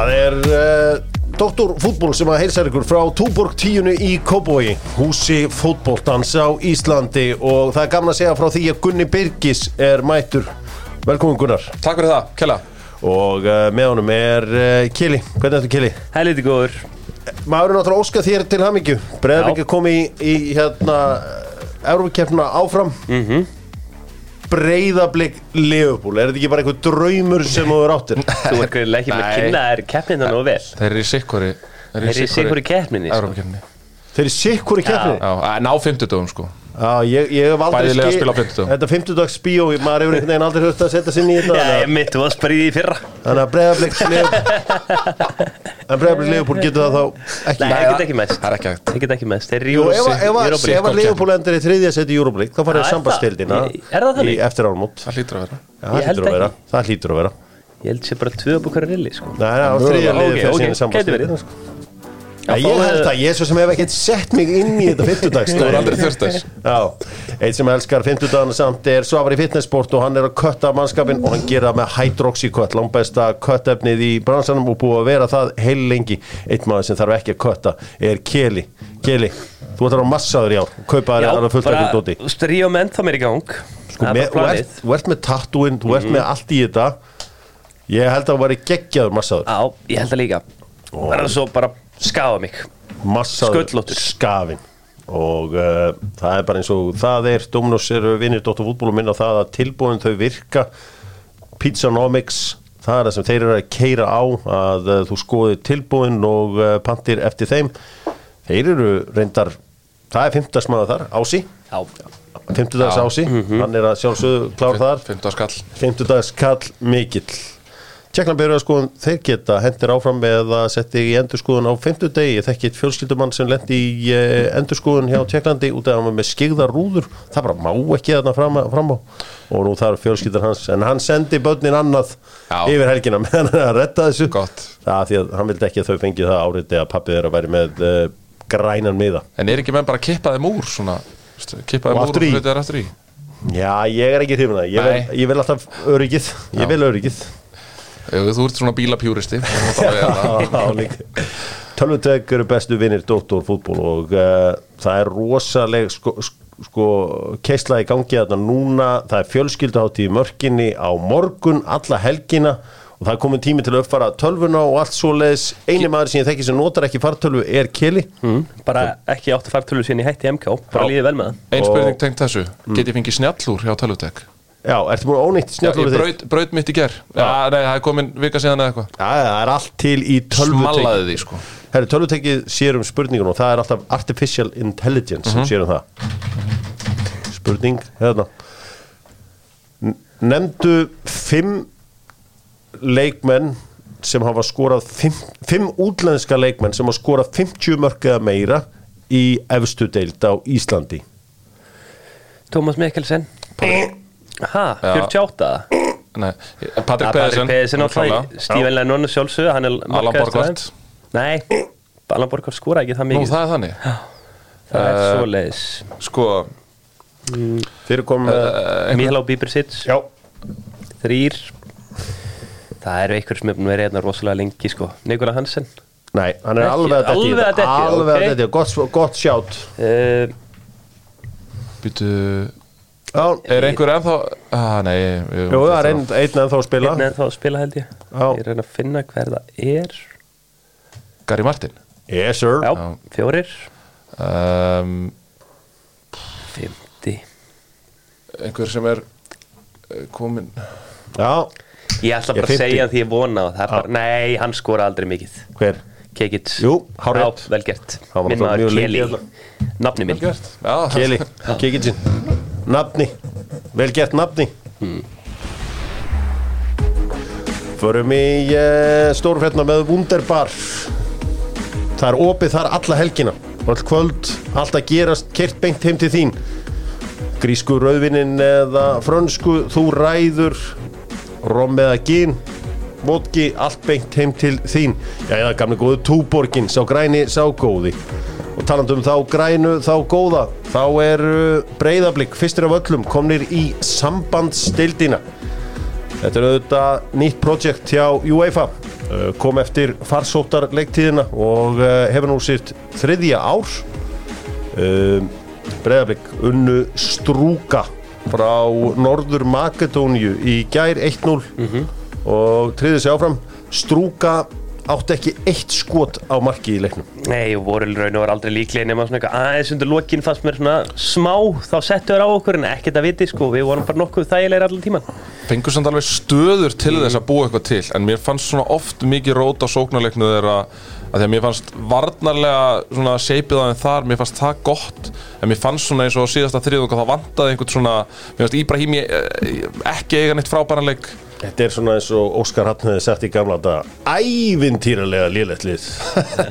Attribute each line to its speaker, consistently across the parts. Speaker 1: eh, Doktor fútból sem að heilsa ykkur frá Túborg 10 í Kóbói Húsi fútbóltans á Íslandi og það er gaman að segja frá því að Gunni Birgis er mættur Velkomin Gunnar
Speaker 2: Takk fyrir það, Kjella
Speaker 1: og uh, með honum er uh, Kili, hvernig ertu Kili?
Speaker 3: Helviti góður
Speaker 1: Maður er náttúrulega óskað þér til hamingju Breiðarbygg
Speaker 3: Já.
Speaker 1: er komið í, í hérna Európa-keppna áfram mm
Speaker 3: Mhm.
Speaker 1: -hmm. Breiðablík Leopold, er þetta ekki bara einhver draumur sem þú er áttir?
Speaker 3: Þú er hverju leikir með að
Speaker 2: Nei.
Speaker 3: kynna þær keppnin þannig og vel
Speaker 2: Þeir eru í sikkori Þeir
Speaker 3: Þeir eru í sitthvorri keppninni, sko.
Speaker 2: Evrópukeppninni.
Speaker 1: Þeir eru sikkur í keppni
Speaker 2: Já, en á fimmtudögum sko
Speaker 1: Já, ég, ég hef aldrei
Speaker 2: Bæði lið að spila á fimmtudögum.
Speaker 1: Þetta fimmtudags bíó, maður hefur einhvern veginn aldrei höfst að setja sinni í þetta
Speaker 3: sko. Já,
Speaker 1: þannig að-
Speaker 3: ég mitt, þú varst bara í því fyrra
Speaker 1: Þannig að Breiðablík Leopold En Breiðablík Leopold getur það þá ekki
Speaker 3: Nei, það get ekki mæst
Speaker 2: Það er ekki hægt
Speaker 3: Það get ekki mæst Þeir eru í
Speaker 1: Jú, ef
Speaker 3: Eurosi-
Speaker 1: að- ef að-
Speaker 3: Euroleague.
Speaker 1: ef að Leopold endur í þriðja seti í Euroblík þá farið
Speaker 3: Já, er
Speaker 1: sambastildina
Speaker 3: það- er það þannig?
Speaker 1: eftir álmót
Speaker 2: Það hlýtur að vera
Speaker 1: Það
Speaker 3: Ég held
Speaker 1: hlýtur að
Speaker 3: ekki.
Speaker 1: vera Það hlýtur að vera
Speaker 3: Ég held sér bara tvö búkar reyli, sko
Speaker 1: Nei, það var þriðja liðið
Speaker 3: Mögulega. Ok,
Speaker 1: fyrir
Speaker 3: ok,
Speaker 1: síðan
Speaker 3: gæti verið.
Speaker 1: sambandslið sko. Já,
Speaker 3: þá
Speaker 1: Ég
Speaker 3: er-
Speaker 1: held að ég er svo sem hef ekkert sett mig inn í þetta fimmtudags
Speaker 2: Þú er aldrei þurft þess
Speaker 1: Já, eitt sem elskar fimmtudagana samt er Svavar í fitnessport og hann er að kötta mannskapin og hann gera það með hydroxykött langbæsta köttefnið í bransanum og búið að vera það heil lengi eitt maður sem þarf ekki að kötta er Keli Keli, þú ætlar að massaður í ár kaupa þér aðra fullt ekki dóti
Speaker 3: bara stríða með ennþá mér í gang
Speaker 1: Sko,
Speaker 3: Það er
Speaker 1: með,
Speaker 3: bara
Speaker 1: þú,
Speaker 3: planið. Mhm.
Speaker 1: ert, þú ert með tattúin, þú ert með allt í þetta Ég held að þú væri geggjaður massaður
Speaker 3: Já, ég held það líka Bara svo bara skafa mig
Speaker 1: Massaður
Speaker 3: Sköllóttur.
Speaker 1: skafin Og uh, það er bara eins og það er Dóminós eru vinnir Dóttur fútbólum minna á það að tilbúin þau virka Pizzanomics Það er það sem þeir eru að keira á að uh, þú skoði tilbúin og uh, pantir eftir þeim Þeir eru reyndar, það er fimmtarsmaður þar, Ási
Speaker 3: Já,
Speaker 1: Fimmtudags
Speaker 2: Já.
Speaker 1: Ási, hann er að sjálfsögðu klár þar
Speaker 2: Fimmtudags kall
Speaker 1: 50 dags kall mikill Tjekklandbyrjarskoðun, þeir geta hendir áfram með að setja í endurskoðun á 50 degi, ég þekki eitt fjölskyldumann sem lendi í eh, endurskoðun hjá Tjekklandi út af að hann var með skigðar rúður það bara má ekki þarna fram, fram á og nú þarf fjölskyldar hans, en hann sendi börnin annað
Speaker 2: Já.
Speaker 1: yfir helgina meðan hann er að redda þessu
Speaker 2: Gott.
Speaker 1: það er því að hann vildi ekki að þau fengi það áriti að pappi þeirra væri með uh, grænan miða
Speaker 2: En er ekki menn bara að kippa þeim úr svona veistu, Kippa þeim
Speaker 1: Og
Speaker 2: úr
Speaker 1: aftur í.
Speaker 2: hluti er aftur í
Speaker 1: Já, ég er ekki hrifin að, ég,
Speaker 2: Nei.
Speaker 1: vil- ég vil alltaf öryggið,
Speaker 2: Já.
Speaker 1: ég vil öryggið
Speaker 2: Ef þú ert svona bílapjúristi þá má bara vera það.
Speaker 1: Já, líka. Tölvutök eru bestu vinnir Dóttor fútból og uh, það er rosaleg sko, sko keisla í gangi þarna núna það er fjölskylduháttíð í mörkinni á morgun alla helgina og það er komin tími til að uppfara tölvuna og allt svoleiðis eini maður sem ég þekki sem notar ekki fartölvu er Kili
Speaker 2: Hm.
Speaker 3: Mm. bara ekki átt að fara tölu sinni hætti í MK Bara
Speaker 1: Já.
Speaker 3: líði vel með það
Speaker 2: Ein
Speaker 1: Og-
Speaker 2: spurning tengt þessu Get ég fengið snjallúr hjá Tölutek?
Speaker 1: Já, ertu múin ónýtt
Speaker 2: Já, ég
Speaker 1: snjallur þitt?
Speaker 2: braut, braut mitt í ger Já, nei, það er komin vika síðan eða eitthvað
Speaker 1: Já, það er allt til í tölvutök
Speaker 2: Smallaði því sko
Speaker 1: Herri, tölvutekið sér um spurningun og það er alltaf artificial intelligence
Speaker 3: Mhm.
Speaker 1: sem sér um það Spurning, hérna N- Nefndu fimm leikmenn sem hafa skorað fimm, fimm útlenska leikmenn sem hafa skorað 50 mörg eða meira í efstu deild á Íslandi
Speaker 3: Tómas Mikkelsen Ha, 48
Speaker 2: Nei, Patrik
Speaker 3: Patrik
Speaker 2: Pedersen
Speaker 3: Pedersen og
Speaker 2: náttúrulega.
Speaker 3: Stíven Lennon og sjálfsög Hann er markahæstur
Speaker 2: Borgvart.
Speaker 3: aðeins. Nei, Alan Borgvart skora ekki það
Speaker 2: Nú,
Speaker 3: mikið
Speaker 2: það er þannig
Speaker 3: Það
Speaker 1: Eh,
Speaker 3: er svo leiðis
Speaker 2: Sko,
Speaker 1: Þeir eru komið með
Speaker 3: Uh, Mihlá Bíbersits,
Speaker 1: Já,
Speaker 3: þrýr Það eru einhver sem er búin að vera hérna rosalega lengi sko. Nikola Hansen
Speaker 1: nei, hann er
Speaker 3: Ekki-
Speaker 1: alveg að detti
Speaker 3: alveg að detti,
Speaker 1: Alveg
Speaker 3: ok.
Speaker 1: að detti, gott, gott sjátt
Speaker 3: uh,
Speaker 2: býtu
Speaker 1: Já,
Speaker 3: Eh,
Speaker 2: Er einhver ennþá ah, Nei, ég, ég,
Speaker 1: Jú, það er einn einn ennþá að spila
Speaker 3: Hérna er þá að spila held ég
Speaker 1: Já.
Speaker 3: Ég reyna að finna hver það er
Speaker 2: Gary Martin
Speaker 1: Yes, sir
Speaker 3: Já, fjórir
Speaker 2: um,
Speaker 3: Fymti
Speaker 2: Einhver sem er eh, komin
Speaker 1: Já,
Speaker 3: Ég
Speaker 1: Ég
Speaker 3: ætla bara að
Speaker 1: 50.
Speaker 3: segja því ég vona og það er bara, Nei, hann skora aldrei mikið
Speaker 1: hver?
Speaker 3: Kekits
Speaker 1: Jú, hárrétt.
Speaker 3: Já, vel gert
Speaker 1: Hann var
Speaker 3: Minn
Speaker 1: náttúrulega mjög
Speaker 3: maður
Speaker 1: lengi
Speaker 3: Kelly
Speaker 1: hérna.
Speaker 3: Nafni minn
Speaker 2: Gert Já,
Speaker 1: Keli, kikið sín Nafni, vel gert nafni
Speaker 2: Hmm.
Speaker 1: Förum í uh, stórfrétna með Wunderbar Það er opið þar alla helgina All kvöld, allt að gerast kert beint heim til þín Grísku rauðvinin eða frönsku Þú ræður Rom eða gín Vodki, allt beint heim til þín Já, eða gamli góðu túborgin Sá græni, sá góði Og talandi um þá grænu, þá góða Þá er breyðablík Fyrstir af öllum komnir í sambandsdeildina Þetta er auðvitað nýtt projekt hjá UEFA uh, kom eftir farsóttar leiktíðina og uh, hefur nú sitt þriðja ár um, Breiðablik unnu strúka frá Norður Makedóníu í gær 1-0 og triði sig áfram strúka átti ekki eitt skot á marki í leiknum
Speaker 3: Nei, og voru raun og var aldrei líklega nema svona eitthvað aðeins undir lokin fannst mér svona smá þá settu þér á okkur en ekkert að viti sko við vorum bara nokkuð þægilegir allan tíman
Speaker 2: fengur samt alveg stöður til þess að búa eitthvað til en mér fannst svona oft mikið rót á sóknarleiknu þeirra að því að mér fannst varnarlega svona seipið aðeins þar, mér fannst það gott en mér fannst svona eins og á síðasta þriðung og það vantaði einhvern svona, mér fannst Íbrahimi eh, ekki eiga neitt frábæranleik
Speaker 1: Þetta er svona eins og Óskar Hafn hefði sagt í gamla daga ævintýralega lélegt lið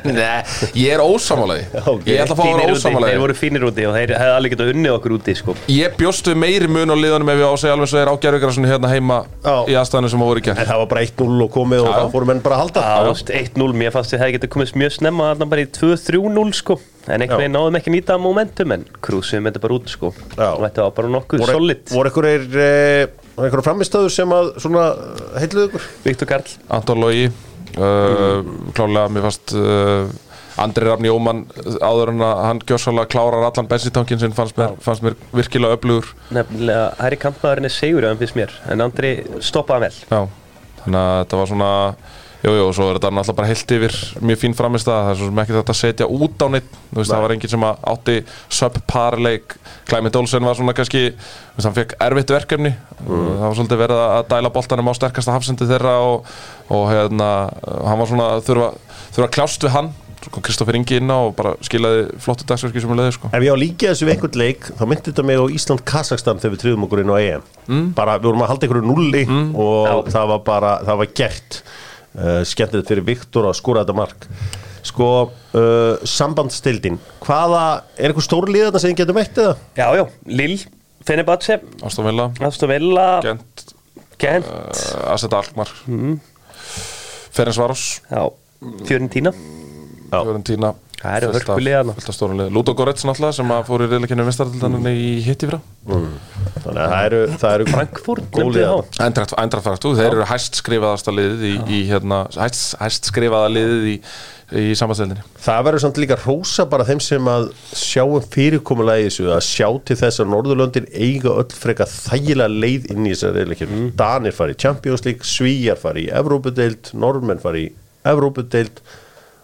Speaker 2: Nei, ég er ósamálaði
Speaker 1: Ok.
Speaker 2: Ég ætla að fá að vera
Speaker 3: Fínir úti, Þeir
Speaker 2: ósamálaði
Speaker 3: voru fínir úti og þeir hefði alveg getað unnið okkur úti sko
Speaker 2: Ég bjóst við meiri mun á liðanum ef ég á að segja alveg svo er á gerðvigrasunni hérna heima
Speaker 1: Já.
Speaker 2: í aðstæðanum sem að voru í gerð
Speaker 1: En það var bara 1-0 og komið og
Speaker 2: Já.
Speaker 1: þá fórum menn bara að halda
Speaker 3: Ást 1-0, mér fannst þið hefði getað komist mjög snemma þarna bara í 2-3-0 sko en einhvern veginn náðum ekki að nýta momentum en krúsum þetta bara út sko
Speaker 1: Já.
Speaker 3: og þetta var bara nokkuð
Speaker 1: Voru-
Speaker 3: solid
Speaker 1: Voru einhverjir eh, voru einhverjar framistöður sem að svona heitluðu ykkur?
Speaker 3: Viktor Karl
Speaker 2: Anton Lógi uh, Klálega, mér fannst uh, Andri Rafni Ómann áður en að hann gjössalega klárar allan bensintankin sinn fannst mér, fannst mér virkilega öflugur
Speaker 3: nefnilega hæri kampmaðurinn er segur finnst mér en Andri stoppaði hann vel
Speaker 2: Já, þannig að þetta var svona Jú, jú, og svo er þetta náttúrulega bara heilt yfir mjög fín framist að það er svo sem ekki þetta að setja út á neitt þú veist, það var enginn sem að átti subpar leik, Clement Olsen var svona kannski, þú veist, hann fekk erfitt verkefni það var svolítið verið að dæla boltanum á sterkasta hafsendi þeirra og, og hérna, hann var svona að þurfa, þurfa að klást við hann svo kom Kristoffer Ingi inn á og bara skilaði flottu dagsverki sem við leiði, sko
Speaker 1: Ef ég á líka þessu við einhvern leik þá myndi þetta mig á Ísland-Kazakstan þegar við triðum okkur inn á EM bara við vorum að halda einhverju nulli og það var bara, það var gert uh, skemmtilegt fyrir Viktor að skúra þetta mark sko, uh, sambandstildin hvaða, er einhver stóri lið þarna sem þið getum eitt eða?
Speaker 3: Já, já, Lill, Fenerbahce
Speaker 2: Ástofn Villa,
Speaker 3: Aston Villa,
Speaker 2: Gent,
Speaker 3: Gent
Speaker 2: uh, Asset Alkmaar mm. Ferenc Varos
Speaker 3: Já, Fjörentína
Speaker 1: Já.
Speaker 2: Fiorentina
Speaker 3: Það eru
Speaker 2: fullt af-
Speaker 3: hörkulið þarna. Mm.
Speaker 2: fullt af stórum liðum. Ludo Goretz náttúrulega sem að fór í reyðleikinu mestaraldaninu í hitt í fyrra
Speaker 1: Þannig að það eru, það eru
Speaker 3: Frankfurt,
Speaker 1: góð
Speaker 3: nefndi
Speaker 1: lið
Speaker 3: þá
Speaker 1: þarna.
Speaker 2: Ændrætt fært út, þeir eru hæst skrifaðasta liðið í, í hérna, hæst, hæst skrifaða liðið í, í sambandsveldinni
Speaker 1: Það verður samt líka rosa bara þeim sem að sjáum fyrirkomulagi þessu að sjá til þess að Norðurlöndin eiga öll freka þægilega leið inn í þessar reyðleikir.
Speaker 2: Mm.
Speaker 1: Danir fari í Champions League, Svíjar fari í Evrópudeild, Norrmenn fari í Evrópudeild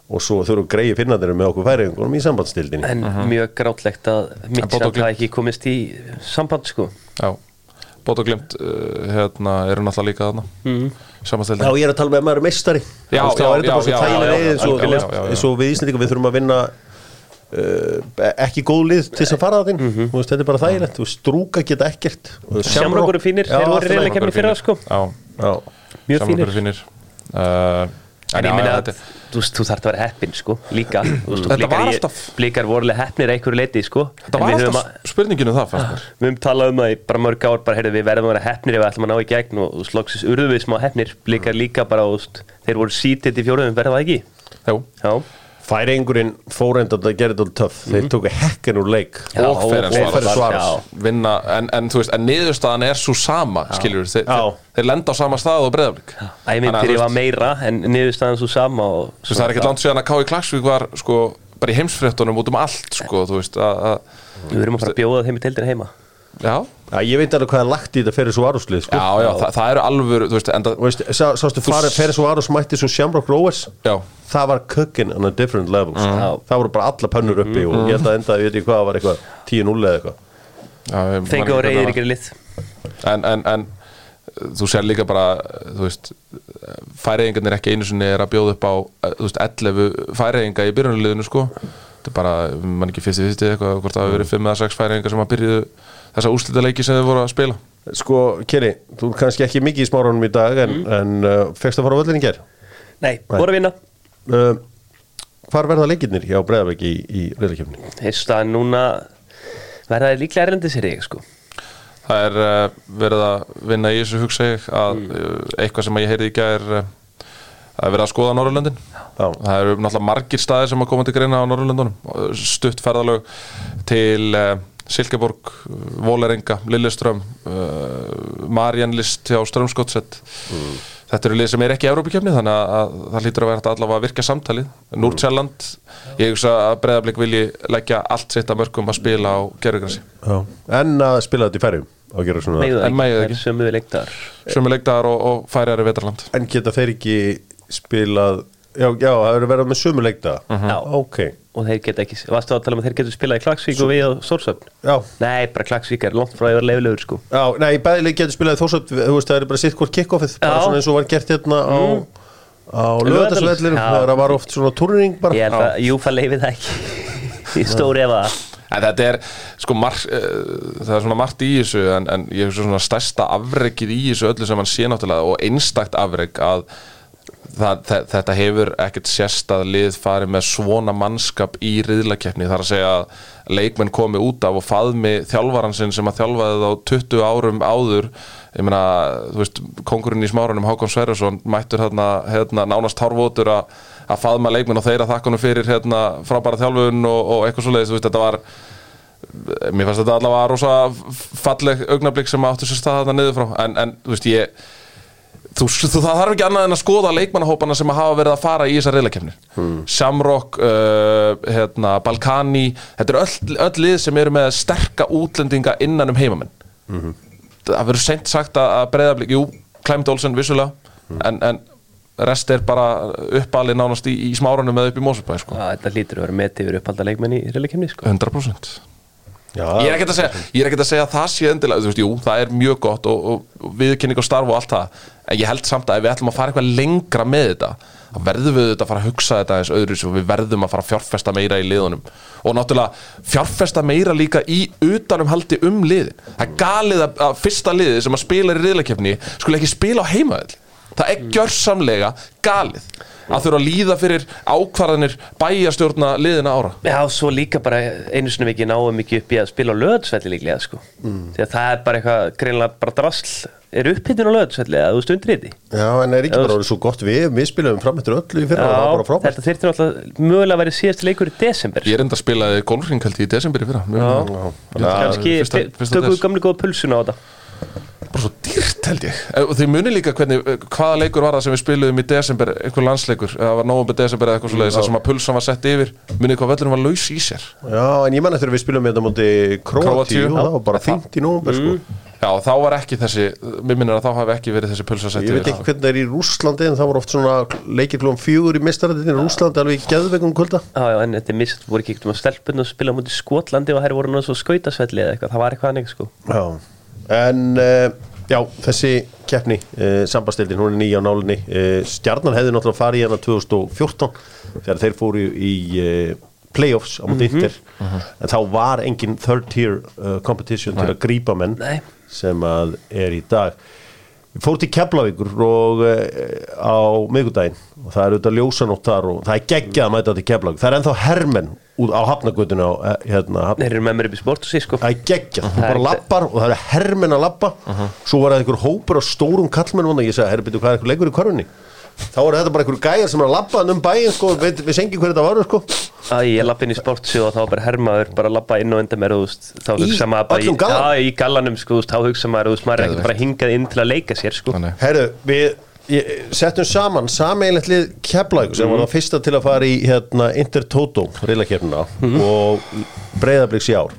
Speaker 1: og svo þurfum greiði finnandirum með okkur færiðingunum í sambandstildinni.
Speaker 3: En mjög grátlegt að
Speaker 2: Bodo
Speaker 3: Mitchell
Speaker 2: Glimt.
Speaker 3: hafi ekki komist í samband sko
Speaker 2: Já, bótt og glimt uh, hérna, eru náttúrulega líka þarna mm.
Speaker 1: Já,
Speaker 2: sambandsveldinni
Speaker 1: ég er að tala með að maður er meistari.
Speaker 2: Já,
Speaker 1: Þú veist, þá
Speaker 2: já,
Speaker 1: er þetta bara
Speaker 2: já,
Speaker 1: svo
Speaker 2: já,
Speaker 1: þægilega
Speaker 2: já,
Speaker 1: leið eins og-
Speaker 2: algjörlega,
Speaker 1: þú
Speaker 2: já,
Speaker 1: veist,
Speaker 2: já, já.
Speaker 1: eins og við Íslandingar við þurfum að vinna uh, ekki góð lið til þess að fara það inn.
Speaker 2: Mhm.
Speaker 1: Þú veist, þetta er bara þægilegt. Þú veist, strúka geta ekkert.
Speaker 3: Shamrock eru fínir,
Speaker 1: Já,
Speaker 3: þeir voru
Speaker 1: allt í lagi.
Speaker 3: reyðleikefni fyrra sko
Speaker 2: Já,
Speaker 1: Já,
Speaker 3: Mjög
Speaker 2: samlokur
Speaker 3: fínir.
Speaker 2: finnir uh,
Speaker 3: En ég
Speaker 2: já,
Speaker 3: minna að
Speaker 2: þetta er-
Speaker 3: þú veist, þú þarft að vera heppin sko Líka, þú veist,
Speaker 2: Þetta
Speaker 3: og blikar,
Speaker 2: var
Speaker 3: í-
Speaker 2: alltaf-
Speaker 3: blikar vorulega heppnir að einhverju leiti sko
Speaker 2: Þetta
Speaker 3: En
Speaker 2: var
Speaker 3: við höfum að-
Speaker 2: alltaf spurninginu það fannst mér
Speaker 3: Við höfum talað um það í bara mörg ár bara, heyrðu, við verðum að vera hefnir ef við ætlum að ná í gegn og sloksis urðu við smá hefnir
Speaker 2: Mm.
Speaker 3: blikar líka bara, þú veist, þeir voru sítið í fjóruðum, verða það ekki?
Speaker 2: Jú,
Speaker 3: Já,
Speaker 1: Færingurinn fór enda að gera þetta töff
Speaker 2: Mhm.
Speaker 1: Þeir tóku hekken úr leik
Speaker 3: Já,
Speaker 2: og
Speaker 1: og Ferenc
Speaker 2: Ferenc
Speaker 1: Varos.
Speaker 2: Varos vinna, en, en þú veist, en niðurstaðan er svo sama, skilur
Speaker 1: Já.
Speaker 2: þeir, þeir, þeir lenda á sama stað og breyðaflik
Speaker 3: æmyndir ég var meira en niðurstaðan svo sama og
Speaker 2: þú veist, það er ekkert langt síðan að K.I. Klagsvík var sko, bara í heimsfréttunum út um allt sko, þú veist, að, að
Speaker 3: Við verðum að fara að bjóða þeim í deildina heima
Speaker 2: já,
Speaker 1: Já, Ég veit alveg hvað er lagt í þetta Ferenc Svaruslið sko.
Speaker 2: já, já, það, það eru alvöru þú veist, enda,
Speaker 1: Og veist, sá, Sástu farið Ferenc Svarus mætti svo Shamrock Rowers
Speaker 2: já
Speaker 1: Það var cooking on a different level sko.
Speaker 3: Já.
Speaker 1: Það voru bara alla pönnur uppi Og ég held
Speaker 2: Mhm.
Speaker 1: að enda, ég veit ekki hvað, það var eitthvað 10-0 eða eitthvað
Speaker 2: já, ég man
Speaker 3: Fengu
Speaker 2: ekki
Speaker 3: og reyðir
Speaker 2: hvernig
Speaker 3: ykkur lið
Speaker 2: það var. en, en, en þú sér líka bara, þú veist færiðingarnir ekki einu sinni er að bjóða upp á eh, þú veist, 11 færiðinga í byrjunarliðinu sko, þetta er bara mann ekki fyrst í fyrst eitthvað, hvort það hafi verið 5 eða 6 færiðingar sem að byrjuðu þessa úrslitaleiki sem þau voru að spila
Speaker 1: Sko, Kenny, þú er kannski ekki mikið í smárunum í dag En,
Speaker 2: Mhm.
Speaker 1: en uh, fegst að fara á völlin í ger
Speaker 3: Nei, voru að vinna
Speaker 1: uh, Hvar verða leikirnir hjá Breðavík í, í reyðleikjöfni?
Speaker 3: Heist að núna verða þeir líklega erlendis er ég sko
Speaker 2: Það er uh, verið að vinna í þessu hugsa ég að uh, eitthvað sem ég heyrði í gær uh, það er verið að skoða Norrlöndin
Speaker 1: Já.
Speaker 2: það eru náttúrulega margir staðir sem að koma til greina á Norrlöndunum Uh, stutt ferðalög til uh, Silkeborg, eh, Vóleringa, Lilleström uh, Marianlist hjá Strömskottsett þetta eru lið sem er ekki í Evrópukefni þannig að, að það hlýtur að vera hægt allavega að virka samtalið Núrtsjælland, ég hugsa að breyðablik vilji leggja allt sitt að mörgum að spila á gerðugransi
Speaker 1: Já. en að spila þetta í færjum að gera svona
Speaker 3: Megðu það
Speaker 2: En
Speaker 3: ekki,
Speaker 2: megðu það
Speaker 3: það
Speaker 2: ekki.
Speaker 3: er sömu við leiktar
Speaker 2: sömu leikdagar og, og færiðar í vetarland
Speaker 1: en geta þeir ekki spilað já, já það eru verið með sömu leikta
Speaker 3: Já.
Speaker 1: ok,
Speaker 3: og þeir geta ekki, varstu að tala um að þeir getur spilað í Klagsvík og við á Sórsöfn
Speaker 1: já
Speaker 3: Nei, bara Klagsvík er langt frá að vera leifilegur sko
Speaker 1: Já, nei, bæðileg getur spilað þósöp, þú veist, það er bara sitt hvort kickoffið, bara
Speaker 3: Já.
Speaker 1: svona eins og var gert hérna á, á
Speaker 3: Laugardalsvelli.
Speaker 1: lögðarsvellir,
Speaker 3: Já.
Speaker 1: það var oft svona turning bara.
Speaker 3: Ég held að Júfa leifið það ekki Í stóri efa
Speaker 2: En þetta er, sko, mar, uh, það er svona margt í þessu en, en ég hef svona stærsta afrekið í þessu öllu sem hann sé náttúrulega og einstakt afrek að það, þe- þetta hefur ekkert sérst að lið farið með svona mannskap í riðlakeppni þar að segja að leikmenn komi út af og faðmi þjálfaran sinn sem að þjálfaði þá 20 árum áður ég meina, þú veist, kongurinn í smáranum Hákon Sverjason mættur hérna, hérna nánast hárvotur að að faðma leikmenn og þeirra þakkanum fyrir hérna frábæra þjálfun og, og eitthvað svoleiðis, þú veist, þetta var mér fannst þetta allavega rosa falleg augnablik sem áttu sér stað þarna niður frá en, en þú veist ég þú, þú, það þarf ekki annað en að skoða leikmannahópana sem hafa verið að fara í þessar reyðlakefnir hmm. Shamrock, uh, hérna, Balkani þetta eru öll, öll lið sem eru með sterka útlendinga innan um heimamenn það verður seint sagt að, að breyðablik jú, Clement Olsen vissulega en, en rest er bara uppalið nánast í, í smáranum eða upp í Mósubæ sko.
Speaker 3: Þetta hlýtur að vera metið yfir uppalda leikmenn í relikimni sko
Speaker 2: 100%
Speaker 1: Já,
Speaker 2: Ég er ekkert að segja, ég er ekkert að segja að það sé endilega, þú veist, jú, það er mjög gott og, og, og viðkynning og starf og allt það en ég held samt að ef við ætlum að fara eitthvað lengra með þetta þá verðum við þetta að fara að hugsa þetta eins öðru og við verðum að fara að fjárfesta meira í liðunum og náttúrulega fjárfesta meira líka í utanumhaldi um liðin það er galið að, að fyrsta liðið sem að spila í riðlakefni skulle ekki spila á heimaðall það er gjörsamlega galið að þurfa að líða fyrir ákvarðanir bæjarstjórna liðina ára
Speaker 3: Já, svo líka bara einu sinni mikið náum mikið upp í að spila á löðsvelli líklega sko Því að það er bara eitthvað, greinlega bara drasl Er upphittin á löðsvelli eða þú stundir þetta
Speaker 1: já, en er ekki bara orðið svo gott við, við spilum fram eftir öllu í fyrra, það var bara
Speaker 3: Já,
Speaker 1: frábært.
Speaker 3: þetta þyrfti náttúrulega mögulega að vera síðast leikur í desember
Speaker 2: Ég er enda að spilaði golfringaldi í desember í fyrra Mjög
Speaker 3: Já.
Speaker 2: Já,
Speaker 3: Kanski
Speaker 2: fyrsta- fyrsta
Speaker 3: tökum við
Speaker 2: des.
Speaker 3: gamli góða pulsuna á þetta
Speaker 2: Bara svo dýrt held ég Eh, Og þið munið líka hvernig, eh, hvaða leikur var það sem við spiluðum í desember Einhver landsleikur, eh, það var november desember eða eitthvað svo leiðis Það sem að pulsan var sett yfir Munið hvað völlurinn var laus í sér
Speaker 1: Já, en ég man eftir að við spilum þetta múti Króatíu,
Speaker 2: Króatíu.
Speaker 1: það var bara fínt í nómber, sko.
Speaker 2: Já, þá var ekki þessi, mér minnir að þá hafi ekki verið þessi pulsa sett
Speaker 1: Ég veit
Speaker 2: yfir
Speaker 1: ekki hvernig það er í Rúslandi, en það var oft svona leikir klúan fjögur í mistarættinu í Rúslandi, alveg í geðveikum kvölda.
Speaker 3: Já, já, en þetta er mist, voru ekki ekkert um að stelpunna og spila á móti Skotlandi og þær voru nú svo skautasvelli eða eitthvað, það var eitthvað annað sko.
Speaker 1: Já, en uh, já, þessi keppni uh, sambastildin, hún er nýja á nálinni uh, Stjarnan hefði náttúrulega farið hérna í hana 2014 þegar þeir fóru í uh, playoffs á
Speaker 3: Mhm.
Speaker 1: mútið ytter en þá var engin third tier uh, competition til að grípa menn
Speaker 3: Nei.
Speaker 1: sem að er í dag Við fórum til Keflavíkur og uh, á miðgudaginn og það er auðvitað ljósanótt þar og það er geggjað að mæta til Keflavíkur, það er ennþá hermenn út á hafnagötuna á, eh, hérna, hafn,
Speaker 3: Þeir eru með mér upp í sport og sí, sko.
Speaker 1: Það er geggjað, þú
Speaker 3: Það er Mhm.
Speaker 1: bara
Speaker 3: ekki-
Speaker 1: lappar og það eru hermenn að lappa Svo var það einhver hópur á stórum kallmennum og ég sagði, herri, byrju, hvað er einhver leikur í körfunni? Þá er þetta bara einhver gæjar sem er að lappa um bæin, sko, veit, við sengi hverju þetta var, sko
Speaker 3: Æ, ég lapp inn í sportsu og þá var bara hermaður, bara lappa inn og undan mér, þú veist, þá hugsa maður bara
Speaker 1: öllum gallanum?
Speaker 3: Já, í gallanum, sko, þú veist, þá hugsa maður, þú veist, maður er ekkert bara hingað inn til að leika sér, sko.
Speaker 2: Þannig.
Speaker 1: Herru, við ég, settum saman sameiginlegt lið Keflavík
Speaker 3: Mhm.
Speaker 1: sem var það fyrsta til að fara í hérna, Intertoto reylakefnina
Speaker 3: Mhm.
Speaker 1: og breyðabliks í ár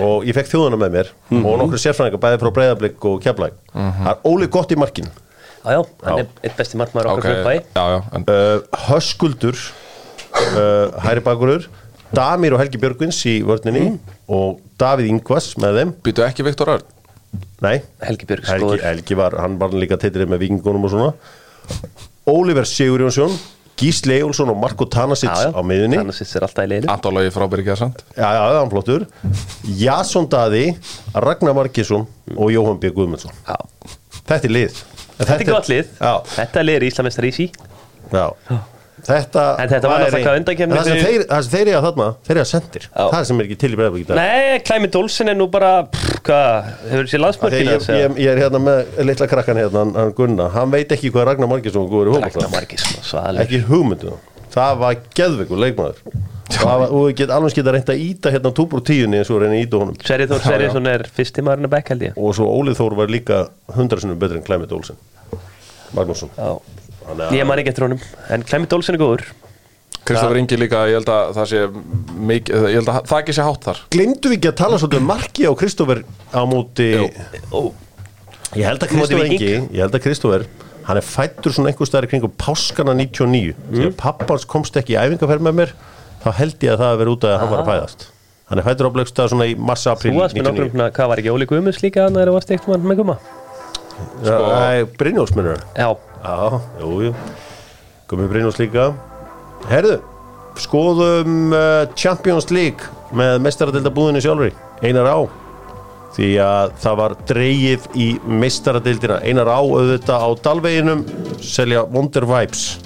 Speaker 1: og ég fekk þjóðuna með mér
Speaker 3: Mhm.
Speaker 1: og nokkru sérfræðingar bæði frá breyðablik og Keflavík Það er óli gott í markinu
Speaker 3: Já, já, hann
Speaker 1: Já.
Speaker 3: er eitt besti margmaður
Speaker 2: Ok,
Speaker 3: okkar okay. klubbæi.
Speaker 2: já, já, en
Speaker 1: uh, Höskuldur uh, Hæri Bakurur Damir og Helgi Björgvins í vörninni
Speaker 3: Mm.
Speaker 1: og Davíð Ingvas með þeim
Speaker 2: býtu ekki Viktor Örn
Speaker 1: Nei,
Speaker 3: Helgi Björg
Speaker 1: Helgi,
Speaker 3: skoður.
Speaker 1: Helgi var, hann var líka teitrið með vikingunum og svona Oliver Sigurjónsson Gísli Ejólfsson og Marko Tanasits á Ah. miðunni Já,
Speaker 3: Þannig að er alltaf í leiðinu.
Speaker 2: Antólagi frá Byrgjarsand
Speaker 1: já, já, hann flottur Jason Daði, Ragnar Markesson og Jóhann B. Guðmundsson
Speaker 3: Já.
Speaker 1: Þetta er lið
Speaker 3: Þetta er gott lið.
Speaker 1: Já,
Speaker 3: Þetta er liður Íslamestari í sí.
Speaker 1: já Þetta,
Speaker 3: En þetta var náttúrulega hvað undankeppni
Speaker 1: Það sem
Speaker 3: fyrir-
Speaker 1: þeir, það sem þeir eiga þarna, þeir eiga sendir
Speaker 3: Já.
Speaker 1: Það sem er ekki til í breyðabík í dag
Speaker 3: Nei, Klæmi Dólsin er nú bara, pff, hvað, hefur sér
Speaker 1: Þegar
Speaker 3: landsmörkina?
Speaker 1: ég, ég, ég er hérna með litla krakkan hérna, hann, hann Gunna, hann veit ekki hvað Ragnar Margesson góður í
Speaker 3: Ragnar
Speaker 1: hópa
Speaker 3: Margis, svaðaleg.
Speaker 1: ekki hugmyndu það var geðveikur leikmaður Það var- og ég get alveg skita reynt að íta hérna túbur tíunni eins og reyna að íta honum
Speaker 3: Sverri Þór Sverriðsson er fyrsti maðurinn að bekk held ég
Speaker 1: og svo Ólið Þór var líka hundrasunum betri en Klemit Olsen Magnússon
Speaker 3: já.
Speaker 1: Þannig að-
Speaker 3: Ég man ekki eftir honum En Klemmi Dólfsson er góður
Speaker 2: Kristofur Ingi líka, ég held að það sé mikið, ég held að það ekki sé hátt þar
Speaker 1: Gleymdu við ekki að tala svolítið um marki á Kristófer á móti
Speaker 3: Ó,
Speaker 1: Ég held að
Speaker 3: Á móti
Speaker 1: Kristófer
Speaker 3: Víking?
Speaker 1: engi Ég held að Kristófer Hann er fættur svona einhver staðar í kringum páskana 99 mm.
Speaker 3: Mhm.
Speaker 1: Þegar pappans komst ekki í æfingarferð með mér Þá held ég að það hafi verið út af að hann var að fæðast Hann er fættur á bleikstað svona í massa apríl
Speaker 3: þú varst með
Speaker 1: 99
Speaker 3: nokkrum svona, Hvað var ekki Óli Guðmunds líka Þannig að það varst eitt mann með guma
Speaker 1: sko... Brynjós minnur hann
Speaker 3: Já,
Speaker 1: Já, jú, jú Gumi Brynjós líka Herðu, skoðum uh, Champions League með mestaradeildabúðinu sjálfri, Einar Á því að það var dreigið í mestaradeildina, Einar Á auðvitað á dalveginum, selja Wonder Vibes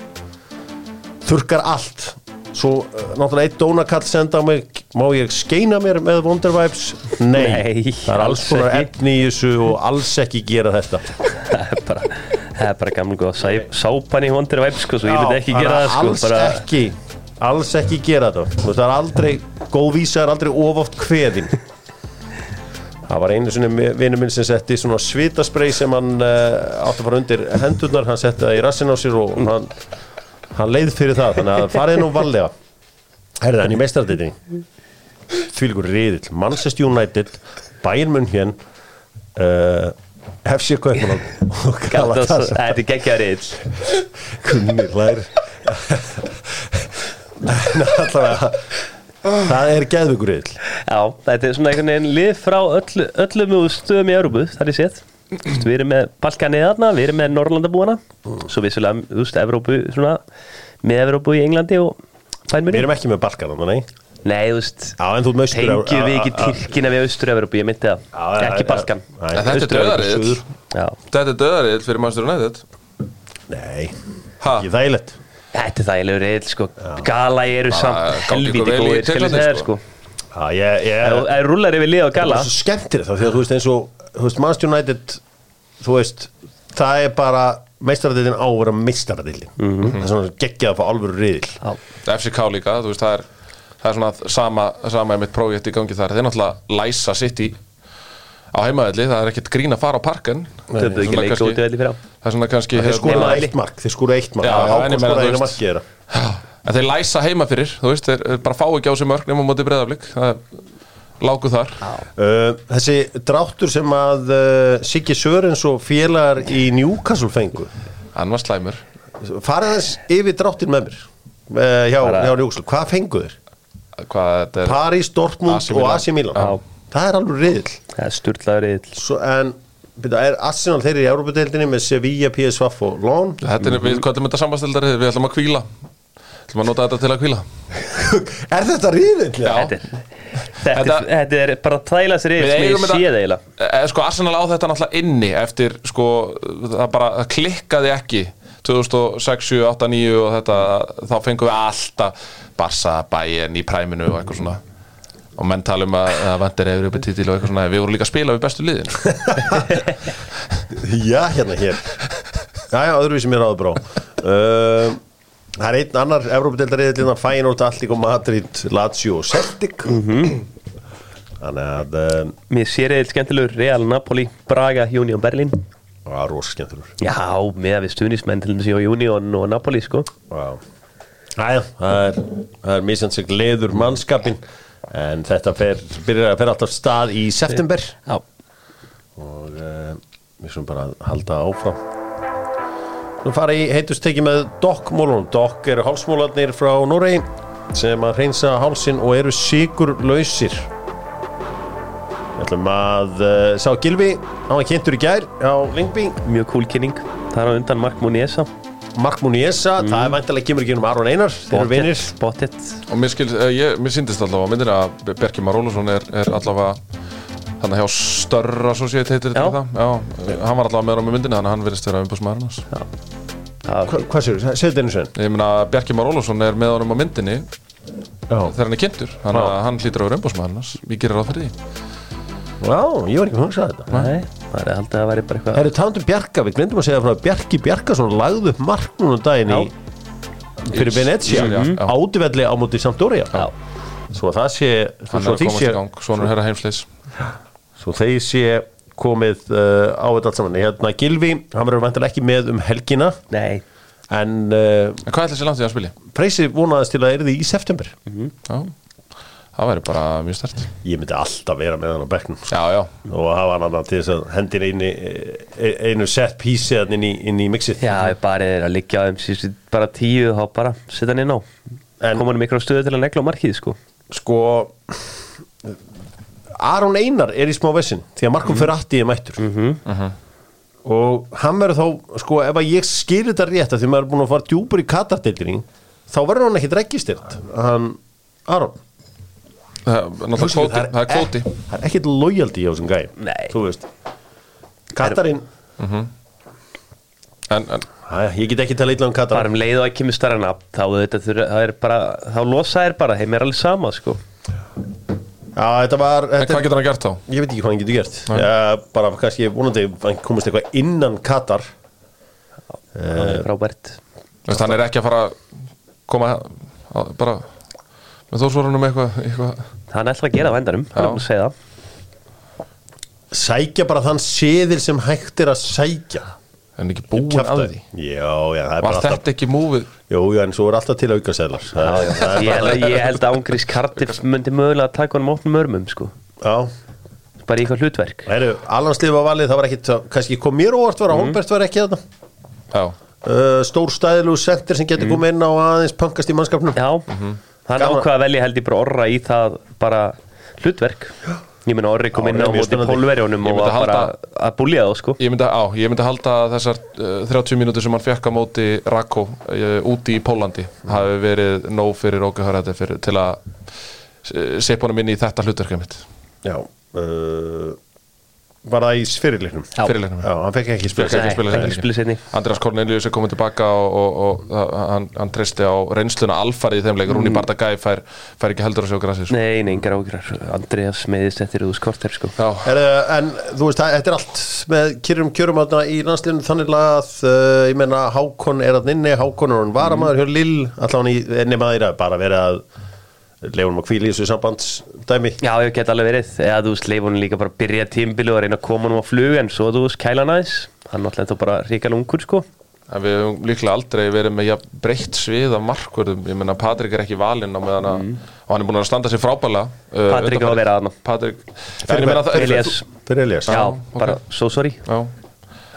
Speaker 1: þurkar allt svo uh, náttúrulega eitt dónakall senda á mig má ég skeina mér með Wonder Vibes? Nei,
Speaker 3: Nei,
Speaker 1: það er alls
Speaker 3: alls
Speaker 1: konar
Speaker 3: ekki.
Speaker 1: efni í þessu og alls ekki gera þetta
Speaker 3: það er bara Það er bara gammal góð Sæ- Sápan í vondir væp sko Svo ég myndi ekki
Speaker 1: Já,
Speaker 3: gera það sko
Speaker 1: alls
Speaker 3: bara,
Speaker 1: ekki alls ekki gera þetta Þú veist, það er aldrei, góð vísa er aldrei ofoft kveðin það var einu sinni vinnu minn sem setti svona svitasprey sem hann uh, átti að fara undir hendurnar, hann setti það í rassin á sér og
Speaker 3: Mm.
Speaker 1: hann, hann leið fyrir það þannig að farið nú vallega herðið hann í meistardeitinni þvílíkur riðill, Manchester United Bayern München uh, FC Kaupmann og
Speaker 3: Galatasaray.
Speaker 1: Galatasaray
Speaker 3: Þetta er geggjarið
Speaker 1: Gunni hlær En allavega Það er geðveikur yll
Speaker 3: Já, þetta er svona einhvern veginn lið frá öll, öllum úr stöðum í Európu, þar ég séð Þú veist, Við erum með Balkanið þarna, við erum með Norrlandabúana Svo vissulega, þú veist, Evrópu svona, með Evrópu í Englandi og
Speaker 1: Við
Speaker 3: Bænmjörnum
Speaker 1: erum ekki með balkan þannig nei
Speaker 3: Nei, þú veist,
Speaker 1: Já, en þú ert með austur
Speaker 3: tengjum við ekki Tyrkina við Austur-Evrópu, ég myndi það Ekki Balkan
Speaker 2: En þetta er döðariðil
Speaker 3: Já,
Speaker 2: Þetta er döðariðil fyrir Master United
Speaker 1: Nei,
Speaker 2: Ha,
Speaker 1: ekki þægilegt
Speaker 3: þetta er þægilegur reyðil, sko Gala eru samt
Speaker 2: gangi ykkur vel
Speaker 3: helviti
Speaker 2: í
Speaker 3: góðir, skal ég
Speaker 2: Tyrklandi,
Speaker 3: segja þér,
Speaker 2: sko.
Speaker 3: sko
Speaker 1: Já, ég, ég
Speaker 3: Ef ef rúllar yfir lið á
Speaker 1: Það
Speaker 3: Gala
Speaker 1: er svo skemmtilegt þá því að þú veist eins og Þú veist, Manchester United Þú veist, það er bara Meistaradeildin á að vera meistaradeildin Það er svona geggjað að fá alvöru riðil
Speaker 3: Já,
Speaker 2: FCK líka, þú veist, það er það er svona sama, sama mitt prófjett í gangi þar þeir náttúrulega læsa sitt í á heimavelli, það er ekkert grín að fara á parken
Speaker 3: þau búið ekki leika út í velli fyrir á
Speaker 2: það er svona kannski
Speaker 1: Þeir
Speaker 2: hérna-
Speaker 1: skora
Speaker 3: Nema-
Speaker 1: eitt mark, þeir skora eitt mark
Speaker 2: Já,
Speaker 1: Það
Speaker 2: já,
Speaker 1: er
Speaker 2: en ég
Speaker 1: Hákon
Speaker 2: meina,
Speaker 1: skora
Speaker 2: þú
Speaker 1: einu
Speaker 2: veist-
Speaker 1: marki þeirra
Speaker 2: en þeir læsa heima fyrir, þú veist, þeir eh, bara fá ekki á sig mörg nema á móti breyðaflik það er lágu þar
Speaker 1: Uh, þessi dráttur sem að uh, Siggi Sörens og félagar í Newcastle fengu
Speaker 2: hann var slæmur
Speaker 1: farið þess yfir dráttin með mér uh, hjá,
Speaker 3: Bara-
Speaker 1: hjá Newcastle, hvað fengu þeir?
Speaker 2: hvað þetta er
Speaker 1: París, Dortmund
Speaker 2: AC
Speaker 1: og
Speaker 2: Milan.
Speaker 1: AC Milan
Speaker 2: Já.
Speaker 1: það er alveg riðil
Speaker 3: Það er sturlaður reyðil
Speaker 1: Svo, en byrja, er Arsenal þeir eru í Európa-deildinni með Sevilla, PSV og Lón
Speaker 2: þetta er, við köllum þetta samastildari, við ætlum að kvíla ætlum að nota þetta til að kvíla
Speaker 1: er þetta riðil?
Speaker 2: Já.
Speaker 3: Þetta er- Þetta er- þetta er bara þægilega sér
Speaker 2: Við
Speaker 3: reyðil sem
Speaker 2: eigum
Speaker 3: ég
Speaker 2: þetta-
Speaker 3: séð eiginlega
Speaker 2: Eh, sko Arsenal á þetta náttúrulega inni eftir sko það bara það klikkaði ekki 2006, 7, 8, 9 og þetta þá fengum við alltaf Barca, Bayern í præminu og eitthvað svona og menn tala um að það vandir efri uppi títil og eitthvað svona við vorum líka að spila við bestu liðin
Speaker 1: Já, hérna hér Já, já, öðruvísi mér áður brá uh, Það er einn annar Evrópadeildariðilina Feyenoord, Allík og Madrid Lazio og Celtic Þannig að um,
Speaker 3: Mér sér reyðil skemmtilegur Real Napoli, Braga, Union Berlin
Speaker 1: það var rosa skemmtilur
Speaker 3: Já, með að við stuðnismenn til þessi á Union og Napoli sko
Speaker 1: Æja, það er, það er misjans sig leður mannskapin en þetta fer, byrjar að fer alltaf stað í september
Speaker 3: Já,
Speaker 1: og uh, við sem bara halda áfram Nú fara í heitusteki með dokkmólunum. Dokk eru hálsmólarnir frá Noregi sem að hreinsa hálsin og eru sigurlausir. Við ætlum að uh, sá Gilvi, hann var kynntur í gær á Lingby,
Speaker 3: mjög cool kynning Það er á undan Mark Muniesa
Speaker 1: Mark Muniesa, það er væntalega kemur ekki um Aron Einar, þeir eru vinir.
Speaker 3: Spottet
Speaker 2: og mér, skil, eh, ég, mér síndist allavega á myndinni að Berki Már Ólafsson er, er allavega hann hjá störra svo séð heitir þetta
Speaker 3: Já.
Speaker 2: ekki það já, eh, hann var allavega með honum í myndinni þannig að hann virðist vera umbúsmaður hans
Speaker 1: Hva, hvað séu, segðu þetta einu svein.
Speaker 2: ég meina Berki Már Ólafsson er með honum á myndinni
Speaker 1: Já.
Speaker 2: þegar hann er kynntur þannig að hann hlýtur að vera umbúsmaður hans ég gerir ráð fyrir því
Speaker 1: Já, ég var ekki að hugsa þetta.
Speaker 3: Nei, það er haldið að það væri bara eitthvað
Speaker 1: Herru, talandum um Bjarka, við glemdum að segja frá að Bjarki Bjarkason lagði upp mark núna um daginn í, fyrir
Speaker 2: Í-
Speaker 1: Venetia
Speaker 2: í- já, já.
Speaker 1: átivelli á móti Sampdoria
Speaker 3: Já.
Speaker 1: svo að það sé svo,
Speaker 2: hann
Speaker 1: svo,
Speaker 2: er að
Speaker 1: því
Speaker 2: komast
Speaker 1: sé
Speaker 2: í gang, svona er herra heimsleis
Speaker 1: svo þeir sé komið uh, á þetta allt saman hérna Gilvi, hann verður vantilega ekki með um helgina
Speaker 3: Nei,
Speaker 1: en uh,
Speaker 2: En hvað ætla þessi langt í að spila? í?
Speaker 1: Freysi vonaðist til að það yrði í september
Speaker 2: Já, það væri bara mjög stert
Speaker 1: ég myndi alltaf vera með hann á bekknum sko.
Speaker 2: Já, já,
Speaker 1: og hafa hann annað til þess að hendin einu, eh, e-, einu set piece eða inn í, inn í mixið
Speaker 3: já, ég bara er að liggja á þeim síðustu bara tíu þá bara setja hann inn á
Speaker 1: En-
Speaker 3: koma hann miklu á stöðu til að negla á markið sko
Speaker 1: sko Aron Einar er í smá vesinn því að Markum mm. Ferrati er mættur
Speaker 2: Mhm.
Speaker 1: og hann verður þá sko ef að ég skilir þetta rétt að því maður er búin að fara djúpur í katardeildinni þá verður hann ekkit reggistilt hann Aron
Speaker 2: það er náttúrulega
Speaker 1: Hugsaðu,
Speaker 2: kvóti Það er kvóti
Speaker 1: ek- það er ekkit lojaldi hjá þessum gæm
Speaker 3: Nei.
Speaker 1: þú veist Katarinn
Speaker 2: En, en
Speaker 1: Æ, ég get ekki tala illa um
Speaker 3: bara
Speaker 1: Katar
Speaker 3: um leið og ekki með starra nafn þá, þetta, það er bara, þá losa þér bara heim er alveg sama sko
Speaker 1: Já, þetta var
Speaker 2: En
Speaker 1: þetta,
Speaker 2: hvað getur hann gert þá?
Speaker 1: Ég veit ekki hvað hann getur gert Já, bara kannski vonandi hann komist eitthvað innan Katar Eh.
Speaker 3: það er frábært
Speaker 2: Þú veist, hann er ekki að fara að koma að, bara með þórsvorunum eitthvað eitthva.
Speaker 3: hann ætlar að gera á endanum, hann er
Speaker 2: Já.
Speaker 3: búin að segja það
Speaker 1: sækja bara þann seðil sem hægt er að sækja
Speaker 2: en ekki búin að
Speaker 1: Kjaftaði.
Speaker 2: því
Speaker 1: Já, já, það er
Speaker 2: Var
Speaker 1: bara alltaf
Speaker 2: þetta ekki múfið?
Speaker 1: Jú, já, en svo er alltaf til auka seðlar Það er- það
Speaker 3: ég
Speaker 1: er bara-
Speaker 3: held, ég held að Ángrís Cardiff myndi mögulega að taka honum opnum örmum sko
Speaker 1: Já,
Speaker 3: bara í eitthvað hlutverk
Speaker 1: heyrðu, Allanslið var valið, það var ekkit það- kannski kom mér óvart var að Holmberg var ekki þetta
Speaker 2: Já,
Speaker 1: uh, Stór stæðilegu sendir sem getur komið inn á og aðeins pankast í mannskapnum
Speaker 3: já, hann
Speaker 1: Mhm. Gaman.
Speaker 3: ákvað að velja held ég bara orra í það bara hlutverk ég meina orri kom
Speaker 1: Orri
Speaker 3: inn
Speaker 1: er
Speaker 3: á
Speaker 1: mjög
Speaker 3: móti
Speaker 1: spennandi.
Speaker 3: pólverjónum
Speaker 2: Ég
Speaker 3: og
Speaker 2: myndi
Speaker 3: var bara
Speaker 2: halda-
Speaker 3: að búlja þá sko
Speaker 2: ég myndi, á, ég myndi halda að þessar uh, 30 mínútur sem hann fekk á móti Rakko uh, úti í Pólandi hafi verið nóg fyrir Róke Hörðarði fyrir, til að uh, sepa honum inn í þetta hlutverkið mitt
Speaker 1: Já uh, Var það í fyrirleiknum?
Speaker 3: Já.
Speaker 2: fyrirleiknum
Speaker 1: Já, hann fekk ekki spila
Speaker 2: Fékk ekki að
Speaker 3: Nei,
Speaker 2: spila
Speaker 3: ekki
Speaker 2: þessa
Speaker 3: spila
Speaker 2: leiki.
Speaker 3: seinni.
Speaker 2: Andreas Cornelius er komið tilbaka og, og, og uh, hann, hann treysti á reynsluna alfarið í þeim leik Rúni Bardagæ fær, fær ekki heldur að sjá græsið sko.
Speaker 3: Mm. nei, nei, engar ágrar Andreas meðist eftir úr skorter sko
Speaker 2: Já,
Speaker 1: Herðu, eh, en þú veist, það- þetta er allt með kyrrum kjörum aðna í landslinu þannig að uh, ég menna Hákon er að inni, Hákon er hann varamaður hjá Lill, allan í, eh, nema þeirra bara verið að leifunum að kvíla í þessu sambandsdæmi
Speaker 3: Já, ég get alveg verið, eða þú veist, leif honum líka bara að byrja tímbili og reyna að koma honum á flug en svo þú veist, kæla hann aðeins, hann náttúrulega þá bara ríkal ungur sko,
Speaker 2: En við höfum líklega aldrei verið með jafn breytt svið af markvörðum, ég meina Patrik er ekki valinn á meðan að, og hann er búin að standa sér frábæla uh,
Speaker 3: Mm. Patrik á að vera þarna.
Speaker 2: Patrik, fyrir mér að það
Speaker 3: Elias,
Speaker 1: fyrir Elias
Speaker 3: já,
Speaker 2: ok.
Speaker 3: bara, so sorry
Speaker 2: Já,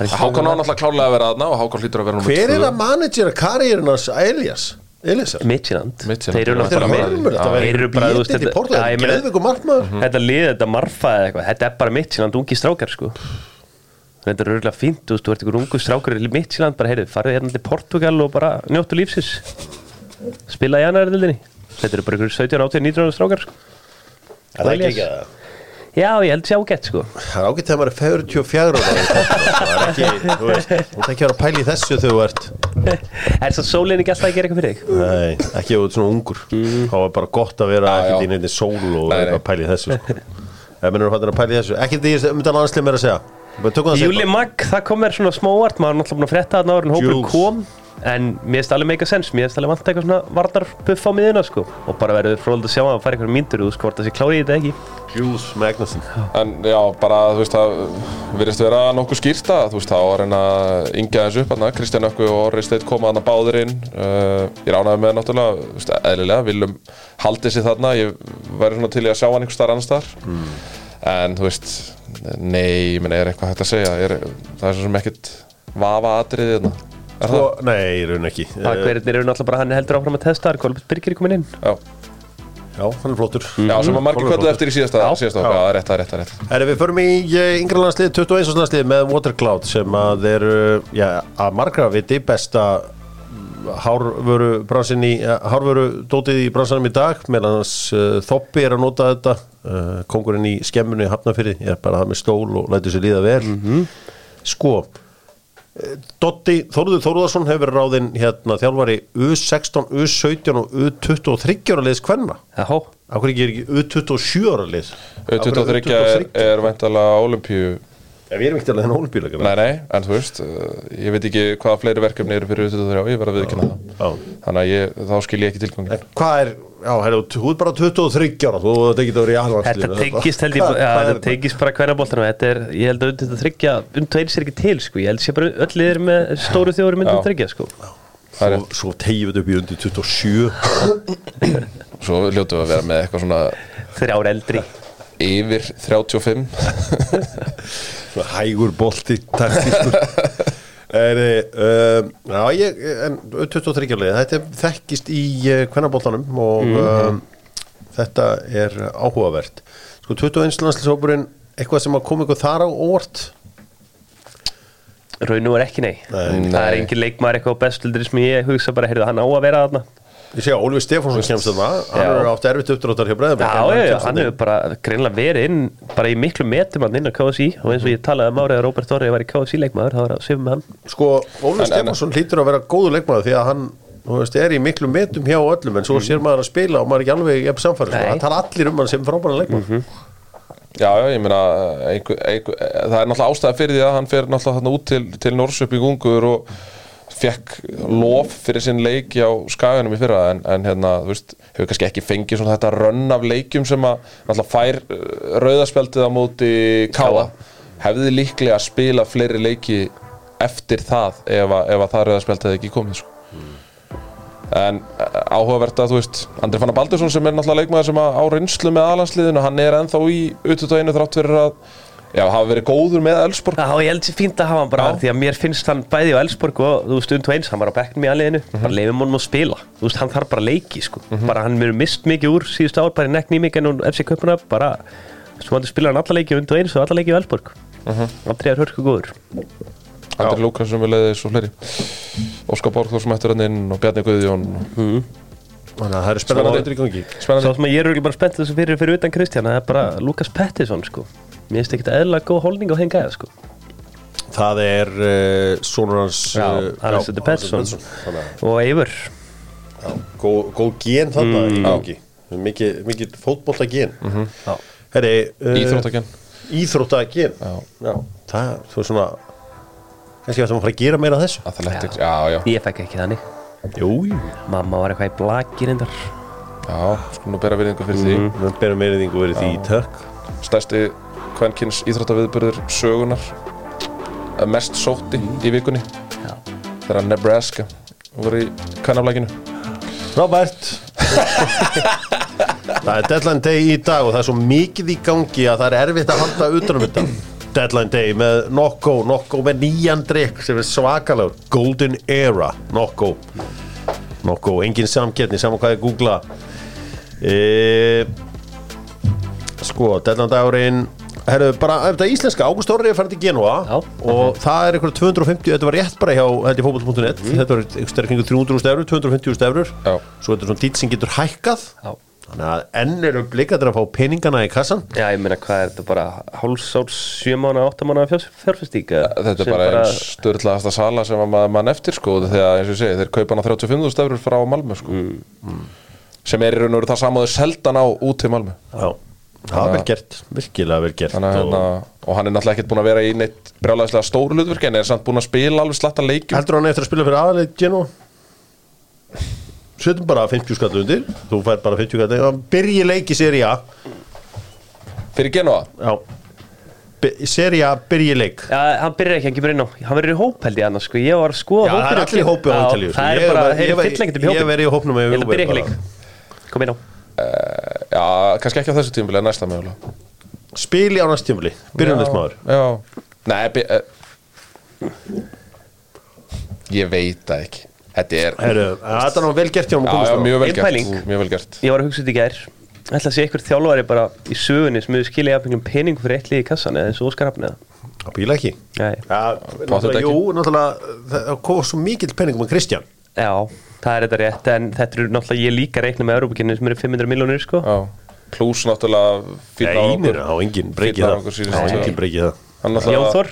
Speaker 3: Það er
Speaker 2: Hákon á náttúrulega klárlega að vera þarna og Hákon hlýtur að vera númer
Speaker 1: Hver er
Speaker 2: tvö.
Speaker 1: að managera karriérinn hans Elias? Eliasar?
Speaker 3: Midtjylland,
Speaker 2: Midtjylland.
Speaker 3: þeir eru
Speaker 2: Þetta er
Speaker 3: náttúrulega
Speaker 2: bara-
Speaker 1: Hörmur, þetta
Speaker 2: Já,
Speaker 3: Mm. þeir
Speaker 1: verður
Speaker 3: eru bara, þú veist,
Speaker 1: bítið í
Speaker 3: þetta- Já,
Speaker 1: portaðin,
Speaker 3: ég meina- Mhm.
Speaker 1: geðveiku markmaður
Speaker 3: Þetta lið, þetta marfa eða eitthvað, þetta er bara Midtjylland ungi strákar sko Þetta er örgulega fínt, þú veist, þú ert ykkur ungu strákar í Midtjylland, bara heyrðu, farðu hérna til Portugal og bara njóttu lífsins Spila í annarðildinni Þetta eru bara ykkur 17, 18, 19 ára strákar sko.
Speaker 1: Er það ekki
Speaker 3: Elias.
Speaker 1: ekki að-
Speaker 3: Já, ég held sér ágætt sko
Speaker 1: Það er ágætt þegar maður er 44 ára Það er ekki, þú veist, þú veist ekki að vera að pæla í þessu þegar þú ert
Speaker 3: Er það sólinn ekki alltaf að gera eitthvað fyrir þig?
Speaker 1: Nei, ekki ef þú ert svona ungur þá er bara gott að vera
Speaker 2: Mm. Já,
Speaker 1: ekkert
Speaker 2: já.
Speaker 1: í nefndi sól og
Speaker 2: Nei, nei.
Speaker 1: að pæla í þessu sko. ef mennur er fattur að pæla í þessu ekki því ég myndi að landslið mér að segja Bara tökum það
Speaker 3: Júli
Speaker 1: seinna.
Speaker 3: Magg, það kom mér svona smá óvart maður er náttúrulega búin að frétta þarna áður en hópur
Speaker 1: Jules.
Speaker 3: kom en mér finnst alveg meika sens mér finnst alveg vant eitthvað svona varnarbuff á miðina sko og bara verður fróld að sjá að það fara eitthvað míntur og þú sko hvort það sé klárið í þetta ekki
Speaker 1: Jules Magnussen
Speaker 2: En já, bara, þú veist, það virðist vera nokkuð skýrta, þú veist, þá að reyna að yngja þessu upp, hann Kristján Ökku og Orri Steit koma hann að báðir inn, uh, ég ránaði með náttúrulega, þú veist, eðlilega, viljum haldið sér þarna, ég væri svona til í að sjá hann einhvers staðar annars staðar, en þú veist, nei, ég meina, er eitthvað hægt að segja, er, það er svo sem ekkert vafa atriðið þarna, er
Speaker 1: sko, Nei, í raun ekki Eh,
Speaker 3: Bakverðinir eru náttúrulega bara hann heldur áfram að testa þar Kolbjörn Birgir er komin inn
Speaker 2: það? Já,
Speaker 1: Já, hann er flottur
Speaker 2: já sem að margir
Speaker 1: Kolur
Speaker 2: kvöldu eftir í síðasta,
Speaker 3: Já.
Speaker 2: síðasta, já, já, það er rétt, það er rétt, það er rétt.
Speaker 1: Herri, við förum í eh, yngra landslið 21. landslið með Watercloud sem að er eh, já, að margra viti besta hárvöru bransin í eh, hárvöru dótið í bransanum í dag meðan hans uh, Þoppi er að nota þetta uh, kongurinn í skemmunni hafnafyrði er bara það með stól og lætur sér líða vel sko eh, Dotti Þóruður Þóruðarsson hefur verið ráðinn hérna þjálfari U16, U17 og U23 ára liðs hvenna
Speaker 3: Jáhó,
Speaker 1: Akkur ekki er ekki U27 ára liðs Af hverju
Speaker 2: U23 er, er væntalega ólimpíu
Speaker 1: Já, við erum ekkert alveg þennan ólimpíuleika
Speaker 2: Nei, nei, en þú veist, uh, ég veit ekki hvaða fleiri verkefni eru fyrir U23, ég verð að viðkynna það.
Speaker 1: Já.
Speaker 2: Þannig að ég, þá skil ég ekki tilgangin.
Speaker 1: En hvað er, já, herru, þú ert bara 23 ára þú þetta ekki að vera í alvarsli
Speaker 3: Þetta tengist held ég bara- ja, Þetta tengist bara hverja bóltanum Þetta er, ég held að undir þetta þryggja Um tveir sér ekki til sko Ég held sér bara öll liðir með stóru þjóður myndum
Speaker 2: Já.
Speaker 3: þryggja sko
Speaker 2: Það er
Speaker 1: Svo, svo tegjum við þetta upp í undir 27
Speaker 2: Svo ljótum við að vera með eitthvað svona
Speaker 3: Þrjár eldri
Speaker 2: yfir 35
Speaker 1: Svona Hægur bolti taktiskur er, um, Já, ég en, 23 leið, þetta er þekkist í hvernabóltanum og um,
Speaker 3: Mhm.
Speaker 1: þetta er áhugavert Sko 21 landslíshópurinn eitthvað sem að koma ykkur þar á óvart
Speaker 3: Raunum er ekki nei.
Speaker 1: Nei.
Speaker 3: Það er
Speaker 2: Nei.
Speaker 3: engin leikmaður eitthvað á bestuldri sem ég hugsa bara Heyrðu, hann á að vera þarna
Speaker 1: Ég sé að Ólfi Stefánsson kemst þarna hann
Speaker 3: Já.
Speaker 1: er átt erfitt uppdráttar hjá
Speaker 3: Já,
Speaker 1: Breiðabæk
Speaker 3: já, já, hann hefur bara greinlega verið inn bara í miklu metum hann inn á KSI og eins og ég talaði um árið að Robert Orrið var í KSI leikmaður, það var að sifja með hann
Speaker 1: Sko, Ólfi
Speaker 2: En- en-
Speaker 1: Stefánsson hlýtur að vera góðu leikmaður því að hann þú veist, er í miklu metum hjá öllum en svo sér maður að spila og maður er ekki alveg jafn samfæri sko.
Speaker 3: Nei.
Speaker 1: hann tala allir um hann sem frábæra leikmaður
Speaker 2: Já, já, ég meina einhver, einhver, það er náttúrulega ástæða fyrir því að hann fer náttúrulega þarna út til, til Norsup í Gungur og fekk lof fyrir sinn leik á skaganum í fyrra en, en hérna, þú veist, hefur kannski ekki fengið svona þetta rönn af leikjum sem að náttúrulega fær uh, rauðaspjaldið á móti Káa, hefði líklega að spila fleiri leiki eftir það ef að, ef að það rauðaspjaldið hefði ekki komið, sko en eh, áhugavert að þú veist Andri Fannar Baldursson sem er náttúrulega leikmaður sem að á reynslu með alansliðinu, hann er ennþá í ututaginu þrátt fyrir að já, hafa verið góður með Elsborg
Speaker 3: Já, ég held sér fínt að hafa hann bara
Speaker 2: Já.
Speaker 3: á, því að mér finnst hann bæði á Elsborg og þú veist, und og eins, hann var á bekknum í aðliðinu bara leifum honum að spila, þú veist, hann þarf bara leiki sko, bara hann verið mist mikið úr síðustu ár, bara í nekni mikið og FC Kaupuna bara, þú veist, hann spilar hann alla leiki und og eins og alla leiki á Elsborg Andri er hörku góður
Speaker 2: Andri Lúkas sem við leiði svo fleiri Óskar Borgþór sem ættur hann inn og Bjarni Guðjón
Speaker 1: þannig að það er spennandi
Speaker 2: Spennandi.
Speaker 1: veitur í gangi
Speaker 3: Svo
Speaker 2: spennandi
Speaker 3: sem að ég er örugglega bara spennt þessu fyrir fyrir utan Kristjana, það er bara Lukas Pettersson sko, mér finnst ekkit eðlilega góð holning á þeim gæða sko
Speaker 1: það er uh, sonur hans
Speaker 3: Já,
Speaker 1: eh,
Speaker 3: Alexander
Speaker 1: já,
Speaker 3: Pettersson.
Speaker 1: Alexander Þannig að,
Speaker 3: og Eivur,
Speaker 1: já, góð, góð gen þarna í gangi mikið, mikið fótbolta gen mm -hmm.
Speaker 3: Já.
Speaker 1: herri uh,
Speaker 2: Íþróttagen
Speaker 1: íþrótta gen
Speaker 2: Já.
Speaker 1: það þú er svona kannski að það maður fara að gera meira af þessu
Speaker 2: Athletics, já, já,
Speaker 3: ég fekk ekki þannig
Speaker 1: jú, jú
Speaker 3: mamma var eitthvað í blaki reyndar
Speaker 2: já sko nú bera virðingu fyrir því
Speaker 1: við berum meiriðingu verið því í tök
Speaker 2: stærsti kvenkins íþróttaviðburður sögunar Eh, mest sótti í vikunni
Speaker 3: Já.
Speaker 2: þegar Nebraska voru í kvennaflækinu
Speaker 1: Robert Það er deadline day í dag og það er svo mikið í gangi að það er erfitt að halda utanum þetta Deadline day með Nokko, Nokko með nýjan drikk sem er svakalegur Golden Era, Nokko Nokko, engin samkettni, saman hvað ég googla e, Sko, deadline dagurinn Herru, bara, er þetta íslenska, Ágúst Orri er færið til Genua
Speaker 3: Já.
Speaker 1: og það er einhver 250, þetta var rétt bara hjá held ég fótboll.net, þetta var einhver sterkningu 300.000 eurur, 250.000 eurur
Speaker 2: Já.
Speaker 1: svo þetta er svona dýtt sem getur hækkað
Speaker 3: Já.
Speaker 1: þannig að enn eru blikað að fá peningana í kassan
Speaker 3: Já, ég meina, hvað er þetta bara hálfsáls, sjö mánu, átta mánu fjárfæstík?
Speaker 2: Þetta er bara, bara... einn störðlaðasta sala sem að maður mann eftir sko þegar eins og ég segi, þeir kaupa hana 35.000 stafur frá Malmö sko sem er í raun og veru það saman og þeir seldan á út til Malmö
Speaker 1: Já. það er vel gert, virkilega vel gert
Speaker 2: Þannig, að hérna, og hann er náttúrulega ekkert búin að vera í neitt brjálæðislega stóru hlutverk en er samt búin að spila alveg slatta
Speaker 1: og
Speaker 2: leikjum
Speaker 1: heldur hann eftir að spila fyrir aðaleit Genoa setjum bara 50 skall undir þú fær bara 50 skall undir byrji leik í seri A
Speaker 2: fyrir Genoa
Speaker 1: Já. Be- í seri A byrji leik
Speaker 3: Já, hann byrjar ekki, hann kemur inn á, hann verður í hópeldi annars, sko, ég var að skoða
Speaker 1: Já, það er allir í
Speaker 3: hópinn
Speaker 1: hópi á
Speaker 3: Já,
Speaker 1: Ítalíu, sko.
Speaker 3: Það
Speaker 1: Ég
Speaker 3: er bara,
Speaker 1: var- ég
Speaker 3: þeir
Speaker 1: var-
Speaker 3: fyll ekkert upp í
Speaker 1: ég
Speaker 3: hópin.
Speaker 1: var í hópnum ef
Speaker 3: Ég
Speaker 1: þú
Speaker 3: ætla að byrja ekki
Speaker 1: verður
Speaker 3: leik. Kom inn á.
Speaker 2: Já, kannski ekki á þessu tímabili, en næsta mögulega
Speaker 1: spili á næst tímuli, byrjunleismadur
Speaker 2: Já, nei bi- eh, Ég veit það ekki Þetta er,
Speaker 1: þetta er nú vel gert hjá hann
Speaker 2: já, já, mjög vel
Speaker 3: Ein
Speaker 2: gert
Speaker 3: pæling.
Speaker 2: Mjög vel gert
Speaker 3: Ég var að hugsa þetta í gær. Ætla að sé einhver þjálfari bara í sögunni sem hefur skilja jafningum um pening fyrir eitt lið í kassan eða eins og Óskar Hafni eða.
Speaker 1: það bíla ekki
Speaker 3: Nei.
Speaker 1: Já, náttúrulega,
Speaker 2: ekki.
Speaker 1: jú, náttúrulega það kom svo mikill peningum að Kristján
Speaker 3: Já, það er þetta rétt, en þetta eru náttúrulega ég líka reikna með Európakinni sem eru 500 miljónir, sko.
Speaker 2: Já, pluss náttúrulega fínn
Speaker 1: Einir
Speaker 2: árangur.
Speaker 1: á enginn breykið
Speaker 2: Fínn
Speaker 1: það Á
Speaker 2: árangur síðustu tvö
Speaker 1: enginn
Speaker 2: ár.
Speaker 1: breykið það
Speaker 2: Hann
Speaker 3: Jón
Speaker 2: náttúrulega
Speaker 3: Þór?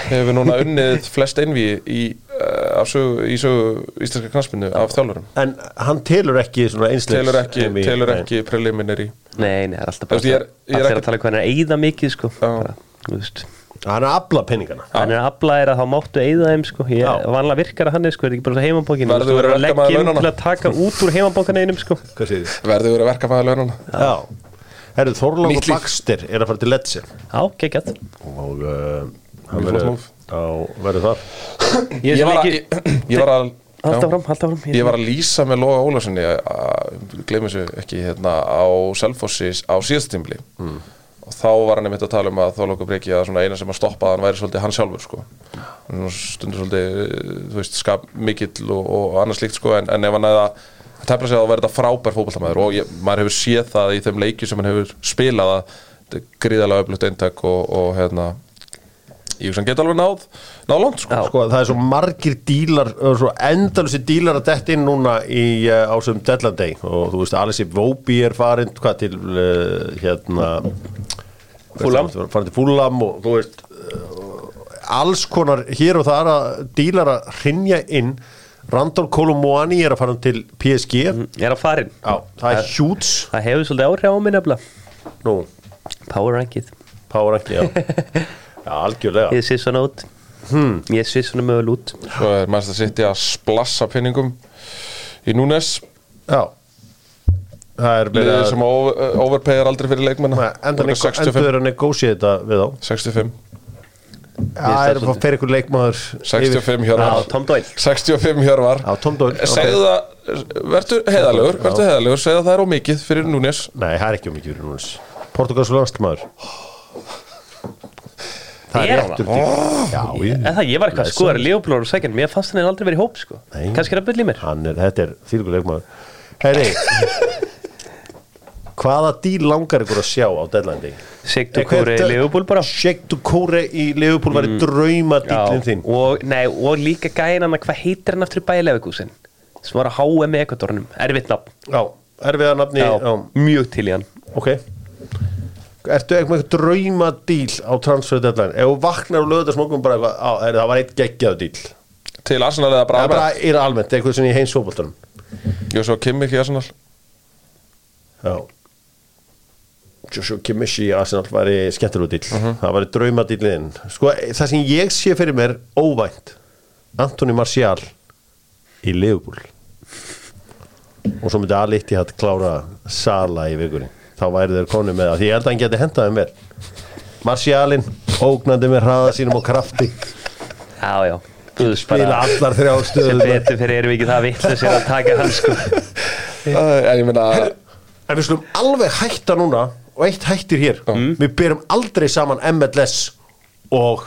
Speaker 2: hefur núna unnið flest einví í, uh, sögu, í sögu íslenska knaspinu af þjálfurum
Speaker 1: En hann telur ekki svona einslegs
Speaker 2: telur ekki,
Speaker 1: dæmi-
Speaker 2: telur
Speaker 1: Nei.
Speaker 2: ekki preliminary
Speaker 3: Nei, nei, það er alltaf
Speaker 2: Þú veist, ég
Speaker 3: bara,
Speaker 2: er- ég er
Speaker 3: allir
Speaker 2: ekki-
Speaker 3: að tala um hvað hann er að eyða mikið, sko.
Speaker 2: Já.
Speaker 3: Bara, þú veist.
Speaker 1: Hann er að abla penningana
Speaker 3: hann er að afla er að þá máttu eigða þeim sko. ég
Speaker 1: Já.
Speaker 3: vanlega virkar að hann er sko, er ekki bara svo heimabókin
Speaker 2: Verður
Speaker 3: þú verður að
Speaker 2: verkamaður
Speaker 3: leggja inn
Speaker 2: launanna?
Speaker 3: til að taka út úr heimabókan einum sko.
Speaker 1: Hvað séð þið?
Speaker 2: Verður verið að verka fæða launana
Speaker 1: Já Herru, Þorlákur
Speaker 2: Nýtt líf.
Speaker 1: Baxter er að fara til Ledse
Speaker 3: á, geggjart
Speaker 1: og uh, hann
Speaker 2: Mjög flott
Speaker 1: verður
Speaker 2: move.
Speaker 1: á verður þar
Speaker 3: ég,
Speaker 2: Ég var að,
Speaker 3: ekki...
Speaker 2: ég, ég var að
Speaker 3: halda
Speaker 2: já.
Speaker 3: fram, halda fram
Speaker 2: Ég var að lýsa með Loga Ólarssoni gleymið sér ekki hérna á Selfossi á síðastimli mm. og þá var hann einmitt að tala um að Þorlóku Breki að svona eina sem að stoppa hann væri svolítið hann sjálfur sko Hann var stundur svolítið, þú veist, skap mikill og, og annars slíkt sko en, en ef hann hefði að tefla sig að verða frábær fótballtamaður og ég, maður hefur séð það í þeim leikju sem hann hefur spilað að þetta er gríðalega öflugt eintak og, og hérna ég hugsa hann geta alveg náð, náð langt sko
Speaker 3: Já.
Speaker 1: Sko, það er svo margir dílar, ö, svo endalusi dílar að detta inn núna í, uh, á sem Deadland Day og þú veist, Alessi Vóbi er farin, hvað til, uh, hérna,
Speaker 3: Fulham.
Speaker 1: farin til Fúlam og þú veist, uh, alls konar hér og þar að dílar að hrinja inn, Randall Colomuani er að fara til PSG,
Speaker 3: ég er að farin
Speaker 1: já, það
Speaker 3: Eh.
Speaker 1: er hjúts,
Speaker 3: það hefur svolítið áhrif á mig nefnilega
Speaker 1: nú,
Speaker 3: power rankið
Speaker 1: Power Rank, já, já, algjörlega,
Speaker 3: ég sé svona út
Speaker 1: Hmm.
Speaker 3: ég sé svona mögul út
Speaker 2: Svo er Manchester City að splassa pinningum í Núnes
Speaker 1: já, það er verið
Speaker 2: liðið
Speaker 1: að-
Speaker 2: sem over- overpayar aldrei fyrir leikmenn
Speaker 1: Endur er
Speaker 2: 65
Speaker 1: að negósið þetta við á
Speaker 2: 65
Speaker 1: Það er að fyrir ykkur leikmaður
Speaker 2: 65
Speaker 1: yfir.
Speaker 3: á
Speaker 2: Hjörvar
Speaker 3: Tom Doyle
Speaker 2: 65 Hjörvar
Speaker 1: Já, Tom Doyle, ok.
Speaker 2: Eh, Segðu það, verður heiðalegur Verður heiðalegur, segðu að það er ómikið fyrir Núnes
Speaker 1: Nei, það er ekki um mikið fyrir núnes Portugalsku landslmaður Það
Speaker 3: Er
Speaker 1: er
Speaker 3: hann
Speaker 1: réttur tíl Já, ég
Speaker 3: En það, ég var eitthvað að skoða Leopold og Sækjan, mér fannst hann aldrei verið í hóp sko.
Speaker 1: Nei.
Speaker 3: kannski er að byrja í mér
Speaker 1: Hann er, þetta er þýrgur leikmaður Herri Hvaða díl langar ykkur að sjá á deadlandi?
Speaker 3: Sigtu Kóri í Leopold bara Mm.
Speaker 1: Shake to Kóre í Leopold var drauma dílinn þinn
Speaker 3: og, nei, og líka gæðin hann að hvað heitir hann aftur í bæðilefugúsin sem var að háa með ekvatornum, erfitt nafn
Speaker 1: Já, erfiða nafni
Speaker 3: já,
Speaker 1: já.
Speaker 3: mjög til í hann
Speaker 1: Ok Ertu eitthvað með drauma díl á transfer deadline? Ef þú vaknar og lögur þetta smókum bara eitthvað, á, er, það var eitt geggjaðu díl Það
Speaker 2: Til Arsenal eða
Speaker 1: er bara
Speaker 2: Braga
Speaker 1: er almennt, eitthvað sem ég heins fótboltanum
Speaker 2: Jósó Kimmich í Arsenal
Speaker 1: Já Joshua Kimmich í Arsenal væri skemmtilegu díl
Speaker 3: Mhm.
Speaker 1: Það væri drauma dílinn Sko, það sem ég sé fyrir mér óvænt Antoni Martial í Liverpool og svo myndi alveg í hatt klára Sala í vikunni þá væri þeir konu með það, því ég held að hann geti hentað um mér Martialin, ógnandi með hraða sínum og krafti
Speaker 3: já, já, guðs
Speaker 1: spila
Speaker 3: bara
Speaker 1: allar þrjá
Speaker 3: sem
Speaker 1: stöðuna
Speaker 3: betur fyrir erum við ekki það vitt sem að taka hann sko
Speaker 2: Æ, En ég meina
Speaker 1: En við slum alveg hætta núna og eitt hættir hér Mm. Við berum aldrei saman MLS og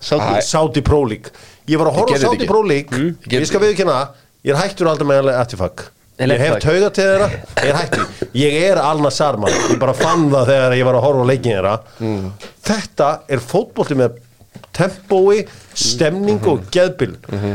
Speaker 2: Saudi.
Speaker 1: Saudi Pro League Ég var að horfa á
Speaker 2: Ég gerði
Speaker 1: Saudi
Speaker 2: þetta Mm.
Speaker 1: Pro League
Speaker 2: Ég gerði
Speaker 1: Ég skal viðkynna það Ég er hættur aldrei með Etifak Ég hef
Speaker 3: Etifak.
Speaker 1: tauga til þeirra, ég er hættur Ég er Alna Sarma, ég bara fann það þegar ég var að horfa á leikin þeirra
Speaker 2: Mm.
Speaker 1: Þetta er fótbolti með tempói, stemning og geðbil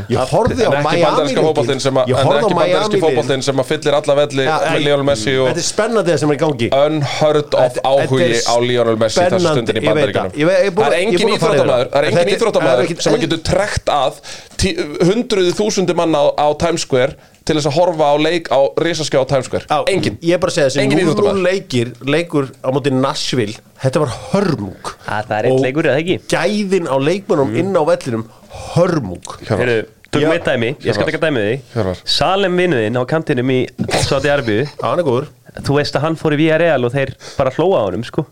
Speaker 1: Ég horfði
Speaker 2: Mhm.
Speaker 1: á
Speaker 2: En ekki
Speaker 1: Miami
Speaker 2: bandarinska fótboltinn sem að
Speaker 1: Ég
Speaker 2: En
Speaker 1: horfði á
Speaker 2: ekki bandarinski
Speaker 1: Miami
Speaker 2: fótboltinn sem að fyllir alla velli
Speaker 1: Já,
Speaker 2: með
Speaker 1: ei,
Speaker 2: Lionel Messi og
Speaker 1: Þetta er spennandi það sem er í gangi
Speaker 2: unheard of
Speaker 1: Þetta-
Speaker 2: áhugi
Speaker 1: þetta er
Speaker 2: á Lionel Messi þessu
Speaker 1: spennandi,
Speaker 2: stundin
Speaker 1: ég
Speaker 2: í
Speaker 1: veit
Speaker 2: bandaríkanum
Speaker 1: það. Ég veit- ég er búin
Speaker 2: það er
Speaker 1: að- ég er
Speaker 2: engin
Speaker 1: búin að fara yfir
Speaker 2: íþróttamæður það er
Speaker 1: það.
Speaker 2: engin
Speaker 1: Þetta- það er
Speaker 2: íþróttamæður
Speaker 1: ekkit
Speaker 2: sem
Speaker 1: eðl-
Speaker 2: getur trekt að tí- hundruði þúsundi manna á, á Times Square til þess að horfa á leik á risaskjá á Times Square
Speaker 1: Á,
Speaker 2: engin
Speaker 1: Ég er bara að segja þessi
Speaker 2: Engin
Speaker 1: 0-0
Speaker 2: íþróttamaður.
Speaker 1: leikir, leikur á móti Nashville Þetta var hörmung
Speaker 3: að það er eitt
Speaker 1: Og
Speaker 3: leikur, eða ekki
Speaker 1: Gæðin á
Speaker 2: Mm.
Speaker 1: leikmönnum inn á vellinum Hörmung
Speaker 3: Heru, tökum
Speaker 1: Já.
Speaker 3: eitt dæmi, ég skal
Speaker 2: Hjörvar.
Speaker 3: taka dæmið
Speaker 2: Hjörvar.
Speaker 3: þig Salem vinnuðinn á kantinum í Saudi Arbiðu
Speaker 1: Það er góður
Speaker 3: þú veist að hann fór í VRL og þeir bara hlóa á honum sko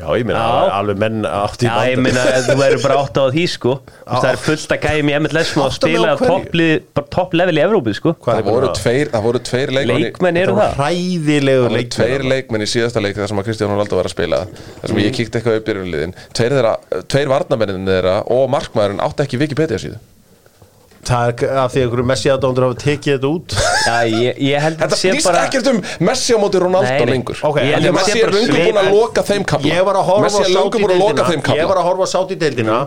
Speaker 1: Já, ég meina,
Speaker 3: Já.
Speaker 1: alveg- alveg menn átti í
Speaker 3: Já, ég
Speaker 1: bandar.
Speaker 3: meina, ef þú verður bara átt á því sko Þú veist, Það er fullt að gæmi í MLS
Speaker 1: Átta
Speaker 3: sem að
Speaker 1: mig á
Speaker 3: spila
Speaker 1: hverju?
Speaker 3: topplið- bara topplevel í Evrópu sko
Speaker 1: Hvað er
Speaker 2: það
Speaker 1: búin
Speaker 2: voru
Speaker 1: að-
Speaker 2: tveir, það voru tveir leikmenn í-
Speaker 3: Leikmenn
Speaker 1: Þetta
Speaker 3: eru
Speaker 1: var
Speaker 3: það
Speaker 1: hræðilegu
Speaker 2: Það voru tveir
Speaker 1: leikmenn
Speaker 2: leikmenn í síðasta leik þar sem að Kristján Ronaldo var að spila þar sem ég kíkti eitthvað upp í raunliðin tveir, þeirra- tveir varnamennin þeirra og markmaðurinn átti ekki Wikipedia síðu
Speaker 1: Það er af því að einhverju Messi aðdóndur hafa tekið þetta út
Speaker 3: Já, ég, ég held
Speaker 2: Þetta
Speaker 3: að sé
Speaker 2: snýst
Speaker 3: bara
Speaker 2: ekkert um Messi á móti Ronaldo
Speaker 3: Nei, nei.
Speaker 2: lengur
Speaker 1: Ok,
Speaker 2: Af því
Speaker 1: en
Speaker 2: að
Speaker 1: Messi er
Speaker 2: Messi er
Speaker 1: bara
Speaker 2: löngu
Speaker 1: svip-
Speaker 2: búin að loka þeim kapla
Speaker 1: Ég var að horfa á
Speaker 2: Messi er löngu búin að loka þeim
Speaker 1: Sátideildina Ég var
Speaker 2: kapla
Speaker 1: að horfa á Sátideildina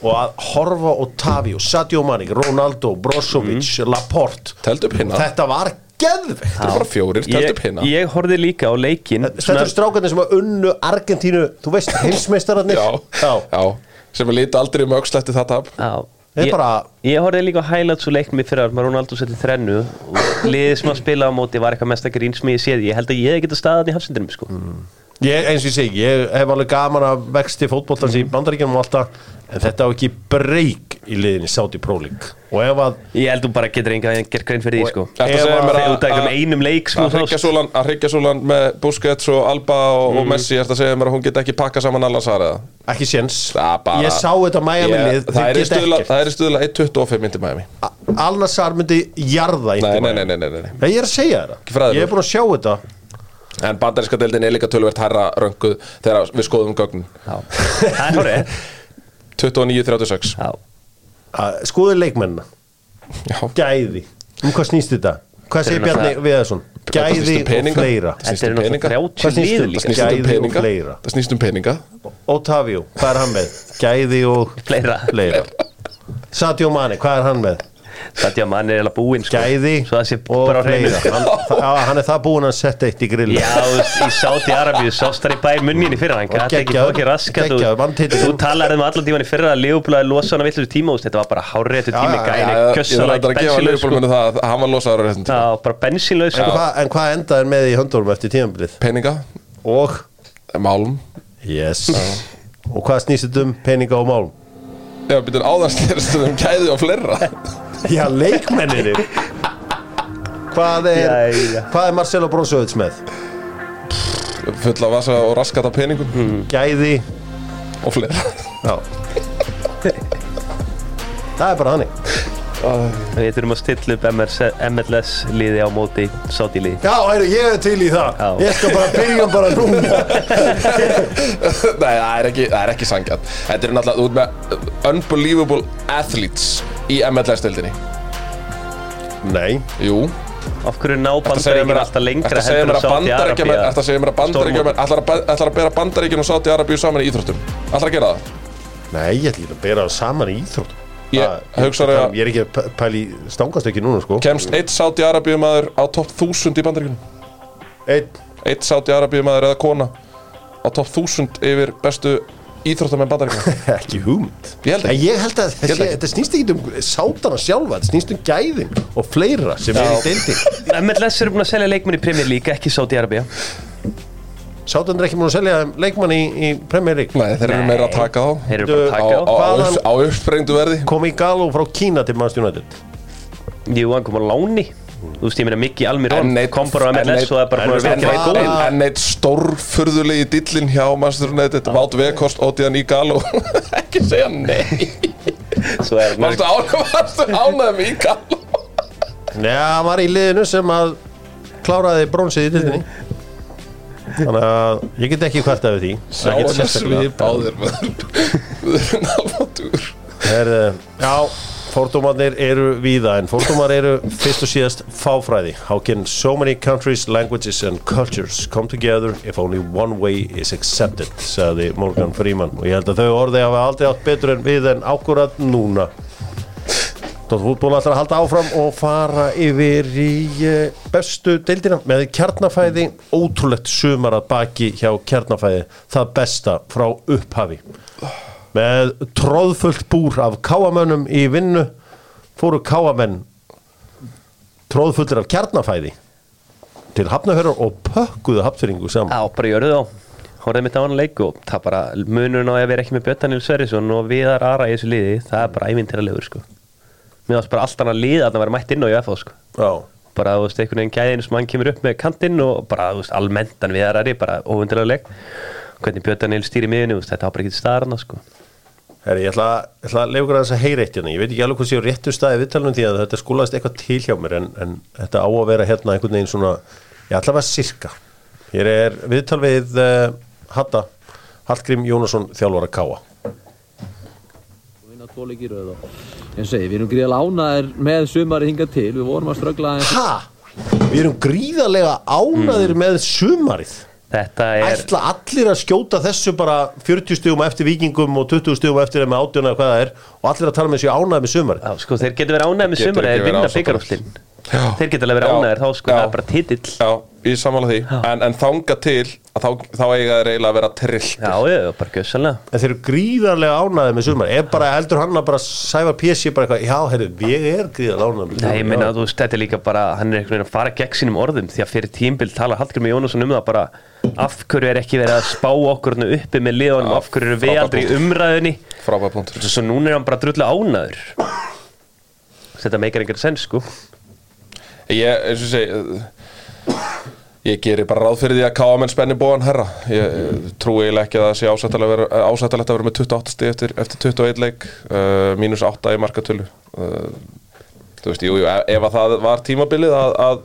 Speaker 1: og að horfa á Tavio, Sadio Mani, Ronaldo, Brozovic, Laporte
Speaker 2: Teldu Mm. upp hinna.
Speaker 1: Þetta var geðvegt
Speaker 2: Þetta er bara fjórir, telt upp
Speaker 3: ég,
Speaker 2: hérna
Speaker 3: ég horfði líka á leikin
Speaker 1: Þetta eru strákarnir sem að unnu Argentínu, þú veist, heimsmeistararnir
Speaker 2: já, já, sem að líti aldrei um öxl eftir þetta tap.
Speaker 3: Já,
Speaker 1: Þetta er
Speaker 3: ég,
Speaker 1: bara-
Speaker 3: ég horfði líka á highlights úr leikmi fyrir að Ronaldo setti þrennu
Speaker 2: Mm.
Speaker 3: og liðið sem að spila á móti var eitthvað mesta grín sem ég séð ég held að ég hef getað staðað í hafsendinum sko.
Speaker 1: Ég, eins og ég segi, ég hef alveg gaman að vexti fótboltans í bandaríkjunum og alltaf en þetta á ekki breyk í liðinni sátt í próling og ef að
Speaker 3: Ég held þú bara getur enga að gera grein fyrir því sko
Speaker 2: Ertu að segja
Speaker 1: Ef að-
Speaker 2: mér
Speaker 3: Þegar út af
Speaker 2: að-
Speaker 3: einhverjum einum leik
Speaker 1: Sko,
Speaker 3: sko,
Speaker 2: að
Speaker 3: sem þú sást.
Speaker 2: hryggja að hryggja súlan með Busquets og Alba og,
Speaker 1: Mm.
Speaker 2: og Messi ertu að segja mér að hún get ekki pakka saman allansar eða
Speaker 1: ekki séns,
Speaker 2: Það bara-
Speaker 1: ég sá þetta Miami
Speaker 2: Ég-
Speaker 1: lið,
Speaker 2: það
Speaker 1: þau
Speaker 2: er í
Speaker 1: geta
Speaker 2: stuðla-
Speaker 1: ekkert
Speaker 2: það er í stuðla 1.25 myndi Miami
Speaker 1: Alnarsar myndi jarða
Speaker 2: nei,
Speaker 1: ykkur
Speaker 2: nei,
Speaker 1: Miami.
Speaker 2: nei, nei, nei, nei.
Speaker 1: Nei, ég er að segja
Speaker 2: Ekki
Speaker 1: þetta
Speaker 2: fræðilegur.
Speaker 1: ég er búin að sjá þetta
Speaker 2: en bandaríska deildin er líka tölvert herra rönguð þegar við skoðum gögn
Speaker 3: Það er hórið
Speaker 2: 29-36
Speaker 3: Já,
Speaker 1: Að skoðu leikmennina,
Speaker 2: Já.
Speaker 1: gæði um hvað snýst þetta? Hvað segir
Speaker 3: Þetta er
Speaker 1: Bjarni Viðarsson?
Speaker 2: Þetta
Speaker 1: Gæði
Speaker 2: snýst um
Speaker 1: og
Speaker 2: peninga.
Speaker 1: fleira
Speaker 2: Þetta
Speaker 3: þetta
Speaker 2: snýst
Speaker 3: er
Speaker 2: um peninga.
Speaker 3: náttúrulega
Speaker 1: Hvað
Speaker 3: 30
Speaker 1: snýst
Speaker 3: lið
Speaker 1: um?
Speaker 2: það
Speaker 3: líka
Speaker 2: snýst um
Speaker 1: Gæði og
Speaker 2: peninga
Speaker 1: fleira.
Speaker 2: það snýst um peninga
Speaker 1: Otavio, hvað er hann með? Gæði og
Speaker 3: Fleira.
Speaker 1: fleira. Sadio Mane, hvað er hann með?
Speaker 3: Þetta er mann er eiginlega búinn sko
Speaker 1: Gæði
Speaker 3: Svo það sé
Speaker 1: og
Speaker 3: bara á hreinu
Speaker 1: fleira hann, það- á, hann er það búinn að setja eitt í grill
Speaker 3: Já, þú veist, í Sáti Arabíu sást þar í bæ munninni fyrir hann Gat ekki
Speaker 1: geggjaður,
Speaker 3: fokki raskat
Speaker 1: geggjaður,
Speaker 3: og-
Speaker 1: vann titil.
Speaker 3: Þú talar um allan tíman í fyrra að Leopold að losa hann að villu tíma þú veist, Þetta var bara háréttu
Speaker 1: Já,
Speaker 3: tími
Speaker 1: já,
Speaker 2: Já,
Speaker 3: gæni
Speaker 2: já, ég
Speaker 3: Kjössar
Speaker 2: þarf að gefa
Speaker 3: bensínlaus sko
Speaker 2: leifbólmennu það að hann var losaður á réttum tíma.
Speaker 3: Já, bara bensínlaus
Speaker 1: En
Speaker 3: sko
Speaker 1: hvað, en hvað endaði hann með í höndunum eftir tíðanbilið?
Speaker 2: peninga,
Speaker 1: Og,
Speaker 2: málum
Speaker 1: yes Og hvað snýst þetta um peninga og málum?
Speaker 2: Já, býtum áðan snerist um gæði og fleira
Speaker 1: Já, leikmennir Hvað er,
Speaker 3: Jæja.
Speaker 1: hvað er Marcelo Brozovic með?
Speaker 2: Full af vasa og raskat af peningum
Speaker 1: Gæði
Speaker 2: og fleira
Speaker 1: Já Það er bara hannig
Speaker 3: Við þurfum að stilla upp MRS MLS liði á móti Sáti liði
Speaker 1: Já, heyrðu, ég er til í það
Speaker 3: Já.
Speaker 1: Ég skal bara byrja um bara núna
Speaker 2: Nei, það er ekki, það er ekki sangjant Þetta er náttúrulega, þú ert með unbelievable athletes í MLS-deildinni
Speaker 1: Nei
Speaker 2: Jú,
Speaker 3: Af hverju ná
Speaker 2: ertu að segja
Speaker 3: bandaríkjum
Speaker 2: mér
Speaker 3: alltaf lengra
Speaker 2: ertu að segja mér
Speaker 3: heldur
Speaker 2: að bandarækjum
Speaker 3: en Sáti Arabíu
Speaker 2: Þetta segja mér að bandarækjum ætlar, að- ætlar að bera bandarækjum og sáti arabíu saman í íþróttum Ætlar að gera það?
Speaker 1: Nei, ég ætlum að bera það saman í íþrótt Ah,
Speaker 2: Ég
Speaker 3: Ah,
Speaker 2: hugsa að-
Speaker 1: Ég er ekki að p- pæla í stangast ekki núna, sko
Speaker 2: Kemst eitt sáti arabíu maður á topp 1000 í bandarækjum
Speaker 1: Einn
Speaker 2: Eitt sáti arabíu maður eða kona á topp 1000 yfir bestu íþróttamenn bandarækjum
Speaker 1: ekki hugmynd
Speaker 2: Ég held ekki.
Speaker 1: En ég held að
Speaker 2: Ég held
Speaker 1: þessi,
Speaker 2: ekki.
Speaker 1: þetta snýst ekki um sátana sjálfa þetta snýst um gæðin og fleira sem er í deildin
Speaker 3: MLS eru búin að selja leikmenn í Premier League, ekki Sáti Arabíu
Speaker 1: sátan er ekki múin að selja leikmann í, í Premier League
Speaker 2: Nei, þeir eru
Speaker 3: Nei.
Speaker 2: meira að taka á
Speaker 3: Þeir eru bara
Speaker 2: á,
Speaker 3: að
Speaker 2: á,
Speaker 3: taka á
Speaker 2: á,
Speaker 1: Hvaðan-
Speaker 2: upp- á uppsprengdu verði
Speaker 1: kom í Galo frá Kína til Manchester United
Speaker 3: Jú, hann kom á láni Þú veist, ég meina Miki Almirón
Speaker 2: En neitt-
Speaker 3: kom bara á
Speaker 2: en
Speaker 3: MLS
Speaker 2: neitt-
Speaker 3: og það er bara
Speaker 1: en
Speaker 3: búin að
Speaker 1: neitt-
Speaker 3: vera
Speaker 1: en
Speaker 3: ekki góð
Speaker 1: neitt- góð.
Speaker 2: En eitt stórfurðulegi dillin hjá Master United
Speaker 3: Ah.
Speaker 2: Vátt vekost ótíðan í gal og ekki segja nei
Speaker 3: Svo er hann
Speaker 2: Varstu ánægð- varstu ánægð með í gal
Speaker 1: Nei, hann var í liðinu sem að kláraði bronsið í deildinni þannig að ég get ekki hvarta við því
Speaker 2: Sjá
Speaker 1: Ekkert
Speaker 2: hann
Speaker 1: sérstaklega.
Speaker 2: svip á þér maður Nálfatúr
Speaker 1: er, Já, fordómarnir eru víða en fordómar eru fyrst og síðast fáfræði How can so many countries, languages and cultures come together if only one way is accepted sagði Morgan Freeman og ég held að þau orði hafa aldrei átt betur en við en ákvörðat núna Dóttir fútból ætlar að halda áfram og fara yfir í eh, bestu deildina með kjarnafæði ótrúlegt sumar að baki hjá kjarnafæði það besta frá upphafi með tróðfullt búr af káamönnum í vinnu fóru káamenn tróðfullir af kjarnafæði til hafnahörur og pökkuðu hafnfyrringu saman
Speaker 3: Já, bara gjörðu þá Hóraði mitt á hann leik og það bara munurinn á að vera ekki með Björn Daniel Sverrisson og Viðar Ara í þessu liði, það er bara ævintýralegur sko. Mér varst bara allt annað lið að það væri mætt inn á UFO sko.
Speaker 1: Já.
Speaker 3: bara, þú veist, einhvern veginn gæðin sem hann kemur upp með kantinn og bara, þú veist, almennt hann Viðar Ari, bara óvundirleguleg hvernig Björn Daniel stýri miðinu, þú veist, þetta á bara ekki starna sko.
Speaker 1: Herri, ég ætla, ég ætla að leifugur aðeins að heyra eitt hérna. Ég veit ekki alveg hvað sé á réttu staði viðtalunum því að þetta skúlaðist eitthvað til hjá mér en, en þetta á að vera hérna einhvern veginn svona, ég ætla að vera sirka. Hér er viðtal við uh, Hatta, Hallgrím Jónasson, þjálfara Káa.
Speaker 4: og vinna tvo leiki í röð og eins og segi, við erum gríðalega ánæðir með sumari hingað til, við vorum að ströggla aðeins
Speaker 1: Ha! Við erum gríðarlega ánaðir með sumarið.
Speaker 3: Þetta er,
Speaker 1: Ætla allir að skjóta þessu bara 40 stugum eftir vikingum og 20 stugum eftir þeim með átjónu eða hvað það er og allir að tala með þessu ánaðið með sumarið.
Speaker 3: á, sko, þeir getur verið ánægð með
Speaker 2: Getur
Speaker 3: sumar
Speaker 2: ekki
Speaker 3: eða
Speaker 2: verið
Speaker 3: vinna
Speaker 2: ásáttar.
Speaker 3: byggarúslinn
Speaker 2: Já.
Speaker 3: þeir getur alveg verið
Speaker 2: Já.
Speaker 3: ánægðir þá sko,
Speaker 2: Já.
Speaker 3: það er bara titill
Speaker 2: Já, Ég samála því, en, en þanga til að þá, þá eiga þeir eiginlega að vera trillt
Speaker 3: Já, ég, bara gjössalega
Speaker 1: En þeir eru gríðarlega ánæðið með sumar Ef bara heldur hann að bara sæfa PC bara eitthvað, já, heyrðu, ég er gríðarlega ánæðið með
Speaker 3: Nei, ég
Speaker 1: sumar."
Speaker 3: meina, þú veist, þetta er líka bara hann er einhvern veginn að fara gegn sínum orðum því að fyrir tímbil tala Hallgrimur Jónasson um það bara af hverju er ekki verið að spá okkur þarna uppi með liðunum,
Speaker 2: Já,
Speaker 3: af hverju eru við
Speaker 2: frábær
Speaker 3: aldrei í
Speaker 2: punktur.
Speaker 3: umræðunni
Speaker 2: Frábæð punktur
Speaker 3: svo núna er hann bara drullu ánaður þetta meikar einhvern sens, sko
Speaker 2: Ég, eins og ég segi eh, Ég geri bara ráð fyrir því að káa menn spenni bóðan herra Ég eh, trúi eiginlega ekki að það sé ásættalega vera, eh, ásættalegt að vera með 28 stig eftir, eftir 21 leik uh, mínus 8 í markatölu uh, Þú veist, jú, jú, ef- ef að það var tímabilið að, að,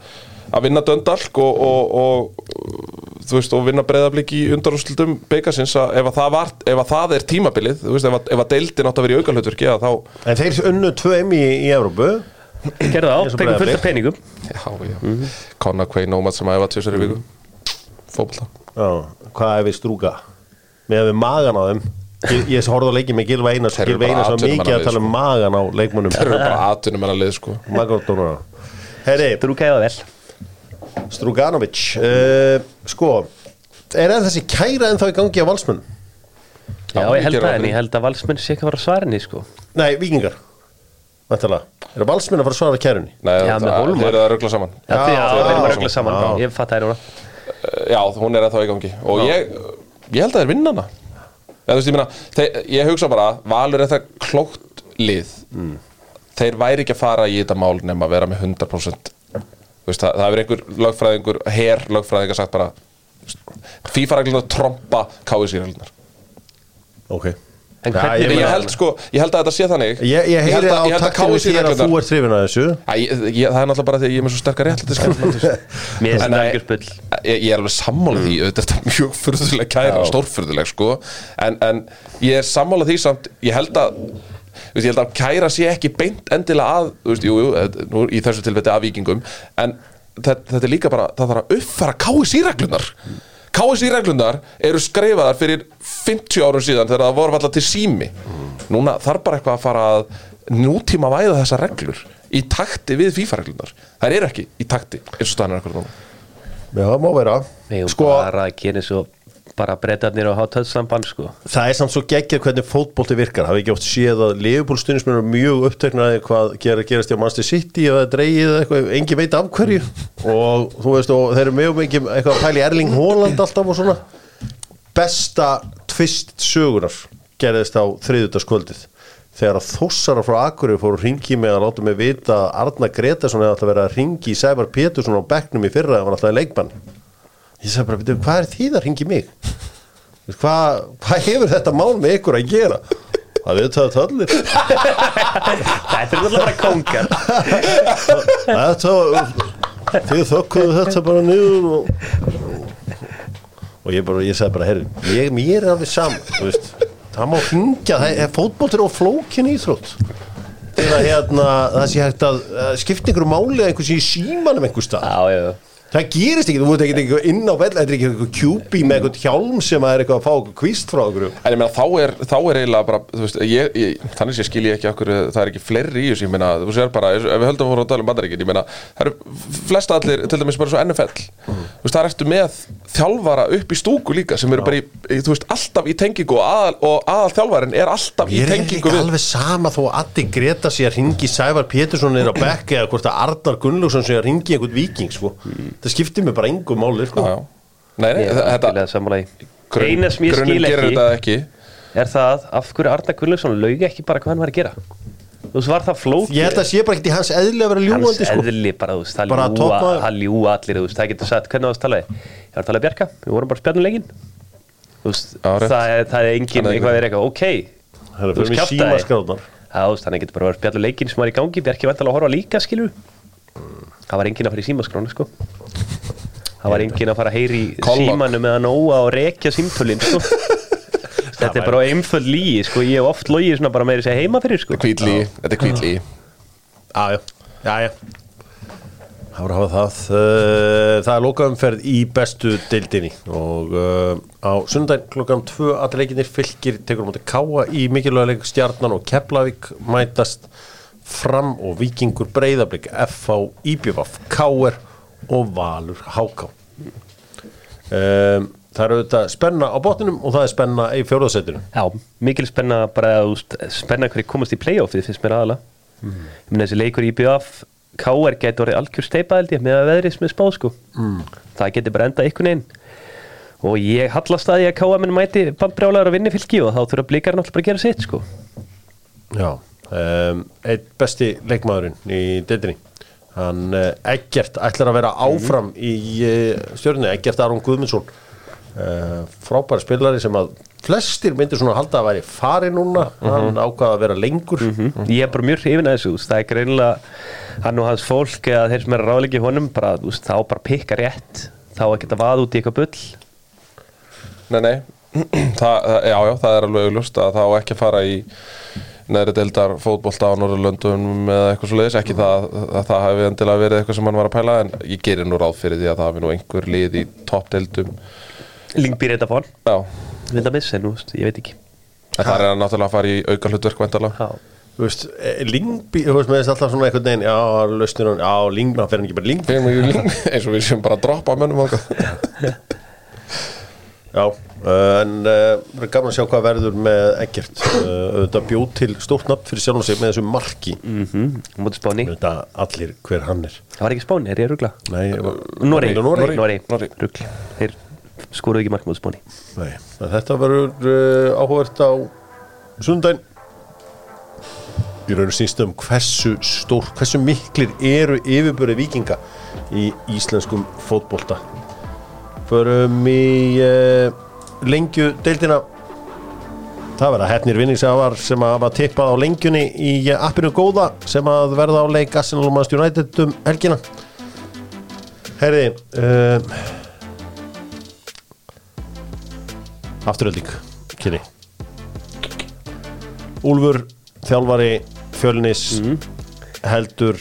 Speaker 2: að vinna döndalk og, og, og þú veist, og vinna breyðablík í undarúslutum byggasins að ef að það, var, ef að það er tímabilið, þú veist, ef að, ef að deildin átt að vera í augalhutverki, að þá
Speaker 1: En þeir unnu 2M í, í Evrópu
Speaker 3: gerðu það,
Speaker 1: Eins og
Speaker 3: fengum fullt af
Speaker 1: Breiðablik.
Speaker 3: peningum
Speaker 2: Já, já
Speaker 3: Mhm.
Speaker 2: Conor Quay nómat sem æfa tjósar í viku Fótbolta
Speaker 1: Já, hvað er við strúka? Með við magan á þeim Ég, ég horfði á leikið með Gilva Einars
Speaker 2: Þeir eru
Speaker 1: Gilva
Speaker 2: bara
Speaker 1: Einars var
Speaker 2: atvinnumenn
Speaker 1: mikið
Speaker 2: að
Speaker 1: að tala um magan á leikmunum
Speaker 2: Þeir eru bara atvinnum en að lið sko
Speaker 1: Magardónara Herri,
Speaker 3: drúkaði það vel
Speaker 1: Struganovic uh, Sko, er enn þessi kæra ennþá í gangi á valsmunum?
Speaker 3: Já,
Speaker 2: Já,
Speaker 3: ég held
Speaker 2: ég geri
Speaker 3: það,
Speaker 2: ráð
Speaker 3: en
Speaker 2: fyrir.
Speaker 3: ég held að valsmenn sé ekki að fara að svara henni, sko
Speaker 1: Nei, vikingar Væntalega, eru valsmenn að fara að svara kærunni?
Speaker 2: Nei,
Speaker 3: Já, með Hólmar.
Speaker 2: Þeir eru að ruggla saman
Speaker 3: Já, já,
Speaker 1: Já,
Speaker 3: já,
Speaker 2: já,
Speaker 3: já,
Speaker 2: já.
Speaker 3: já, saman,
Speaker 1: Já.
Speaker 3: ég fatt það er núna
Speaker 2: Já, hún er að þá í gangi Og ég, ég held að þeir vinna hana Já, þú veist, ég meina þeir, Ég hugsa bara, Valur er það klókt lið
Speaker 3: Mm.
Speaker 2: Þeir væri ekki að fara í þetta mál nema að vera með 100% Þú veist, það, það er einhver lögfræðingur Her lögfræðingar sagt bara Fífaræklunar trompa káisýræklunar
Speaker 1: Ok
Speaker 3: En
Speaker 1: Já,
Speaker 3: hvernig-
Speaker 1: ég
Speaker 2: Ég
Speaker 1: meina-
Speaker 2: held sko, ég held að þetta sé þannig
Speaker 1: Ég, ég heyri
Speaker 2: að-
Speaker 1: á
Speaker 2: ég held að
Speaker 1: taktinu þér
Speaker 2: KSÍ
Speaker 1: að
Speaker 2: reglurnar-
Speaker 1: þú ert hrifin að þessu
Speaker 2: Æ, ég, ég, það er náttúrulega bara því að ég er með svo sterkar réttlætiskennd
Speaker 3: Mér finnst
Speaker 2: En,
Speaker 3: þetta
Speaker 2: nei,
Speaker 3: algjör bull.
Speaker 2: ég, ég er alveg sammála því, auðvitað er þetta er mjög furðuleg kæra, stórfurðuleg sko en, en ég er sammála því samt ég held að þú veist, ég held að kæra sé ekki beint endilega að þú veist, jú, jú, eh, nú í þessu tilfætti að vikingum en þetta, þetta er líka bara það þarf að uppfara KSI-reglunar KSI-reglunar eru skrifaðar fyrir 50 árum síðan þegar það voru alltaf til sími núna þarf bara eitthvað að fara að nútíma væða þessar reglur í takti við FIFA-reglunar það eru ekki í takti eins og staðan er akkur núna
Speaker 1: Já, það má vera
Speaker 3: Við erum
Speaker 1: Sko,
Speaker 3: bara að gera svo bara breytarnir og hátöðslambann sko
Speaker 1: það er samt svo geggjað hvernig fótbolti virkar Hafið ekki oft séð að Leifupólstunismenn eru mjög uppteknaði hvað ger, gerast hjá Manchester City eða dreigið eða eitthvað, engin veit af hverju og þú veist, og þeir eru mjög mikið eitthvað að pæla í Erling Haaland alltaf og svona Besta tvist sögunar gerðist á þriðutaskvöldið þegar að þossara frá Akureyri fóru hringi með að láta mig vita að Arna Gretarsson hefði alltaf verið að hringi í Sævar Pétursson á bekknum í fyrra, það var alltaf í leikbann Ég sagði bara, "Bíddu, hvað er því það hringi mig? Þú veist, Hvað hva hefur þetta mál með ykkur að gera? Það við það allir
Speaker 3: Þetta er náttúrulega bara kongar
Speaker 1: Þetta Þið þokkuðu þetta bara niður og, og ég bara, ég sagði bara herri, ég, mér er alveg saman þú veist, það má hringja það er fótboltir og flókin íþrótt til að hérna, það sé hægt að uh, skipta einhverju máli að einhversi í símanum einhver stað
Speaker 3: Já, já, já
Speaker 1: Það gerist ekki, þú veit ekki eitthvað inn á vell þetta er ekki eitthvað kjúpi með eitthvað hjálm sem að er eitthvað að fá eitthvað kvíst frá okkur
Speaker 2: En ég meina þá er, þá er eiginlega bara þú veist, ég, ég, þannig sé skil ég ekki okkur það er ekki fleiri í þessu, ég meina þú sér bara, ef við höldum að voru að tala um bandaríkin ég meina, það eru flest allir, til dæmis bara svo NFL,
Speaker 1: Mhm.
Speaker 2: þú veist, það ertu með þjálfara upp í stúku líka sem eru bara í, í, þú veist, alltaf í tengingu og aðal, og aðal þjálfarin er alltaf í
Speaker 1: Ég er
Speaker 2: tengingu
Speaker 1: ekki
Speaker 2: við
Speaker 1: alveg sama þó að Addi Greta sé að ringi Sævar Pétursson er á bekka eða hvort að Arnar Gunnlaugsson sé að ringi einhvern viking sko. það skiptir mig bara engum máli sko.
Speaker 2: já, já. Nei, nei,
Speaker 3: Ég er
Speaker 2: þetta
Speaker 3: algjörlega sammála í
Speaker 2: grunn-
Speaker 3: Eina sem ég skil
Speaker 2: grunnum gerir
Speaker 3: ekki
Speaker 2: þetta ekki
Speaker 3: er það af hverju Arna Gunnlaugsson laug ekki bara hvað hann var að gera Þú veist, var það flókið
Speaker 1: ég held að sé bara ekkert í hans eðli að vera
Speaker 3: Hans
Speaker 1: ljúandi sko.
Speaker 3: eðli bara, þú veist, það
Speaker 1: Bara að
Speaker 3: ljúa,
Speaker 1: toppa-
Speaker 3: það ljúa allir, þú veist, það getur sagt hvernig þú veist talaði Ég var að tala við Bjarka, við vorum bara spjarnulegin Þú veist,
Speaker 2: Já, rétt.
Speaker 3: það er, það er engin,
Speaker 2: Það er
Speaker 3: eitthvað er eitthvað, ok
Speaker 1: það er
Speaker 3: Þú
Speaker 1: fyrir mig
Speaker 3: skjáttaði.
Speaker 1: síma skráðnar
Speaker 3: Já, þú veist, þannig getur bara að spjalla leikinn sem var í gangi Bjarki vant alveg að horfa líka, skilur Það var enginn að fara í símaskránu, sko Það var enginn að fara að heyri í
Speaker 2: Kollok.
Speaker 3: símanum eða nóa og rekja símtölin, sko Þetta er bara einföld líi, sko Ég hef oft logið svona bara meiri segja heima fyrir, sko
Speaker 2: kvítli, þetta er kvítli
Speaker 1: já, já. já, já. Það voru að hafa það. Uh, Það er lokaumferð í bestu deildinni og uh, á sundag klokkan 2 allir leikinir fylgir tekur á móti káa í mikilvæga leik stjarnan og Keflavík mætast fram og vikingur breyðablik FH, IBF, KR og Valur HK. um, Það eru auðvitað spenna á botninum og það er spenna í fjórðasettinu
Speaker 3: Já, mikil spenna bara þú veist, spenna hverju komast í playoffið finnst mér aðalega Ég meina þessi leikur í BF KR gæti orðið algjör steipa held ég með að veðrið sem er spáð sko Það geti bara endað einhvern veginn og ég hallast að ég að KR minn mæti bandbrjálagur að vinni fylgi og þá þurfa blikar náttúrulega bara að gera sitt sko
Speaker 1: Já um, Eitt besti leikmaðurinn í deildinni Hann uh, Eggert ætlar að vera áfram í uh, stjörnu Eggert Aron Guðmundsson uh, frábæri spilari sem að flestir myndir svona halda að væri fari núna hann ákvaða að vera lengur
Speaker 3: Hm? Ég er bara mjög hrifin að þessu þú veist, það er greinilega hann og hans fólk eða þeir sem er ráðleiki honum bara, þú veist, þá bara pikka rétt þá að geta vaða út í eitthvað bull
Speaker 2: Nei, nei, það, það- já, já, það er alveg augljóst að það á ekki að fara í neðri deildar fótbolta á Norðurlöndum eða eitthvað svo leiðis, ekki það að það hafi endilega verið eitthvað sem hann var að pæla en ég gerir nú ráð fyrir því að það hafi nú einhver lið í toppdeildum
Speaker 3: Lingbýr eitthvað fón,
Speaker 2: Já,
Speaker 3: við það missa en þú veist, ég veit ekki
Speaker 2: en það er hann náttúrulega að fara í auka hlutverk vendalega
Speaker 3: Já.
Speaker 1: Þú veist, eh, Lingby, þú veist, með þess alltaf svona einhvern veginn Já, lausnir hann, já, Lingby, hann fer hann ekki bara í Lingby
Speaker 2: eins og við séum bara að droppa mönnum okkar
Speaker 1: Já, eh, en uh, er gaman að sjá hvað verður með Eggert uh, auðvitað bjóð til stórt nafn fyrir sjálfum sig með þessu marki
Speaker 3: Mhm, á móti Spáni
Speaker 1: auðvitað allir hver hann er
Speaker 3: Það var ekki Spáni, er ég rugla?
Speaker 1: Nei,
Speaker 3: Norei,
Speaker 1: Noreg.
Speaker 3: Norei,
Speaker 2: Noreg.
Speaker 3: rugl Þeir skoruðu ekki markmóð Spáni
Speaker 1: Nei. En Þetta verður uh, áhugavert á sundaginn í raun og sínst um hversu stór, hversu miklir eru yfirböri vikinga í íslenskum fótbolta förum í uh, lengju deildina það verða hefnir vinningsafar sem að hafa tippað á lengjunni í appinu góða sem að verða á leik Arsenal og Manchester United um helgina herri um, afturölding kynni Úlfur, þjálfari fjölnis heldur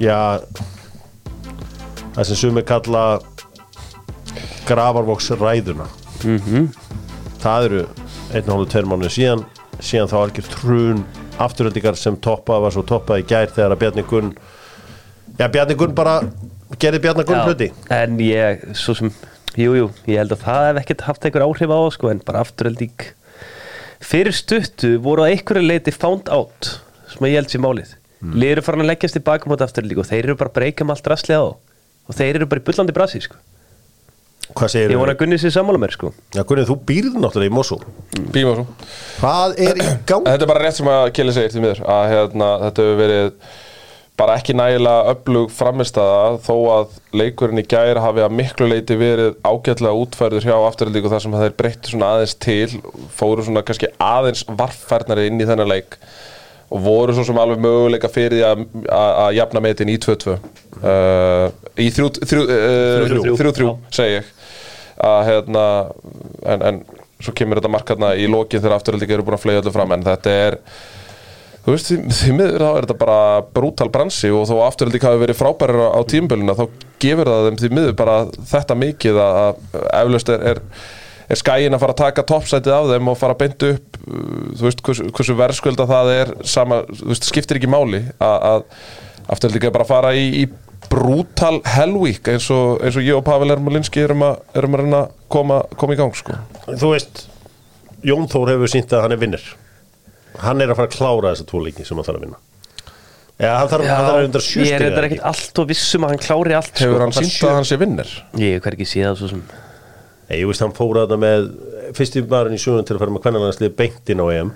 Speaker 1: já það sem sumi kalla gravarvoks ræðuna það eru einn og hálfu tveir mánuð síðan síðan þá algjör trún afturöldingar sem toppað var svo toppað í gær þegar að Bjarni Gunn já Bjarni Gunn bara gerði Bjarni Gunn hluti
Speaker 3: En ég, svo sem, jú, jú Ég held að það hef ekkert haft einhver áhrif á það, sko, En bara afturölding Fyrir stuttu voru að einhverju leiti found out Sem að ég held sér málið mm. Liður eru farin að leggjast í bakum át afturölding Og þeir eru bara að breyka með allt rastlega á Og þeir eru bara í bullandi brasi, sko
Speaker 1: hvað segir
Speaker 3: Ég vona að gunni sér sammála mér, sko
Speaker 1: Já, Gunni, þú býrð náttúrulega í Mosul
Speaker 2: Býma svo
Speaker 1: Hvað er í gangi?
Speaker 2: Þetta er bara rétt sem að Kili segir til mér að hérna, þetta hefur verið bara ekki nægilega öflug framistæða þó að leikurinn í gær hafi að miklu leiti verið ágætlega útfærður hjá afturhaldíku þar sem þeir breyttu svona aðeins til fóru svona kannski aðeins varffærnari inn í þennan leik og voru svo sem alveg möguleika fyrir því að- að að jafna metin í 2-2 uh, í 3-3
Speaker 1: Þrjú-þrjú.
Speaker 2: uh, 3-3 segi ég að hérna en, en svo kemur þetta mark hérna í lokin þegar afturhaldíka eru búin að flegi öllu fram en þetta er þú veist, því, því miður þá er þetta bara brútal bransi og þó afturhaldík hafi verið frábærir á, á tímböluna þá gefur það þeim því miður bara þetta mikið að, að eflaust er, er, er skæin að fara að taka toppsætið af þeim og fara að beinta upp uh, þú veist, hversu, hversu verðskulda það er sama, þú veist, skiptir ekki máli að, að afturhaldík er bara að fara í, í brútal hellvík eins og, eins og ég og Pavel Ermolinski erum að, erum að reyna að koma, koma í gang sko.
Speaker 1: Þú veist, Jón Þór hefur sínt að hann er vinnir Hann er að fara að klára þessa tvo leiki sem hann þarf að vinna Já, hann þarf, hann þarf að undra
Speaker 3: ég er þetta
Speaker 1: sjústíð
Speaker 3: ekkert allt og vissum að hann klári allt
Speaker 2: hefur hann
Speaker 3: sko.
Speaker 2: sínt að hann sé vinnir
Speaker 3: Ég hver ekki séð það svo sem
Speaker 1: Nei, ég veist, hann fór að þetta með fyrsti maðurinn í sjöðun til að fara með kvennanlandslið beint inn á EM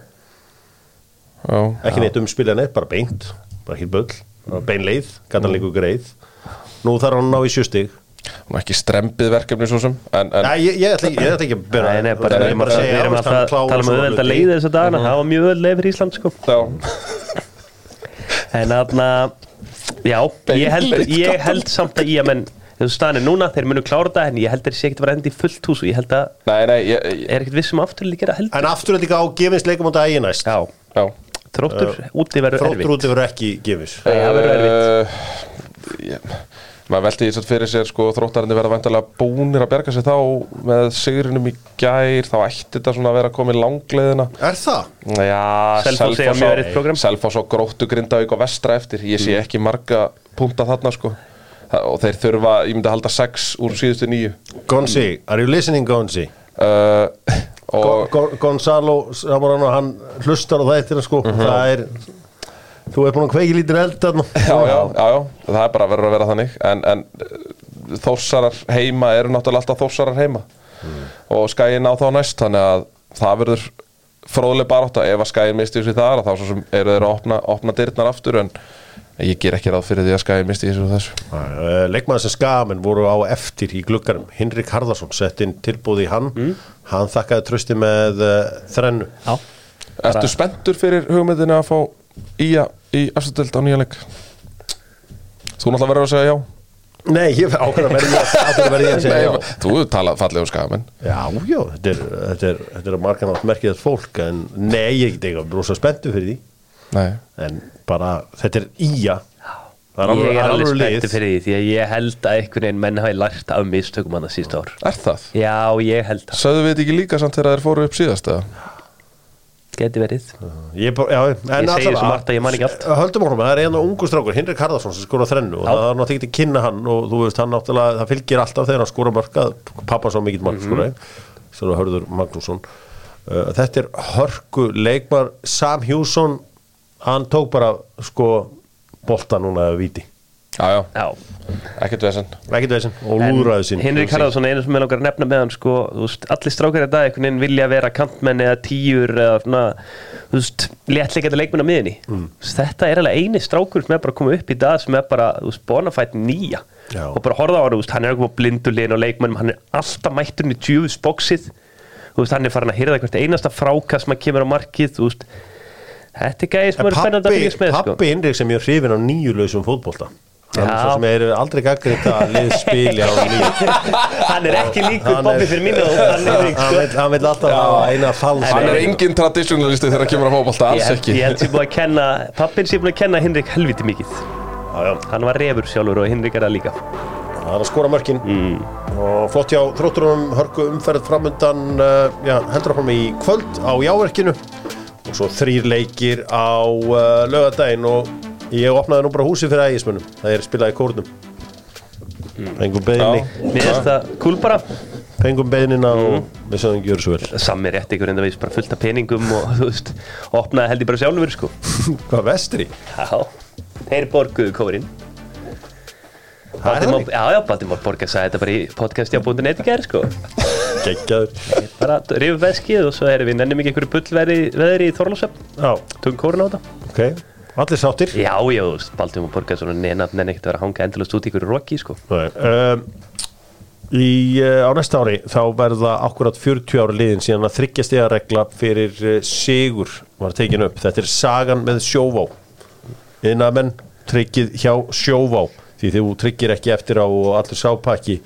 Speaker 2: Já.
Speaker 1: Ekki neitt umspilja neitt, bara beint Bara hér böll, bara bein leið,
Speaker 3: Mm.
Speaker 1: gatan líku greið Nú þarf hann að ná í sjústíð
Speaker 2: Nú, ekki strempið verkefni svo sem en, en,
Speaker 1: Nei, ég, ég, ætla ekki- ég ætla ekki að bera
Speaker 3: Nei, nei, bara,
Speaker 1: Ég
Speaker 3: bara,
Speaker 1: er bara að
Speaker 3: við
Speaker 1: segja,
Speaker 3: erum
Speaker 1: hann
Speaker 3: alltaf
Speaker 1: klárar
Speaker 3: að tala um
Speaker 1: svona
Speaker 3: auðvelda
Speaker 1: hluti.
Speaker 3: leiði þessu dagana, það var mjög auðveld leið fyrir Ísland sko.
Speaker 2: já.
Speaker 3: En þarna, já, ég held,
Speaker 2: Beinleið,
Speaker 3: ég held samt að ég menn, þessu staðan er núna, þeir munu klára það en ég held þeir sé ekkert að vera endi í fullt hús og ég held að,
Speaker 2: Nei, nei, ég, ég,
Speaker 3: er ekkert vissum aftur líka að held
Speaker 1: En aftur þetta á gefinsleikum á dagi næst
Speaker 3: Já,
Speaker 2: já
Speaker 3: þróttur úti verður
Speaker 1: Þróttur
Speaker 3: erfitt
Speaker 1: út yfir ekki gefis
Speaker 3: Nei, það verður erfitt
Speaker 2: erfitt Eh, ég, Maður veldi því satt fyrir sér sko þróttarinn verða væntalega búnir að berga sig þá með sigrinum í gær þá ætti þetta svona að vera komið langleiðina
Speaker 1: Er það?
Speaker 2: Já,
Speaker 3: Selfoss eiga mjög erfitt Mm. prógramm.
Speaker 2: Selfoss og gróttu grindavík og vestra eftir Ég sé ekki marga punta þarna sko og þeir þurfa, ég myndi að halda 6 úr síðustu 9
Speaker 1: Gonzi, are you listening Gonzi?
Speaker 2: uh,
Speaker 1: Gon-
Speaker 2: og
Speaker 1: Gon- Gonzalo Zamorano, hann hlustar á þættina sko
Speaker 2: Mhm.
Speaker 1: það er, þú er búin að kveiki lítur eld þarna
Speaker 2: já, já, já, já, það er bara verður að vera þannig en, en uh, þórsarar heima eru náttúrulega alltaf þórsarar heima og skæin á þá næst þannig að það verður fróðlega barátta ef að skæin misti þessu þar að þá svo sem eru þeir að opna, opna dyrnar aftur en ég ger ekki ráð fyrir því að skæin misti þessu og þessu
Speaker 1: Uh, leikmaður sem skamenn voru á eftir í gluggarum Hinrik Harðarsson sett inn tilbúð í hann
Speaker 2: Mm.
Speaker 1: hann þakkaði trösti með uh, þrennu
Speaker 3: Já,
Speaker 2: Ertu spenntur fyrir hugmyndinu að fá Ía í afstöld á nýja leik? Þú náttúrulega verður að segja já
Speaker 1: nei, ég ákveða verði ég ákveða verði ég að segja já,
Speaker 2: Nei, Þú talað fallega um skamenn
Speaker 1: já, já þetta er, þetta er, þetta er margan átt merkið fólk en nei, ég get ekki rosa spenntu fyrir því
Speaker 2: Nei
Speaker 1: en bara, þetta er íja það er
Speaker 3: ég
Speaker 1: alveg,
Speaker 3: er alveg
Speaker 1: alveg
Speaker 3: spenntur
Speaker 1: lið
Speaker 3: fyrir því því að ég held að einhvern veginn menn hafi lært af mistökum hann að sísta ár
Speaker 2: Er það?
Speaker 3: Já, ég held það,
Speaker 2: Sögðu við þetta ekki líka samt þegar þeir fóru upp síðast eða?
Speaker 3: geti verið
Speaker 1: ég, bara- já, en
Speaker 3: Ég segi
Speaker 1: allavega-
Speaker 3: svo margt að ég man ekki allt.
Speaker 1: höldum honum, það er eina ungu strákur Hinrik Harðarsson sem skora þrennu og
Speaker 3: Já.
Speaker 1: það er náttúrulega ekki að kynna hann og þú veist hann náttúrulega, það fylgir alltaf þegar hann skora mörka pappa svo mikill mann
Speaker 3: Mhm.
Speaker 1: skora sem er Hörður Magnússon uh, þetta er hörku leikmar Sam Hjússon, hann tók bara sko bolta núna að viti,
Speaker 2: Já, já,
Speaker 3: Já,
Speaker 2: ekkert vesen
Speaker 1: ekkert veginn og
Speaker 3: En
Speaker 1: lúðraði sín
Speaker 3: Hinrik Harðarsson er einu sem ég langar að nefna með hann sko, þú veist, allir strákar í dag einhvern veginn vilja vera kantmenn eða tíur eða svona, þú veist, léttleikandi leikmenn á miðinni
Speaker 1: Mm.
Speaker 3: Þú veist, þetta er alveg eini strákur sem er bara að koma upp í dag sem er bara, þú veist, bonafætt nýja
Speaker 1: Já.
Speaker 3: og bara horfa á hann, þú veist, hann er ekki á blindulíðin og leikmennum, hann er alltaf mætturinn í djöfusboksið þú veist, hann er farin að hýrða hvert einasta fráka sem að kemur á markið, þú veist Þetta er gæði sem
Speaker 1: En
Speaker 3: eru spennandi að
Speaker 1: pappi,
Speaker 3: fylgjast með sko.
Speaker 1: pappi Hinrik sem ég er hrifin á nýjulösum fótbolta hann er
Speaker 3: Já.
Speaker 1: svo sem er aldrei gaggrita að liðspili á nýju
Speaker 3: Hann er ekki líkur
Speaker 1: Hann
Speaker 3: Bobby
Speaker 1: er-
Speaker 3: fyrir mínu og hann er sko.
Speaker 1: hann vill- hann vil alltaf hafa eina fals
Speaker 2: Hann er engin traditionalisti þegar að kemur að fótbolta,
Speaker 3: Ég
Speaker 2: alls
Speaker 3: held,
Speaker 2: ekki
Speaker 3: ég held sem búið að kenna, pappin sem búið að kenna Hinrik helviti mikið. Hann var refur sjálfur og Hinrik er það líka.
Speaker 1: Það er að skora mörkin
Speaker 3: Mm.
Speaker 1: og flott hjá þrótturunum hörku umferð framundan uh, já, heldur áfram í kvöld á jáverkinu og svo þrýr leikir á uh, lögadaginn og ég opnaði nú bara húsið fyrir ægismunum það er spilað í kórnum
Speaker 3: Mm.
Speaker 1: fengum beðinni,
Speaker 2: Já.
Speaker 3: Mér finnst það kúl bara.
Speaker 1: fengum beðinina
Speaker 3: Mm.
Speaker 1: og við sögum gjör svo vel
Speaker 3: Sammi rétt ykkur enda veist bara fullt af peningum og þú veist, opnaði held ég bara sjálfur sko.
Speaker 1: hvað vestri?
Speaker 3: Já, þeir borguðu kórin.
Speaker 1: Það er
Speaker 3: Baltimore-
Speaker 1: þannig.
Speaker 3: Já, já, Baltimore borgar sagði þetta bara í podcasti á búndin eitt í gerð sko.
Speaker 1: geggjaður
Speaker 3: Bara rifið veskið og svo erum við nennum ekki einhverju bullveðri veðri í Þorlósöfn.
Speaker 1: já,
Speaker 3: Tökum kórin á þetta.
Speaker 1: ok, allir sáttir
Speaker 3: Já, já, þú veist, Baltimore borgar svona nennan nenn ekkert að vera að hanga endalast út í ykkur roki sko.
Speaker 1: Nei, um, í, uh, á næsta ári þá verða akkurat 40 ári liðin síðan að þryggja stigaregla fyrir uh, sigur var tekin upp. Þetta er sagan með sjóvá. Innamenn tryggið hjá sjóvá því þið tryggir ekki eftir á og allir sápakki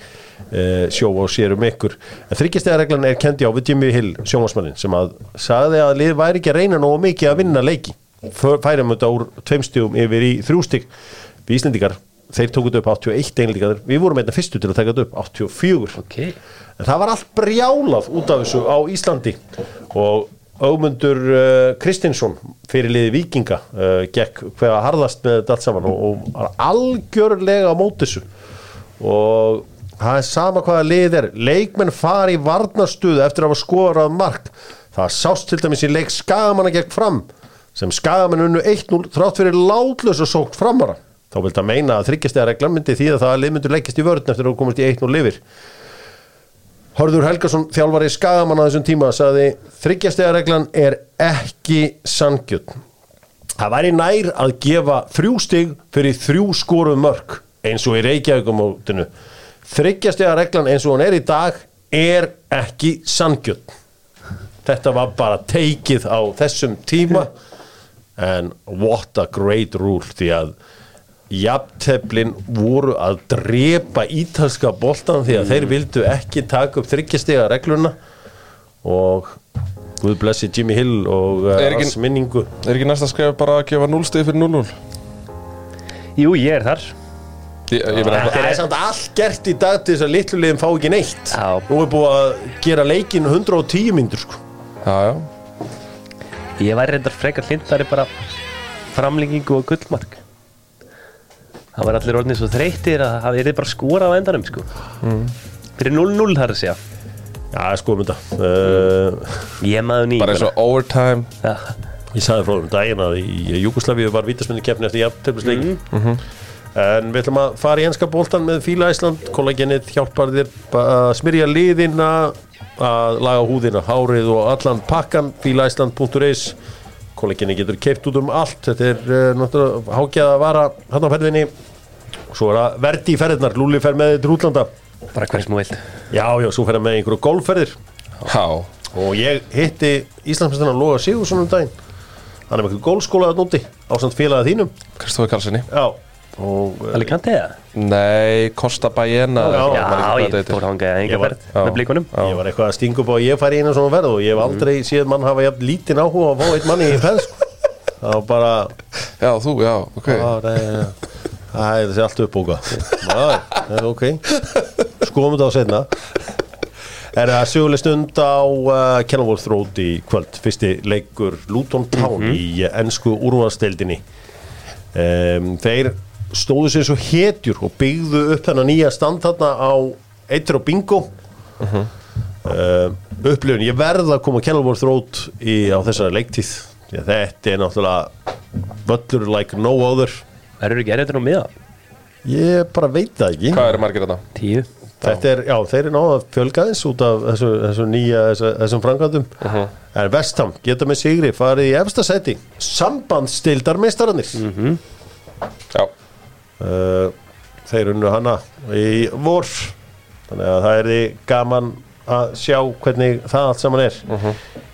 Speaker 1: uh, sjóvá sér um ykkur. En þryggja stigareglan er kendi á við Jimmy Hill, sjómasmannin sem að sagði að lið væri ekki að reyna nógu mikið að vinna leiki. Fö- Færum þetta úr tveimstjum yfir í þrjústig. Við Íslendingar, þeir tókuðu upp 81 einlíkaður, við vorum einna fyrstu til að taka þetta upp 84,
Speaker 3: Ok.
Speaker 1: en það var allt brjálað út af þessu á Íslandi og Ögmundur uh, Kristinsson fyrir liði vikinga uh, gekk hvaða harðast með þetta allt saman og, og var algjörlega á móti þessu og það er sama hvaða lið er leikmenn fari í varnastuð eftir að hafa skorað mark það sást til dæmis í leik skagamanna gegn fram sem skagamenn unnu 1-0 þrátt fyrir látlösa sókt framara þá vil það meina að þryggjastega reglan myndi því að það lið myndur leggjast í vörðin eftir að þú komast í 1-0 lifir Hörður Helgason, þjálfari skagamanna þessum tíma, sagði þryggjastega reglan er ekki sangjötn Það væri nær að gefa þrjú stig fyrir þrjú skoruð mörk eins og í Reykjavíkumótinu. Þryggjastega reglan eins og hún er í dag er ekki sangjöld. Þetta var bara teikið á þessum tíma en what a great rule því að jafnteflin voru að drepa ítalska boltan því að þeir vildu ekki taka upp þryggjastega regluna og Guð blessi Jimmy Hill og uh,
Speaker 2: Er ekki-
Speaker 1: hans minningu
Speaker 2: Er ekki næsta skref bara að gefa 0 stig fyrir 0-0?
Speaker 3: Jú, ég er þar.
Speaker 2: Ég, ég meina,
Speaker 1: Það er samt allt gert í dag til þess að litlu liðin fá ekki neitt
Speaker 3: Já.
Speaker 1: Nú er búið að gera leikin 110 myndur sko
Speaker 2: já, já
Speaker 3: Ég væri reyndar frekar hlindari bara framlengingu og gullmark Það var allir orðinni svo þreyttir að það er bara skora á endanum sko.
Speaker 2: Mm.
Speaker 3: Fyrir 0-0 þar að segja
Speaker 1: Já, sko um þetta uh,
Speaker 3: Ég maður ný
Speaker 2: bara eins og overtime
Speaker 3: ja.
Speaker 1: Ég sagði frá þeim daginn að í Júkoslavíu var vítasmyndi keppni eftir jafntöflusleik En við ætlum að fara í enska boltan með Fíla Ísland Kollagenið hjálpar þér að smyrja liðina að laga húðina, hárið og allan pakkan fílaisland.is Kollagenið getur keipt út um allt Þetta er uh, náttúrulega hágjaða að vara hann á ferðinni og svo er að verdi í ferðinar, Lúli fer með þér til útlanda
Speaker 3: Bara hver sem þú vilt
Speaker 1: Já, já, svo fer hann með einhverju golfferðir
Speaker 2: já,
Speaker 1: og ég hitti Íslandsmyndstunna Loga Sigursson um daginn hann er með einhverju gólskóla að núti ásamt félaga þínum
Speaker 2: Kristófi Karlssoni
Speaker 1: já og eh,
Speaker 3: Alicante eða?
Speaker 2: nei, Costa Bajena
Speaker 1: Já,
Speaker 2: eða eitthvað, man
Speaker 3: Já,
Speaker 2: ekki hvað
Speaker 3: ég
Speaker 2: þetta heitir.
Speaker 3: fór hangað
Speaker 1: Ég
Speaker 3: enga
Speaker 1: var-
Speaker 3: verð með blíkunum
Speaker 1: ég var eitthvað að stinga upp á að ég færi einu svona verð og ég hef aldrei séð mann hafa jafn lítinn áhuga að fá einn manni í ferð sko. það var bara
Speaker 2: já, þú, já, ok
Speaker 1: Já, nei, nei, nei. Æ, þessi er allt uppbúka Það er ok Skoðum þetta á setna Er það söguleg stund á uh, Kenilworth Road í kvöld Fyrsti leikur Luton Town í uh, ennsku úrvarsdeildinni um, Þeir stóðu sér svo hetjur og byggðu upp þennan nýja stand þarna á Eitir og Bingo uh, upplifun, ég verð að koma að Kenilworth Road í, á þessari leiktíð Því að þetta er náttúrulega völlur like no other
Speaker 3: Verður ekki erður nú miða?
Speaker 1: ég bara veit það ekki
Speaker 2: hvað eru margir þetta?
Speaker 3: Tíu
Speaker 1: þetta er, já, þeir eru náða fjölgaðins út af þessu, þessu nýja þessu, þessum frangandum uh
Speaker 2: Uh-huh.
Speaker 1: -huh. en Vestham, geta með sigri, farið í efsta seti sambandstildarmeistarannir uh
Speaker 2: já,
Speaker 1: þeir unnu hana í vor þannig að það er því gaman að sjá hvernig það allt saman er uh
Speaker 2: Uh-huh.
Speaker 1: -huh.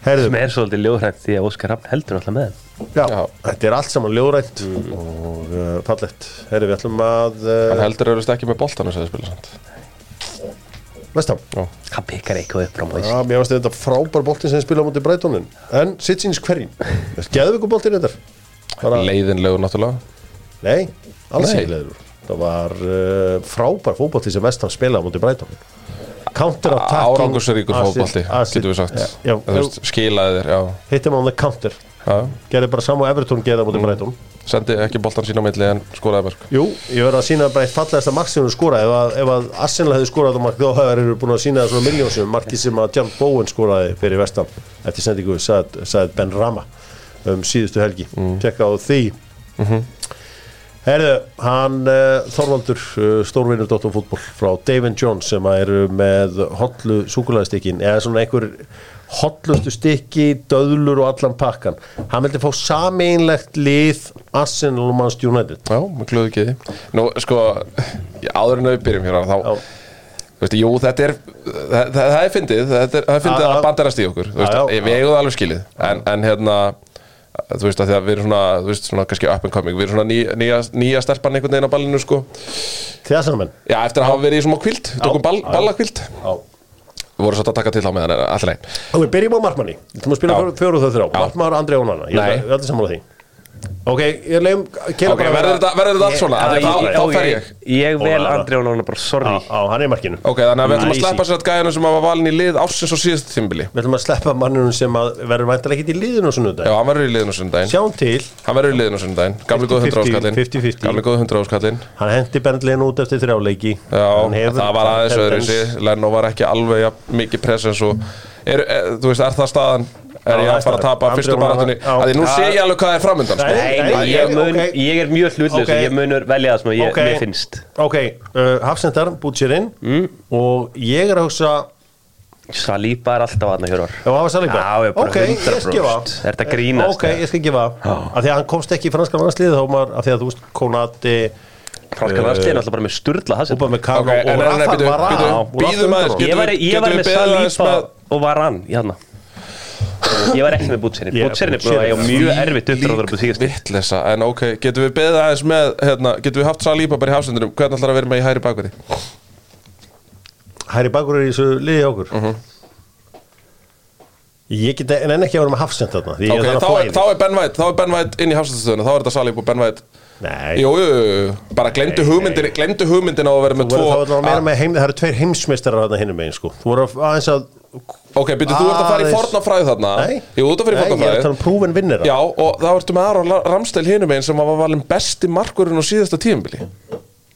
Speaker 3: Sem
Speaker 1: herðu,
Speaker 3: er svolítið ljóðrænt því að Óskar Rafn heldur alltaf með þeim
Speaker 1: já,
Speaker 2: Já. Mm.
Speaker 1: þetta er allt saman ljóðrætt og uh, fallett herðu, við ætlum að
Speaker 2: hann
Speaker 1: uh,
Speaker 2: heldur auðvitað ekki með boltan þess að spila samt
Speaker 1: Vestham
Speaker 3: Hann pikkar eitthvað upp frá maður
Speaker 1: Já, mér finnst þetta frábær boltinn sem spila á móti Breitonin En sitt síns hverjum Geðveikur boltinn þetta Bara,
Speaker 2: leiðinlegu náttúrulega
Speaker 1: Nei, alls
Speaker 2: Nei.
Speaker 1: ekki leður Það var uh, frábær fótbolti sem Vestam spilaði á móti Breitonin Counter attack
Speaker 2: árangursríkur fótbolti, getum við sagt
Speaker 1: Já,
Speaker 2: Þú veist, skilaði þér, já,
Speaker 1: hittum hann the counter
Speaker 2: já.
Speaker 1: Gerði bara saman og Everton geða
Speaker 2: Mm.
Speaker 1: móti Breiton
Speaker 2: sendi ekki boltan sín á milli en skoraði mörg
Speaker 1: Jú, ég verði að sína bara eitt fallegasta mark sem hún skoraði ef að, ef að Arsenal hefði skorað á mark þá hefur eru búin að sína það svona miljónsum marki sem að John Bowen skoraði fyrir vestan eftir sendingu sagði, sagði Ben Rama um síðustu helgi tjekka á því Herðu, hann uh, Þorvaldur, uh, stórvinnur Dóttum fútból frá Davin Jones sem að eru með hotlu súkulæðistikkin eða svona einhver hotlustu stikki, döðlur og allan pakkan hann vildi fá sameinlegt lið Arsenal og Manst United
Speaker 2: Já, með glöðu geði Nú, sko, ég- áður en við byrjum hérna þá,
Speaker 1: Já.
Speaker 2: þú veist, jú, þetta er það, það það er fyndið, þetta er, það er fyndið
Speaker 1: Já, já.
Speaker 2: að bandarast í okkur, þú veist,
Speaker 1: Já, já.
Speaker 2: ég- við eigum það alveg skilið en, en hérna, þú veist, að því að við erum svona, þú veist, svona kannski up and coming við erum svona ný, nýja, nýja stelpan einhvern veginn á ballinu, sko
Speaker 1: Þessarmenn
Speaker 2: Já, eftir að hafa verið í svona kvild, tókum ball,
Speaker 1: Já.
Speaker 2: ballakvild Við vorum svolítið að taka til á meðan, en allir leið
Speaker 1: Ok, byrjum á markmanni Þú maður spila
Speaker 2: Já.
Speaker 1: fjóru- fjóru og þau þrjá
Speaker 2: Já.
Speaker 1: Markmaður Andrei Ónana Ég
Speaker 2: Nei.
Speaker 1: er allir sammála því Ok, ég leiðum Kela
Speaker 2: Ok, verður þetta, verður þetta allt svona,
Speaker 3: Já,
Speaker 2: Af því
Speaker 3: ég-
Speaker 2: þá, þá fer
Speaker 3: já,
Speaker 2: ég
Speaker 3: Ég vel
Speaker 1: Ólafur.
Speaker 3: Andri og Nóna bara, sorry
Speaker 1: Á, hann er í markinu
Speaker 2: Ok, þannig að við ætlum að
Speaker 1: Nice.
Speaker 2: sleppa sér að gæðinu sem var valin í lið ársins og síðast tímbili
Speaker 1: Við ætlum að sleppa mannunum sem að verður væntalega ekki í liðinu og svona
Speaker 2: Já,
Speaker 1: þetta
Speaker 2: hann verður í liðinu sundaginn
Speaker 1: Sjáum til,
Speaker 2: Hann verður í liðinu sundaginn, gamli góð
Speaker 1: 50-50,
Speaker 2: 100 áskallinn
Speaker 1: 50-50.
Speaker 2: Gamli góð 100 áskallinn Já,
Speaker 1: hann hendi bendlin út eftir þrjáleiki
Speaker 2: það var aðeins öðruvísi Leno var ekki alveg ja, mikið presens og er, er, þú veist, er það staðan
Speaker 1: Já,
Speaker 2: er ég
Speaker 1: það er
Speaker 2: að fara að tapa
Speaker 1: staðan.
Speaker 2: fyrstu
Speaker 1: Andri
Speaker 2: baráttunni
Speaker 1: Rúnar- já.
Speaker 2: að því nú
Speaker 1: Já.
Speaker 2: sé ég alveg hvað er framundan sko.
Speaker 1: Nei,
Speaker 3: Nei,
Speaker 1: nei,
Speaker 3: ég,
Speaker 1: ég-
Speaker 3: mun,
Speaker 1: ok.
Speaker 3: ég er mjög hlutlaus
Speaker 1: Ok.
Speaker 3: og ég munur velja það sem ég,
Speaker 1: Ok.
Speaker 3: mér finnst Mm.
Speaker 1: Ok, uh, Hafsendar búið sér inn Og ég er að hugsa
Speaker 3: Salíba er alltaf aðna hjörvar
Speaker 1: Já, hafa sannleika
Speaker 3: Já, ég bara
Speaker 1: Ok, ég
Speaker 3: 100%.
Speaker 1: skal gefa
Speaker 3: Er þetta grínast,
Speaker 1: Ok,
Speaker 3: eða?
Speaker 1: ég skal gefa Af því að hann komst ekki í franskan landslið Þá maður, af því að þú veist, Konati
Speaker 3: Franska Varsli er alltaf bara með sturla
Speaker 1: Úpa
Speaker 3: Hassan
Speaker 1: með Kano
Speaker 2: Ok, en-
Speaker 1: og
Speaker 2: en- en-
Speaker 1: Rafa
Speaker 2: bíddu,
Speaker 1: Varane
Speaker 2: bíddu,
Speaker 1: og
Speaker 2: bíðum
Speaker 1: Rafa
Speaker 2: aðeins,
Speaker 1: Varane.
Speaker 3: Ég var, ég
Speaker 2: Getum
Speaker 3: var
Speaker 2: við
Speaker 3: með
Speaker 2: beðið aðeins
Speaker 3: Salíba
Speaker 2: með-
Speaker 3: og Varan í hana Ég var ekki með Bútserin
Speaker 1: Ég-
Speaker 3: Bútserin er búin að eiga
Speaker 1: Butcherin.
Speaker 3: mjög erfitt uppdráður upp á síðast
Speaker 2: Vittlesa, en ok, getum við beðið aðeins með hérna, getum við haft Salíba bara í hafsendunum hvernig ætlar að vera með í hæri bakverði?
Speaker 1: Hæri Bakur er í þessu liði hjá okkur
Speaker 2: Mhm.
Speaker 1: Ég get en enn ekki að vera með hafsend þarna Því ég
Speaker 2: Ok,
Speaker 1: er
Speaker 2: þá,
Speaker 1: þannig að
Speaker 2: er- þá er Ben White, þá er Ben White inn í hafsendastöðunum þá er þetta Salíba og Ben White
Speaker 1: Nei,
Speaker 2: Jú, jú, jú, bara glemdu hugmyndin Glemdu hugmyndin á að vera með
Speaker 1: þú
Speaker 2: tvo Ah.
Speaker 1: voru þá að meira
Speaker 2: að-
Speaker 1: með heim, það eru tveir heimsmeistarar að það hinnum megin sko. Þú voru að- aðeins að
Speaker 2: Ok, byrju, þú ert að fara í
Speaker 1: Aðeins-
Speaker 2: fornafræði þarna
Speaker 1: Nei,
Speaker 2: Ah. Jú, þú ert að fara í
Speaker 1: Nei, ég er að tala
Speaker 2: fornafræði
Speaker 1: um prúven vinnir
Speaker 2: Já, og þá ertu með Aron La- Ramstel hinum einn sem var valin besti markurinn á síðasta tíðumbili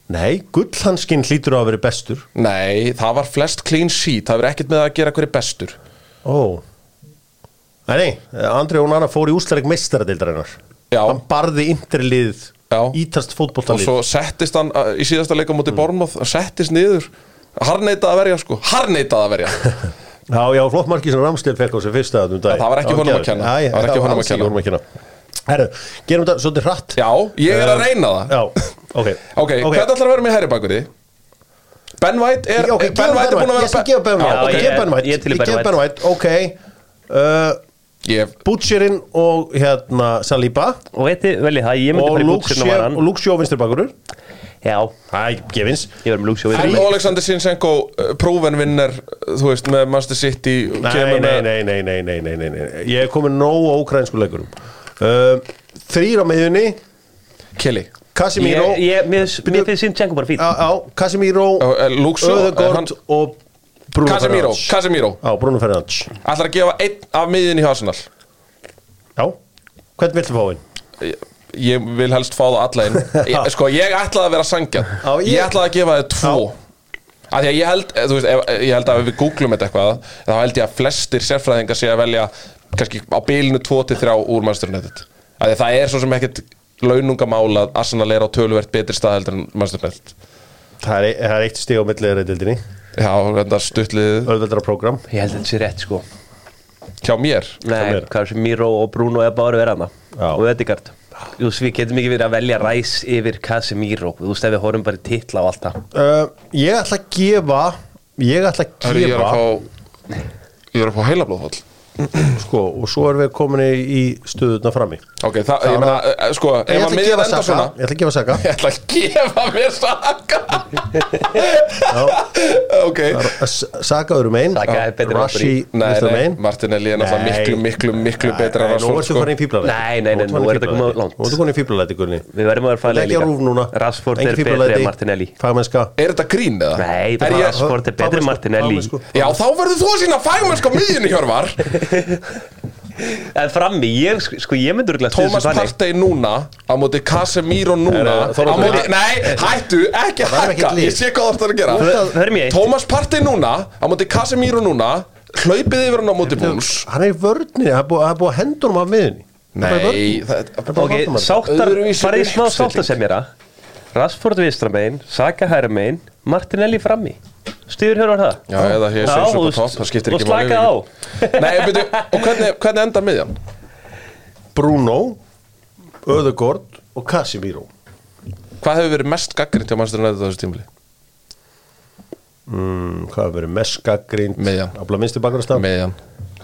Speaker 1: Nei, gullhanskinn hlýtur á að vera bestur
Speaker 2: Nei, það var flest clean sheet Það verið ekkert með að gera hverju bestur
Speaker 1: Ó Nei, nei, Andri Ónana fór í úslarleik mestaradeildarinnar
Speaker 2: Já.
Speaker 1: Hann barði interlið
Speaker 2: Já.
Speaker 1: Ítast
Speaker 2: Og
Speaker 1: fótboltalið
Speaker 2: svo settist hann uh, í síðasta leika
Speaker 1: Mm.
Speaker 2: múti Bormoth Settist niður Harneitað að verja, sko Harneitað að verja
Speaker 1: Já, já, flott markið sem Ramsleif fekk á sig fyrsta þarna um dag.
Speaker 2: Já, það var ekki honum að
Speaker 1: geðveikt.
Speaker 2: kenna.
Speaker 1: Já, já,
Speaker 2: Það var ekki honum að
Speaker 1: alls
Speaker 2: kenna.
Speaker 1: honum að kenna Herru, gerum þetta svolítið hratt
Speaker 2: Já, ég er að
Speaker 1: Eh,
Speaker 2: reyna það
Speaker 1: Já, ok
Speaker 2: Ok, hvernig ætlar að vera með Harry Bakurði? Ben White er
Speaker 1: Ok,
Speaker 2: Ben White er búin að vera
Speaker 1: Ég skal gefa Ben
Speaker 2: Já,
Speaker 1: White
Speaker 2: ok.
Speaker 1: Ég
Speaker 3: ég-
Speaker 1: gef Ben White
Speaker 3: ég er til í
Speaker 1: Ég
Speaker 3: Ben
Speaker 1: gef
Speaker 3: White.
Speaker 1: Ben White, ok Uh,
Speaker 2: Ég
Speaker 1: Butcherinn og hérna Saliba
Speaker 3: Og veitir, vel ég það, ég myndi
Speaker 1: og
Speaker 3: fara í
Speaker 1: Luke
Speaker 3: búksinu á
Speaker 1: Shaw-
Speaker 3: hann
Speaker 1: og Luke Sjó vinstri
Speaker 3: Já,
Speaker 1: Það er gefins
Speaker 3: ég verður með Luke Sjó
Speaker 2: En Oleksandr Sinsenko, uh, prófen vinnar, þú veist, með Master City
Speaker 1: Nei,
Speaker 2: kemur
Speaker 1: nei,
Speaker 2: með-
Speaker 1: nei, nei, nei, nei, nei, nei, nei. Ég er komin nóg á ukrainsku leikurum uh, Þrýr á meðunni
Speaker 2: Kelly
Speaker 1: Casimiro
Speaker 3: Ég, ég, mér mér finnst sínt Django bara fín
Speaker 1: á, á, Casimiro
Speaker 2: Ó, eh, Luke Shaw, eh, hann-
Speaker 1: Öðegord og Bruno
Speaker 2: Casemiro,
Speaker 1: Fernandes.
Speaker 2: Casemiro
Speaker 1: Á, Bruno Fernandes
Speaker 2: Ætlar að gefa einn af miðin í Arsenal
Speaker 1: Já, hvern viltu fá inn?
Speaker 2: Ég- Ég vil helst fá það alla inn ég, Sko, ég ætlaði að vera sangjan
Speaker 1: Já,
Speaker 2: Ég
Speaker 1: ég-
Speaker 2: ætlaði að gefa þið tvo Af því að ég held, eh, þú veist, ef, ég held að ef við googlum þetta eitthvað Þá held ég að flestir sérfræðingar sé að velja kannski á bilinu 2-3 úr Manchester United Af því að það er svo sem ekkert launungamál að Arsenal er á töluvert betri stað heldur en Manchester United
Speaker 1: Það er, e- það er eitt stig á milliðar reyndildinni
Speaker 2: Já, þetta stuttlið
Speaker 1: Öðveldara program
Speaker 3: Ég held að þetta sé rétt sko
Speaker 2: hjá mér
Speaker 3: Nei,
Speaker 1: meira?
Speaker 3: hvað sem Miro og Bruno er bara að vera hana
Speaker 1: Já.
Speaker 3: Og Ödegard Þú veist, við getum ekki verið að velja ræs yfir Casemiro Þú veist, ef við horfum bara í titla á allt það
Speaker 1: uh, Ég ætla að gefa Ég ætla að
Speaker 2: Herri, Ég er
Speaker 1: gefa
Speaker 2: að fá Ég er að fá heilablóðfall
Speaker 1: sko, Og svo erum við komin í, í stöðuna frammi
Speaker 2: Ok, það, ég meina, eh, sko,
Speaker 1: Ég
Speaker 2: ef
Speaker 1: ætla að
Speaker 2: að miðin
Speaker 1: gefa
Speaker 2: enda
Speaker 1: Saka
Speaker 2: svona
Speaker 1: Ég ætla að gefa Saka
Speaker 2: Ég ætla að gefa mér saka Ok
Speaker 1: S- Saka öðrum einn
Speaker 3: Saka er betri en
Speaker 1: Rashi vinstri
Speaker 2: Nei, nei,
Speaker 1: megin.
Speaker 2: Martinelli er náttúrulega
Speaker 1: Nei.
Speaker 2: miklu, miklu, miklu
Speaker 1: Nei,
Speaker 2: betra
Speaker 1: Nú ertu farin í fíblalæti
Speaker 3: sko. Nei, nei, nei, nú er þetta komið langt.
Speaker 1: Nú ertu komin í fíblalæti, Gunni
Speaker 3: Við verðum að vera að fara
Speaker 1: Leggja rúf núna
Speaker 3: Rashford
Speaker 1: Engin
Speaker 3: er betri
Speaker 1: fíflalæti.
Speaker 3: en Martinelli
Speaker 1: Fagmennska
Speaker 2: Er þetta grín eða?
Speaker 3: Nei,
Speaker 2: er ég,
Speaker 3: Rashford er betri en Martinelli
Speaker 1: Fagmennsku.
Speaker 2: Já, þá verður þú að sína fagmennsk á miðjunni, Hjörvar
Speaker 3: En frammi, ég, sk- sko, ég myndur ekki að stuða
Speaker 2: Thomas
Speaker 3: þessu þannig
Speaker 2: Partey núna Á móti Casemiro núna
Speaker 1: Herra,
Speaker 2: Á
Speaker 1: Þorvaldur,
Speaker 2: móti,
Speaker 1: það-
Speaker 2: nei, hættu, ekki að
Speaker 1: verður
Speaker 2: hækka
Speaker 1: ekkert lið.
Speaker 2: Ég sé hvað þú ert að gera
Speaker 3: Hör- Hörum ég eitt
Speaker 2: Thomas Partey núna Á móti Casemiro núna Hlaupið yfir hann á móti Búls
Speaker 1: Hann er í vörninni Það er búið- það er búið að hendur hann af miðunni
Speaker 2: Nei, það,
Speaker 3: Ok, sáttar,
Speaker 2: Öðruvísi
Speaker 3: farið í smá
Speaker 2: uppstilling.
Speaker 3: sáttar sem ég er að Rashford vistramein, Saka hærumein Martinelli frammi Stuður hörur það
Speaker 2: Já, eða hér sem
Speaker 3: og-
Speaker 2: super top, það skiptir ekki
Speaker 3: Og slaka á
Speaker 2: máli. Nei, byrju, og hvernig, hvernig enda miðjan?
Speaker 1: Bruno Öðugord og Casimiro
Speaker 2: Hvað hefur verið mest gaggrind hjá Manchester United á þessu tímili?
Speaker 1: Mm, Hvað hefur verið meskagrind
Speaker 2: Miðjan.
Speaker 1: Afla minnstu bakarastan
Speaker 2: Miðjan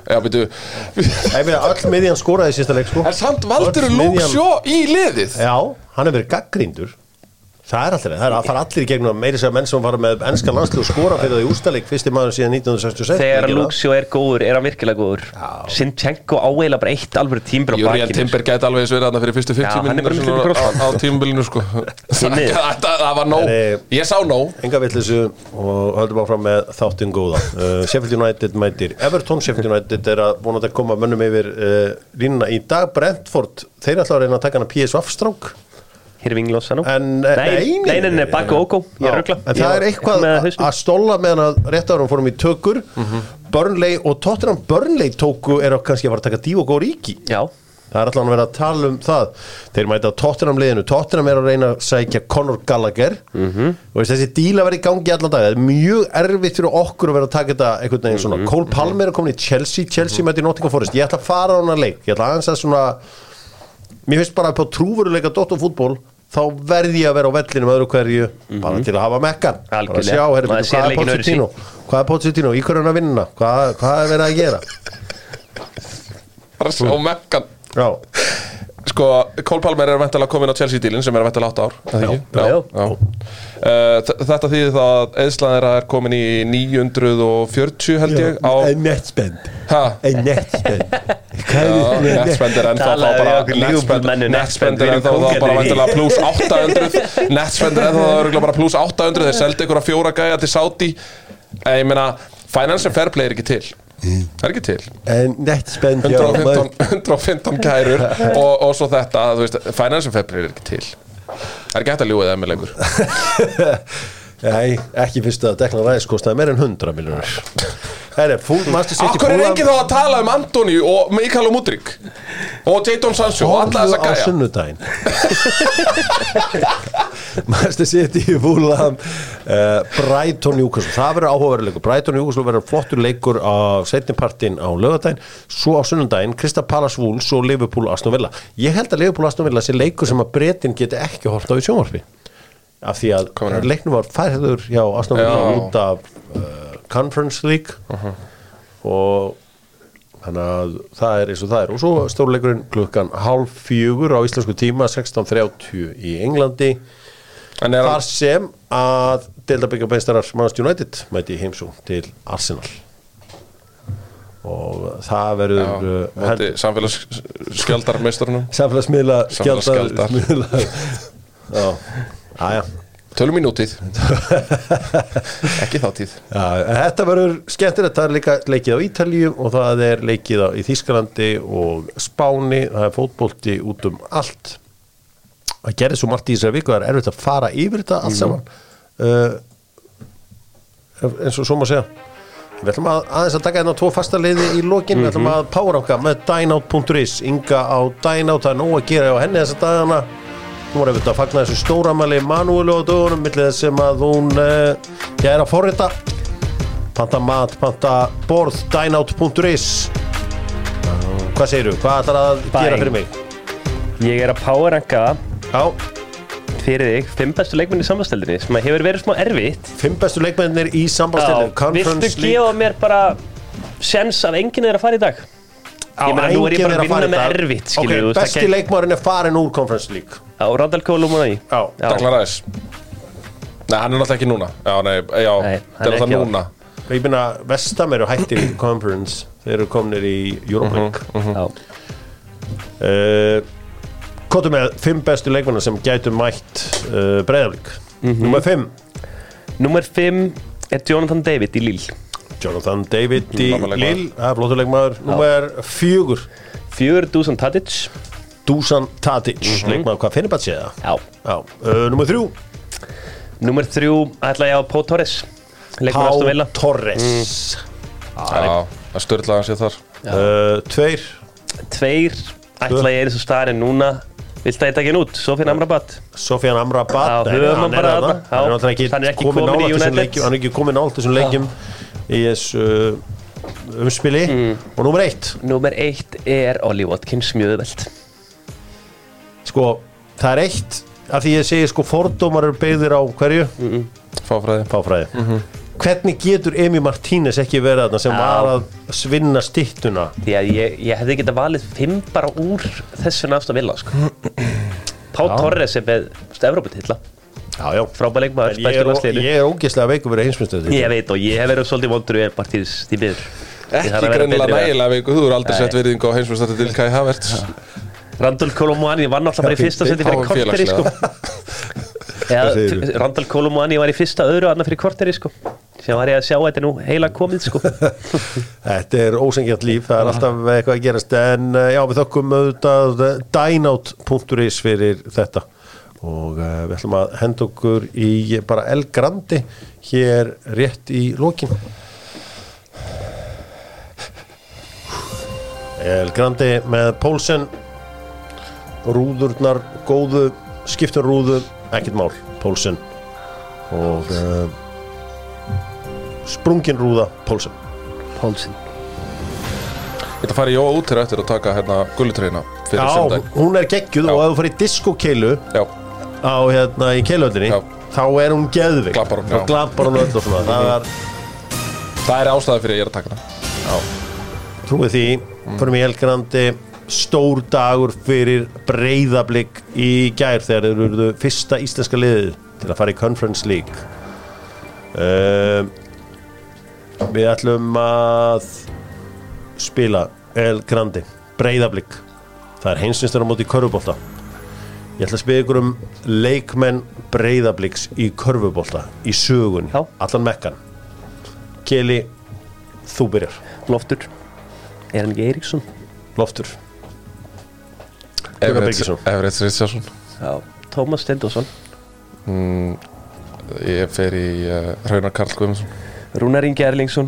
Speaker 2: Já, byrju,
Speaker 1: Ég meina, öll miðjan skoraði í sísta leik sko
Speaker 2: en samt valdur
Speaker 1: Öll
Speaker 2: Luke
Speaker 1: miðjan-
Speaker 2: Shaw í liðið
Speaker 1: Já, hann hefur verið gaggrindur Það er allir, það er að fara allir í gegnum að meiri segja menn sem fara með ennska landslið og skora fyrir það í ústalik fyrsti maður síðan 1966
Speaker 3: Þegar
Speaker 1: Ekki það?
Speaker 3: Luxio er góður, er hann virkilega góður
Speaker 1: Já.
Speaker 3: Sinchenko áeila bara eitt alveg tímbur á
Speaker 2: Júriðan
Speaker 3: bakinu
Speaker 2: Timber gæti alveg eins verið þarna fyrir fyrstu
Speaker 3: Já,
Speaker 2: 50
Speaker 3: hann er bara
Speaker 2: mínútur
Speaker 3: með fyrir
Speaker 2: á, á
Speaker 3: krossband.
Speaker 2: tímabilinu sko
Speaker 3: Því miður.
Speaker 2: Það það var nóg,
Speaker 1: Nei.
Speaker 2: ég sá nóg
Speaker 1: Enga vitleysu og höldum áfram með þáttinn góða uh, Sheffield United mætir Everton Sheffield United er að vonandi að koma mönnum yfir uh, línuna í dag Brentford, þeir ætla að reyna að taka hana PSV strák
Speaker 3: Hér er vingloss hann
Speaker 1: En, eh,
Speaker 3: Nei,
Speaker 1: nei,
Speaker 3: nei,
Speaker 1: nei,
Speaker 3: nei, nei,
Speaker 1: nei,
Speaker 3: Bakko Ókó Ég
Speaker 1: Já,
Speaker 3: er rögla
Speaker 1: En það er eitthvað
Speaker 3: með Mhm.
Speaker 1: að
Speaker 3: hausnum.
Speaker 1: að stóla meðan að rétt árum fórum í tökur Burnley og Tottenham Burnley tóku er að kannski að fara að taka Díu og Góríki
Speaker 3: Já,
Speaker 1: Það er allan að vera að tala um það Þeir mæta á Tottenham liðinu Tottenham er að reyna að sækja Conor Gallagher
Speaker 3: Mhm.
Speaker 1: og veist, þessi díla verið í gangi allan dag Það er mjög erfitt fyrir okkur að vera að taka þetta einhvern veginn
Speaker 3: Mhm.
Speaker 1: svona Cole Palmer er komin í Chelsea Chelsea mæti Nottingham Forest Ég ætla að fara á hana leik Ég ætla aðeins að svona Mér finnst bara að på trúveruleika dott og fútból þá verð ég að vera á vellinum öðru hverju bara til að hafa mekkan bara að
Speaker 3: Mhm. Algjörlega.
Speaker 1: sjá, herri,
Speaker 3: Maður
Speaker 1: bíddu,
Speaker 3: sér
Speaker 1: hvað er
Speaker 3: leikinn öðruvísi.
Speaker 1: Pochettino hvað er Pochettino, í hverju er hann að vinna hvað, hvað er verið að gera
Speaker 2: Bara sjá mekkan
Speaker 1: Já,
Speaker 2: Sko, Cole Palmer er vantilega komin á Chelsea-dílinn sem er vantilega 8 ár er það ekki?
Speaker 3: Já, já.
Speaker 2: já. Uh, þ- Þetta þýðir það að eðslan þeirra er komin í 940 held ég á
Speaker 1: Ein nettspend
Speaker 2: Ha?
Speaker 1: Ein nettspend Hvað
Speaker 2: Já,
Speaker 1: er þetta?
Speaker 2: Netspend er ennþá þá
Speaker 3: Talaðu við
Speaker 2: bara
Speaker 3: okkur
Speaker 2: Netspend-
Speaker 3: Liverpool-mennu,
Speaker 2: Netspend
Speaker 3: Netspend,
Speaker 2: er
Speaker 3: við
Speaker 2: ennþá
Speaker 3: erum
Speaker 2: þá bara
Speaker 3: kóngarnir í.
Speaker 2: vantilega pluss 800 Netspend er ennþá þá örugglega bara pluss 800 þeir seldi einhverja fjóra gæja til Saudi en ég meina, finance and fair play er ekki til það er ekki til
Speaker 1: Ein nettspend já, maður-
Speaker 2: 115, 115 kærur og, og svo þetta, þú veist, finance and fair play er ekki til það er ekki hægt að ljúið það með lengur
Speaker 1: Nei, ekki fyrst að dekla ræðis kostaði meir en 100 miljonir Það er fúl, maður stið
Speaker 2: Akkur er enginn þá að tala um Antoni og Mikael og Mudrik og Jadon Sancho og alla þessa
Speaker 1: á
Speaker 2: gæja
Speaker 1: sunnudaginn Master City, Fulham uh, Brighton, Newcastle það verður áhugaveruleikur, Brighton, Newcastle verður flottur leikur á setnipartin á lögadaginn svo á sunnudaginn, Krista Palace Wolves og Liverpool, Aston Villa ég held að Liverpool, Aston Villa sé leikur sem að breytin geti ekki hort á í sjónvarpi af því
Speaker 2: Hvað
Speaker 1: að
Speaker 2: meinarðu?
Speaker 1: leiknum var færður hjá Aston Villa
Speaker 2: Já. Uh-huh.
Speaker 1: út af uh, Conference League og þannig að það er eins og það er og svo stórleikurinn klukkan hálf fjögur á íslensku tíma 16.30 í Englandi
Speaker 2: En er
Speaker 1: þar sem að deildabyggabeinstarar Manchester United mæti í heimsú til Arsenal og það verður
Speaker 2: Já,
Speaker 1: uh, held-
Speaker 2: móti samfélagsskjaldarmeistarunum
Speaker 1: samfélagsmiðla
Speaker 2: Samfélagsskjaldar.
Speaker 1: skjaldar Já, aðja
Speaker 2: Tölum í nútíð Ekki þáttíð
Speaker 1: Já, en þetta verður skemmtilegt, það er líka leikið á Ítalíu og það er leikið á, í Þýskalandi og Spáni, það er fótbolti út um allt. Það gerði svo margt í þessari viku, það er erfitt að fara yfir þetta allt saman, uh, eins og svo má segja. Við ætlum að, aðeins að taka hérna tvo fasta leiði í lokin, við ætlum að páranga með dynout.is, Inga á dynout, það er nóg að gera á henni þessa dagana. Hún var auðvitað að fagna þessu stóramæli manúlu á dögunum, millið þess sem að hún, uh, ég er að forrita panta mat, panta borð dynout.is hvað segirðu, hvað ætlar að
Speaker 3: Bæn.
Speaker 1: gera fyrir mig
Speaker 3: Ég er að powerranka
Speaker 1: já,
Speaker 3: fyrir þig fimm bestu leikmenn í samvasteldinni sem að hefur verið smá erfitt
Speaker 1: fimm bestu leikmennir í sambandstildin
Speaker 3: Viltu gefa mér bara sens að enginn er að fara í dag? Ég meina, nú er ég bara að vinna með erfitt, skilur
Speaker 1: okay,
Speaker 3: þú, það
Speaker 1: besti
Speaker 3: gæti-
Speaker 1: leikmærin er farin úr Conference League
Speaker 3: Á Randall Cole og Mónai
Speaker 1: Já,
Speaker 2: Daglar aðeins Nei, hann er náttúrulega ekki núna Já, nei, já, það
Speaker 3: Nei,
Speaker 2: er
Speaker 3: hann er
Speaker 2: það
Speaker 3: ekki á.
Speaker 2: núna
Speaker 1: ég minna vestam eru hættir í Conference þeir eru komnir í Europa
Speaker 3: Mhm,
Speaker 1: League Uh, Kottu með fimm bestu leikmennar sem gætu mætt uh, breyðarleik mm
Speaker 3: Mhm.
Speaker 1: -hmm. Númer fimm
Speaker 3: Númer 5 er Jonathan David í Lille
Speaker 1: Jonathan David í
Speaker 2: Frábær leikmaður.
Speaker 1: Lill Það er flottur leikmaður Númer fjögur
Speaker 3: Fjögur Dusan Tadic
Speaker 1: Dusan Tadic
Speaker 3: Mhm.
Speaker 1: leikmaður hvað finnir bara séða
Speaker 3: Já
Speaker 1: já, uh, nummer þrjú
Speaker 3: Númer 3 ætla ég á Pó Torres Leikmenn Aston Villa Mhm.
Speaker 1: Pá Torres
Speaker 2: Já, það störðlaði hann sér þar
Speaker 1: uh, tveir
Speaker 3: Tveir ætla ég er þessu staðarinn núna Viltu að ég takja hann út? Svo finn Amrabat
Speaker 1: Sofian
Speaker 3: Já,
Speaker 1: Amrabat nei,
Speaker 3: höfum
Speaker 1: hann
Speaker 3: hann
Speaker 1: er
Speaker 3: bara
Speaker 1: þarna.
Speaker 3: þarna. Já.
Speaker 1: hann er náttúrulega
Speaker 3: Hann er
Speaker 1: ekki
Speaker 3: ekki
Speaker 1: komið
Speaker 3: kominn í
Speaker 1: nátt þessum
Speaker 3: United.
Speaker 1: leikjum hann er ekki komið nátt þessum leikjum í þessu uh, umspili
Speaker 3: Mm.
Speaker 1: og nummer eitt
Speaker 3: Númer 1 er Ollie Watkins mjög veld
Speaker 1: sko það er eitt af því ég segi sko fordómar eru beigðir á hverju
Speaker 3: Mm.
Speaker 2: Fáfræði
Speaker 1: fáfræði hvernig getur Emi Martínez ekki verið þarna sem
Speaker 3: Já.
Speaker 1: var að svinna stittuna
Speaker 3: Því að ég, ég hefði getað valið fimm bara úr þessu násta vilja sko. Pá Torres er með Evróputilla,
Speaker 1: já já
Speaker 3: frábæð leikmaður,
Speaker 1: En ég
Speaker 3: bestur
Speaker 1: er, ó-
Speaker 3: landsliðinu
Speaker 1: ég er ógeðslega veikum verið heimsmyndstöð
Speaker 3: Ég veit og ég hef verið svolítið vondur við partíðs því miður Ég þarf
Speaker 2: Ekki
Speaker 3: að vera
Speaker 2: greinilega
Speaker 3: betri í
Speaker 2: nægilega veiku Þú eru aldrei
Speaker 3: Nei.
Speaker 2: sett virðingu á heimsmyndstætti til Kai Havertz
Speaker 3: Randall Kolomani var náttúrulega bara í fyrsta seti fyrir
Speaker 2: Fáum
Speaker 3: korteri sko.
Speaker 2: félagslega.
Speaker 3: Eða,
Speaker 1: segirðu?
Speaker 3: t- Randall Kolomani var í fyrsta öðru og annað fyrir korteri sko. sem var ég að sjá þetta er nú heila komið sko.
Speaker 1: Þetta er ósengjart líf, það er alltaf eitthvað að gerast en eh, já, við þökkum auðvitað eh, dynout.is fyrir þetta og uh, við ætlum að henda okkur í bara El Grandi hér rétt í lokin El Grandi með Pólsen rúðurnar góðu, skiptum rúðu ekkert mál, Pólsen og uh, sprungin rúða Pólsen
Speaker 3: Pólsinn
Speaker 2: Ég ætla að fara í Jóa út hér eftir að taka hérna gullutreyna fyrir
Speaker 1: Já,
Speaker 2: sundag
Speaker 1: hún er geggjuð
Speaker 2: Já.
Speaker 1: og ef þú farið diskokeilu
Speaker 2: Já,
Speaker 1: á hérna í keilöldinni
Speaker 2: Já.
Speaker 1: þá er hún geðvig
Speaker 2: Glampar hún, já. Mhm.
Speaker 1: og glampar hún öll og svona það var,
Speaker 2: það er ástæða fyrir að ég er að taka hana
Speaker 1: trúið því, förum í Elgrandi stór dagur fyrir breyðablík í gær þegar þeir eru fyrsta íslenska liðið til að fara í Conference League um, Við ætlum að spila El Grandi, breyðablík það er heimsvinstur á móti í körfubólta Ég ætla að spila ykkur um leikmenn breyðablíks í körfubólta í sögun,
Speaker 3: Já.
Speaker 1: allan mekkan Keli, þú byrjar
Speaker 3: Loftur Er hann ekki Eiríksson?
Speaker 1: Loftur, Gunnar Birgisson.
Speaker 2: Everett Richardson
Speaker 3: Já Tómas Stendosson
Speaker 2: Ég fer í uh, Raunar Karl Guðmundsson
Speaker 3: Rúnar Ingi Erlingsson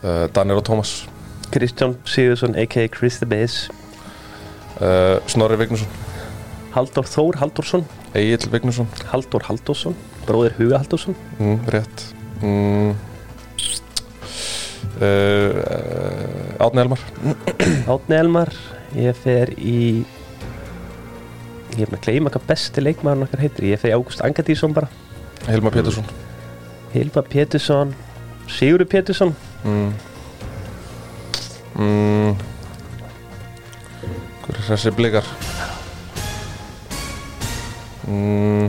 Speaker 2: uh, Daniel og Thomas
Speaker 3: Kristján Sigursson a.k.a. Chris the Bass
Speaker 2: uh, Snorri Vignuson
Speaker 3: Halldór Þór Halldórsson
Speaker 2: Egil Vignuson
Speaker 3: Halldór Halldórsson Bróðir Huga Halldórsson
Speaker 2: mm, Rétt mm, uh, Átni Elmar
Speaker 3: Átni Elmar Ég fer í Ég er með að gleyma hvað besti leikmaður okkar heitir Ég fer í Ágúst Angadísson bara
Speaker 2: Hilmar
Speaker 1: Mm.
Speaker 2: Pétursson
Speaker 3: Hilma Pétursson Sigurður Pétursson
Speaker 2: mm, Hver er þessi blikar? Mm,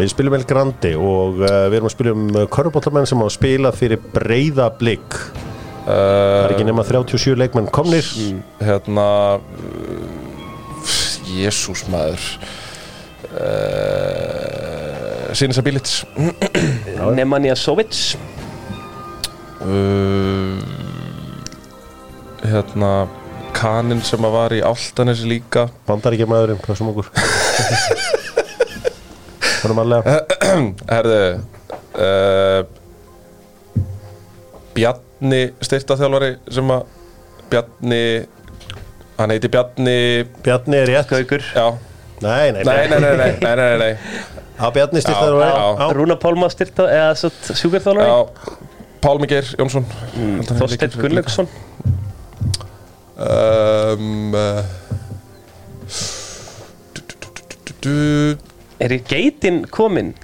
Speaker 1: við spilum El Grandi og uh, við erum að spila um körfubóttamenn sem á að spila fyrir breyða blik Það er
Speaker 2: uh,
Speaker 1: ekki nema 37 leikmenn komnir
Speaker 2: hérna Jésús maður uh, Sinisa Bílits
Speaker 3: Nemanja Sovits
Speaker 2: uh, Hérna Kaninn sem að var í Áltanesi líka
Speaker 1: Bandar ekki maðurinn, pössum okkur Þannig manlega
Speaker 2: Herðu uh, Bjarni styrtaþjálfari sem að Bjarni Hann heiti Bjarni
Speaker 1: Bjarni er rétt
Speaker 3: Gaukur
Speaker 2: Já,
Speaker 1: Nei, nei,
Speaker 2: nei,
Speaker 1: nei
Speaker 2: nei, nei, nei, nei, nei, nei.
Speaker 1: Á Bjarni styrta
Speaker 2: Já,
Speaker 1: það
Speaker 2: já.
Speaker 1: var
Speaker 3: Rúna Pálma styrta eða svo sjúkarþjálfari
Speaker 2: Já, Pálmi Geir Jónsson
Speaker 3: Mm. Þorsteinn Gunnlaugsson
Speaker 2: um, uh, du- du- du- du- du- du-
Speaker 3: Er í geitin kominn?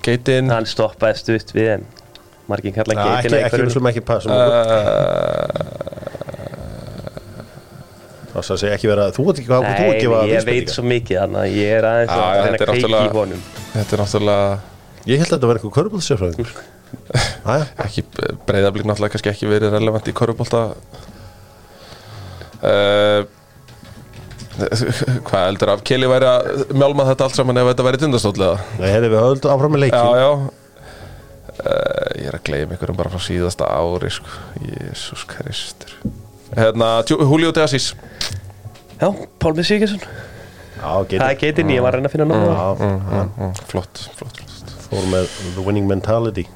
Speaker 2: Geitin
Speaker 3: Hann stoppaði stutt við en margir kalla hann
Speaker 1: Ekki,
Speaker 3: geitin
Speaker 1: ekki, við slum ekki pössum
Speaker 2: Eh,
Speaker 1: okkur
Speaker 2: uh,
Speaker 1: Það sagði ekki vera, þú veit ekki hvað þú
Speaker 3: Nei,
Speaker 1: ekki var
Speaker 3: ég veit svo mikið þannig að ég er aðeins
Speaker 2: Já,
Speaker 3: að
Speaker 2: já,
Speaker 3: reyna
Speaker 2: þetta
Speaker 3: að
Speaker 2: er
Speaker 3: kveiki í
Speaker 2: náttúrulega-
Speaker 3: honum
Speaker 2: Þetta er náttúrulega
Speaker 1: Ég held að þetta var einhver körfubóttsefræðingur Æja,
Speaker 2: ekki breyðablík náttúrulega kannski ekki verið relevant í korfbólta uh, Hvað heldur af Kelly væri að mjálma þetta allt saman ef þetta væri tundastóðlega
Speaker 1: nei, hefði við höld áfram með
Speaker 2: Já,
Speaker 1: leikin
Speaker 2: já uh, Ég er að gleyma ykkur bara frá síðasta ári sko. Jésús Kristur Hérna, Ju- Julio De Assis
Speaker 3: Já, Pálmi Sigursson
Speaker 1: Já,
Speaker 3: Það er
Speaker 1: getur
Speaker 3: geitin, ég var að reyna að finna nóg
Speaker 1: Já,
Speaker 2: mm, mm, Flott, flott, flott
Speaker 1: fór með The Winning Mentality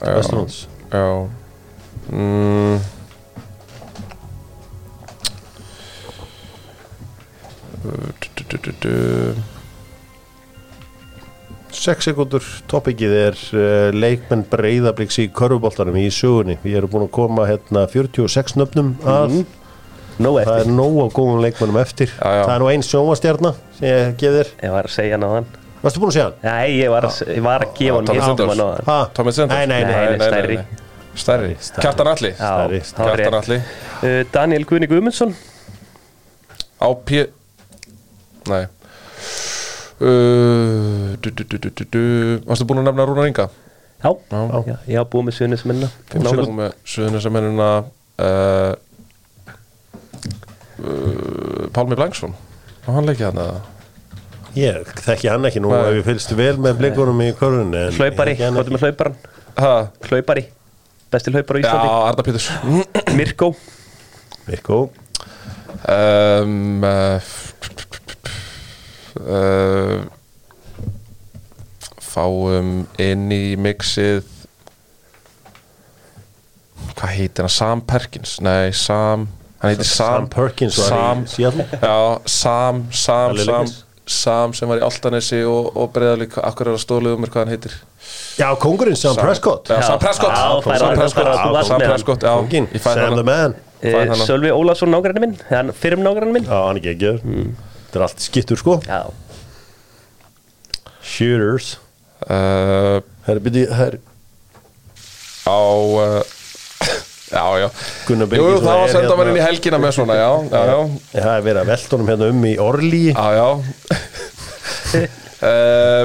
Speaker 2: Já.
Speaker 1: Vesturlands
Speaker 2: Já mm. Du- du- du- du-
Speaker 1: 6 sekundur topikið er uh, leikmenn breyðabliks í körfuboltanum í sögunni við erum búin að koma hérna 46 nöfnum að
Speaker 3: Nó
Speaker 1: það
Speaker 3: eftir,
Speaker 1: er nóg á góðum leikmennum eftir
Speaker 2: Mhm. Já, já.
Speaker 1: það er nú ein sjónvastjarna sem ég gef þér
Speaker 3: ég var að segja hann á hann
Speaker 1: varstu búin að segja hann?
Speaker 3: Nei, ég var að, ég var að gefa hann
Speaker 2: Thomas
Speaker 3: Ég
Speaker 2: Anders.
Speaker 3: hann á hann
Speaker 1: Ha?
Speaker 2: Tommy Sanders?
Speaker 1: nei, nei, nei,
Speaker 3: Ah. Nei. stærri.
Speaker 2: Stærri,
Speaker 1: Stærri.
Speaker 2: Kjartan Alli
Speaker 1: Stærri,
Speaker 3: Já,
Speaker 1: stærri.
Speaker 3: það var
Speaker 2: Kjartan
Speaker 3: rétt
Speaker 2: Alli
Speaker 3: Uh, Daniel Guðni Guðmundsson
Speaker 2: Á P Nei Uh, du, du, du, du, du, du. Varstu búin að nefna Rúnar Inga?
Speaker 3: Já, já, ég hafa búið með sunnismennina
Speaker 2: Fimm sekund með Suðunissamennina uh, uh, Pálmi Blanksson og hann leikja hann að
Speaker 1: ég þekki hann ekki nú
Speaker 2: Nei.
Speaker 1: ef ég fylgst vel með blikunum í körfunni en ég
Speaker 3: Hlaupari,
Speaker 1: þekki hann
Speaker 3: hvað er með hlauparan?
Speaker 2: ha,
Speaker 3: Hlaupari, besti hlaupar á
Speaker 2: Já,
Speaker 3: Íslandi
Speaker 2: Arda Pítus um,
Speaker 3: Mirko,
Speaker 1: ekki. Mikko,
Speaker 2: uh, f- f- f- f- uh, Fáum inn í mixið Hvað heitir hann? Sam Perkins? Nei, Sam Hann heitir Sam,
Speaker 1: Sam Perkins var
Speaker 2: Sam,
Speaker 1: í Seattle
Speaker 2: Já, Sam, Sam,
Speaker 1: Alveg
Speaker 2: Sam
Speaker 1: leiknis.
Speaker 2: Sam sem var í Altanesi og, og breyðalík akkur er að stóluðu mér hvað hann heitir
Speaker 1: já, kongurinn Sam Prescott
Speaker 2: Já, Sam
Speaker 3: Já.
Speaker 2: Prescott
Speaker 3: Já, fær
Speaker 2: Sam
Speaker 3: hann
Speaker 2: Prescott,
Speaker 3: bara- þú varst
Speaker 2: Sam
Speaker 3: með hann.
Speaker 2: Prescott já,
Speaker 1: konginn,
Speaker 2: ég fæði
Speaker 1: Sam the
Speaker 2: hann
Speaker 1: man
Speaker 2: Fæ
Speaker 3: uh,
Speaker 2: hann á.
Speaker 3: Sölvi Ólafsson nágræni minn Þann fyrir um nágræni minn
Speaker 1: já, hann ekki ekki
Speaker 2: Mm.
Speaker 1: þetta er allt skittur sko
Speaker 3: Já,
Speaker 1: shooters
Speaker 2: uh,
Speaker 1: herri, byrju, herri
Speaker 2: á uh, eh, Já, já
Speaker 1: Gunnar
Speaker 2: Jú,
Speaker 1: Birgis
Speaker 2: jú, það
Speaker 1: var
Speaker 2: var að senda
Speaker 1: hérna-
Speaker 2: mér inn í helgina með svona, já, já, já
Speaker 1: Það er verið að velta honum hérna um í orlí
Speaker 2: Já, já Eh,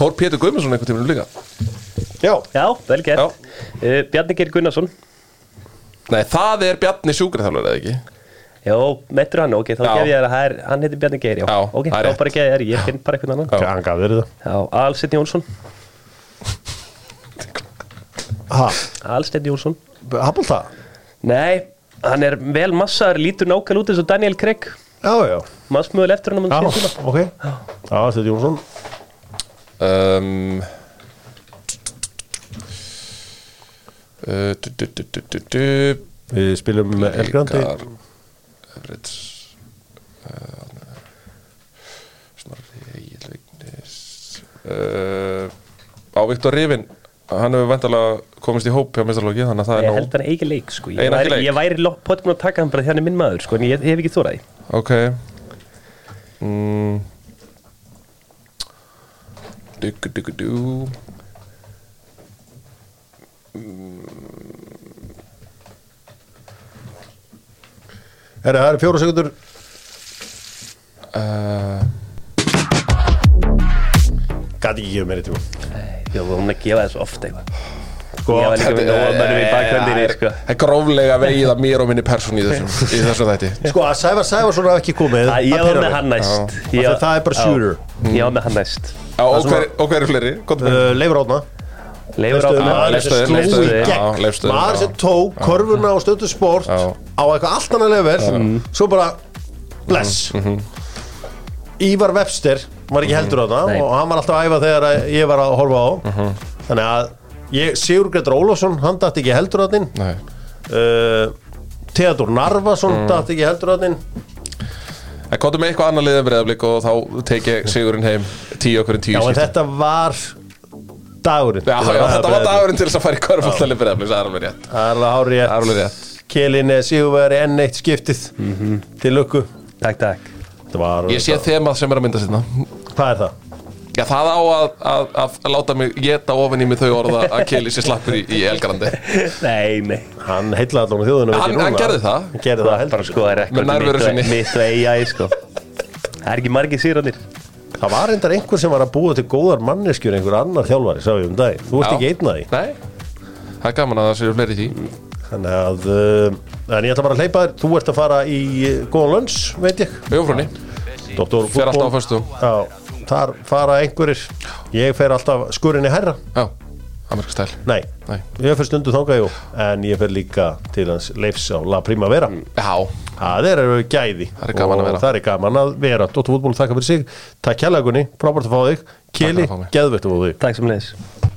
Speaker 2: Fór Pétur Guðmundsson einhvern tímann líka?
Speaker 1: Já,
Speaker 3: Já, vel gert
Speaker 2: Já.
Speaker 3: uh, Bjarni Geir Gunnarsson
Speaker 2: Nei, það er Bjarni sjúkraþjálfur eða ekki?
Speaker 3: Já, meittur hann, ok, þá
Speaker 2: Já.
Speaker 3: gef ég þér að það er, hann heitir Bjarni Geir, já,
Speaker 2: Já,
Speaker 3: ok,
Speaker 2: það
Speaker 3: þá
Speaker 2: er rétt.
Speaker 3: bara gef ég þér, ég finn bara einhvern annan
Speaker 2: Já.
Speaker 1: hann gaf verið það
Speaker 3: Já, Alsteinn Jónsson,
Speaker 1: Ha,
Speaker 3: Alsteinn Jónsson
Speaker 1: hafbólta?
Speaker 3: Nei, hann er vel massaður, lítur nákvæmlega út eins og Daniel Craig
Speaker 1: Já, já,
Speaker 3: Massmöðul eftir hann á
Speaker 1: já,
Speaker 3: mann síðan
Speaker 1: ok Já, Steinn Jónsson
Speaker 2: um, uh, du, du, du, du, du, du,
Speaker 1: Við spilum með Elgrandi
Speaker 2: Blikar, Everett uh, Snorri Egill Vignis uh, Á Viktor Rifin Hann hefur vantarlega komist í hóp hjá mestarlóki þannig að það
Speaker 3: Ég
Speaker 2: er
Speaker 3: held
Speaker 2: nóg
Speaker 3: hann eigi leik, sko Ég
Speaker 2: Eigi hann
Speaker 3: væri,
Speaker 2: ekki leik?
Speaker 3: ég væri potið búin að taka hann bara því hann er minn maður, sko, en ég, ég hef ekki þóraði
Speaker 2: Ok mm. Duggu duggu dú
Speaker 1: Herra, það eru fjóra sekundur Eh.
Speaker 2: uh,
Speaker 1: Gat ekki gefið meiri tíma
Speaker 3: Ég var hún að gefa þessu oft eitthvað
Speaker 1: Sko,
Speaker 3: Ég var líka með nóga mönnum í bakgröndinni,
Speaker 2: Það er-
Speaker 3: sko
Speaker 2: Það er gróflega vegið að mér og minni persón í þessum, í þessum þætti
Speaker 1: sko að Sævar Sævarsson hafi ekki komið
Speaker 3: Æ, Ég
Speaker 1: það
Speaker 3: var
Speaker 1: pirrar
Speaker 3: með
Speaker 1: mig.
Speaker 3: hann næst
Speaker 2: Já.
Speaker 1: Af
Speaker 3: Ég-
Speaker 1: því að það er bara
Speaker 3: Já.
Speaker 1: shooter.
Speaker 3: Ég var með hann næst
Speaker 2: Já, og,
Speaker 1: sem
Speaker 2: hver, og hver er fleiri? Góðum við
Speaker 1: Uh, Leifur Átna
Speaker 3: Leifur
Speaker 1: Veistu,
Speaker 3: Átna
Speaker 1: maður sem
Speaker 2: Leifstöður,
Speaker 1: sló í
Speaker 2: Leifstöður, já,
Speaker 1: gegn
Speaker 2: Leifstöður,
Speaker 1: maður
Speaker 2: já.
Speaker 1: sem tók korfuna og stöndu sport
Speaker 2: Já. Mhm.
Speaker 1: á eitthvað allt annað level svo bara bless Ívar Webster var
Speaker 2: Mhm.
Speaker 1: ekki heldur á
Speaker 3: Nei.
Speaker 1: það og hann var alltaf að æfa þegar að ég var að horfa á
Speaker 2: Mhm.
Speaker 1: þannig að ég, Sigur Gretar Ólafsson hann dætt ekki heldur á þinn
Speaker 2: Nei
Speaker 1: uh, Theodor Narvason
Speaker 2: Mhm.
Speaker 1: mm. dætt ekki heldur á þinn
Speaker 2: En komdu með eitthvað annað liðan breyðablík og þá tek ég sigurinn heim tíu okkur en tíu
Speaker 1: já en
Speaker 2: skipti.
Speaker 1: þetta var dagurinn
Speaker 2: Já, já, þetta var dagurinn til þess að fara í körfóltalið breyðablík, það er alveg rétt.
Speaker 1: það er alveg hárið
Speaker 2: Það er alveg rétt. Mhm.
Speaker 1: Kelin er Sigurveri enn eitt skiptið til lukku
Speaker 3: Takk, takk
Speaker 1: Þetta var,
Speaker 2: Ég sé þemað sem er að mynda sérna.
Speaker 1: hvað er það?
Speaker 2: Já, það á að, að, að láta mig geta ofin í mig þau orða að Kelly sé slappur í, í Elgarandi.
Speaker 3: Nei, nei
Speaker 1: Hann heitlaði allan þjóðunum
Speaker 2: Hann- hann gerði það.
Speaker 1: Hann gerði það
Speaker 3: Það
Speaker 1: heldur
Speaker 3: bara sko er ekkert
Speaker 2: Með nærveru
Speaker 3: mitt og-
Speaker 2: sinni.
Speaker 3: Mitt og AI sko Það er ekki margir sýranir
Speaker 1: Það var reyndar einhver sem var að búa til góðar manneskjur einhver annar þjálfari, sá ég um dag Þú ert
Speaker 2: Já.
Speaker 1: ekki einn að því
Speaker 2: Nei, það er gaman að það séu fleiri í því.
Speaker 1: Þannig að, uh, en ég ætla bara að hleypa þér Þú ert að fara í uh, góðan lönns, veit ég
Speaker 2: Jófrúni,
Speaker 1: Dr.
Speaker 2: fer alltaf á föstu.
Speaker 1: Já, þar fara einhverjir Ég fer alltaf skurinni herra
Speaker 2: Já, amerkastæl.
Speaker 1: Nei,
Speaker 2: Nei.
Speaker 1: ég fer stundu þangað jú En ég fer líka til hans leifs á La Primavera
Speaker 2: Já,
Speaker 1: Það er eru gæði
Speaker 2: Þar er gaman að
Speaker 1: Og
Speaker 2: vera.
Speaker 1: Það er gaman að vera Dóttu fútból, þakka fyrir sig Takk kjærleikunni, frábært að fá þig Keli,
Speaker 2: að fá mig.
Speaker 1: geðvett að fá þig
Speaker 3: Takk sem leiðis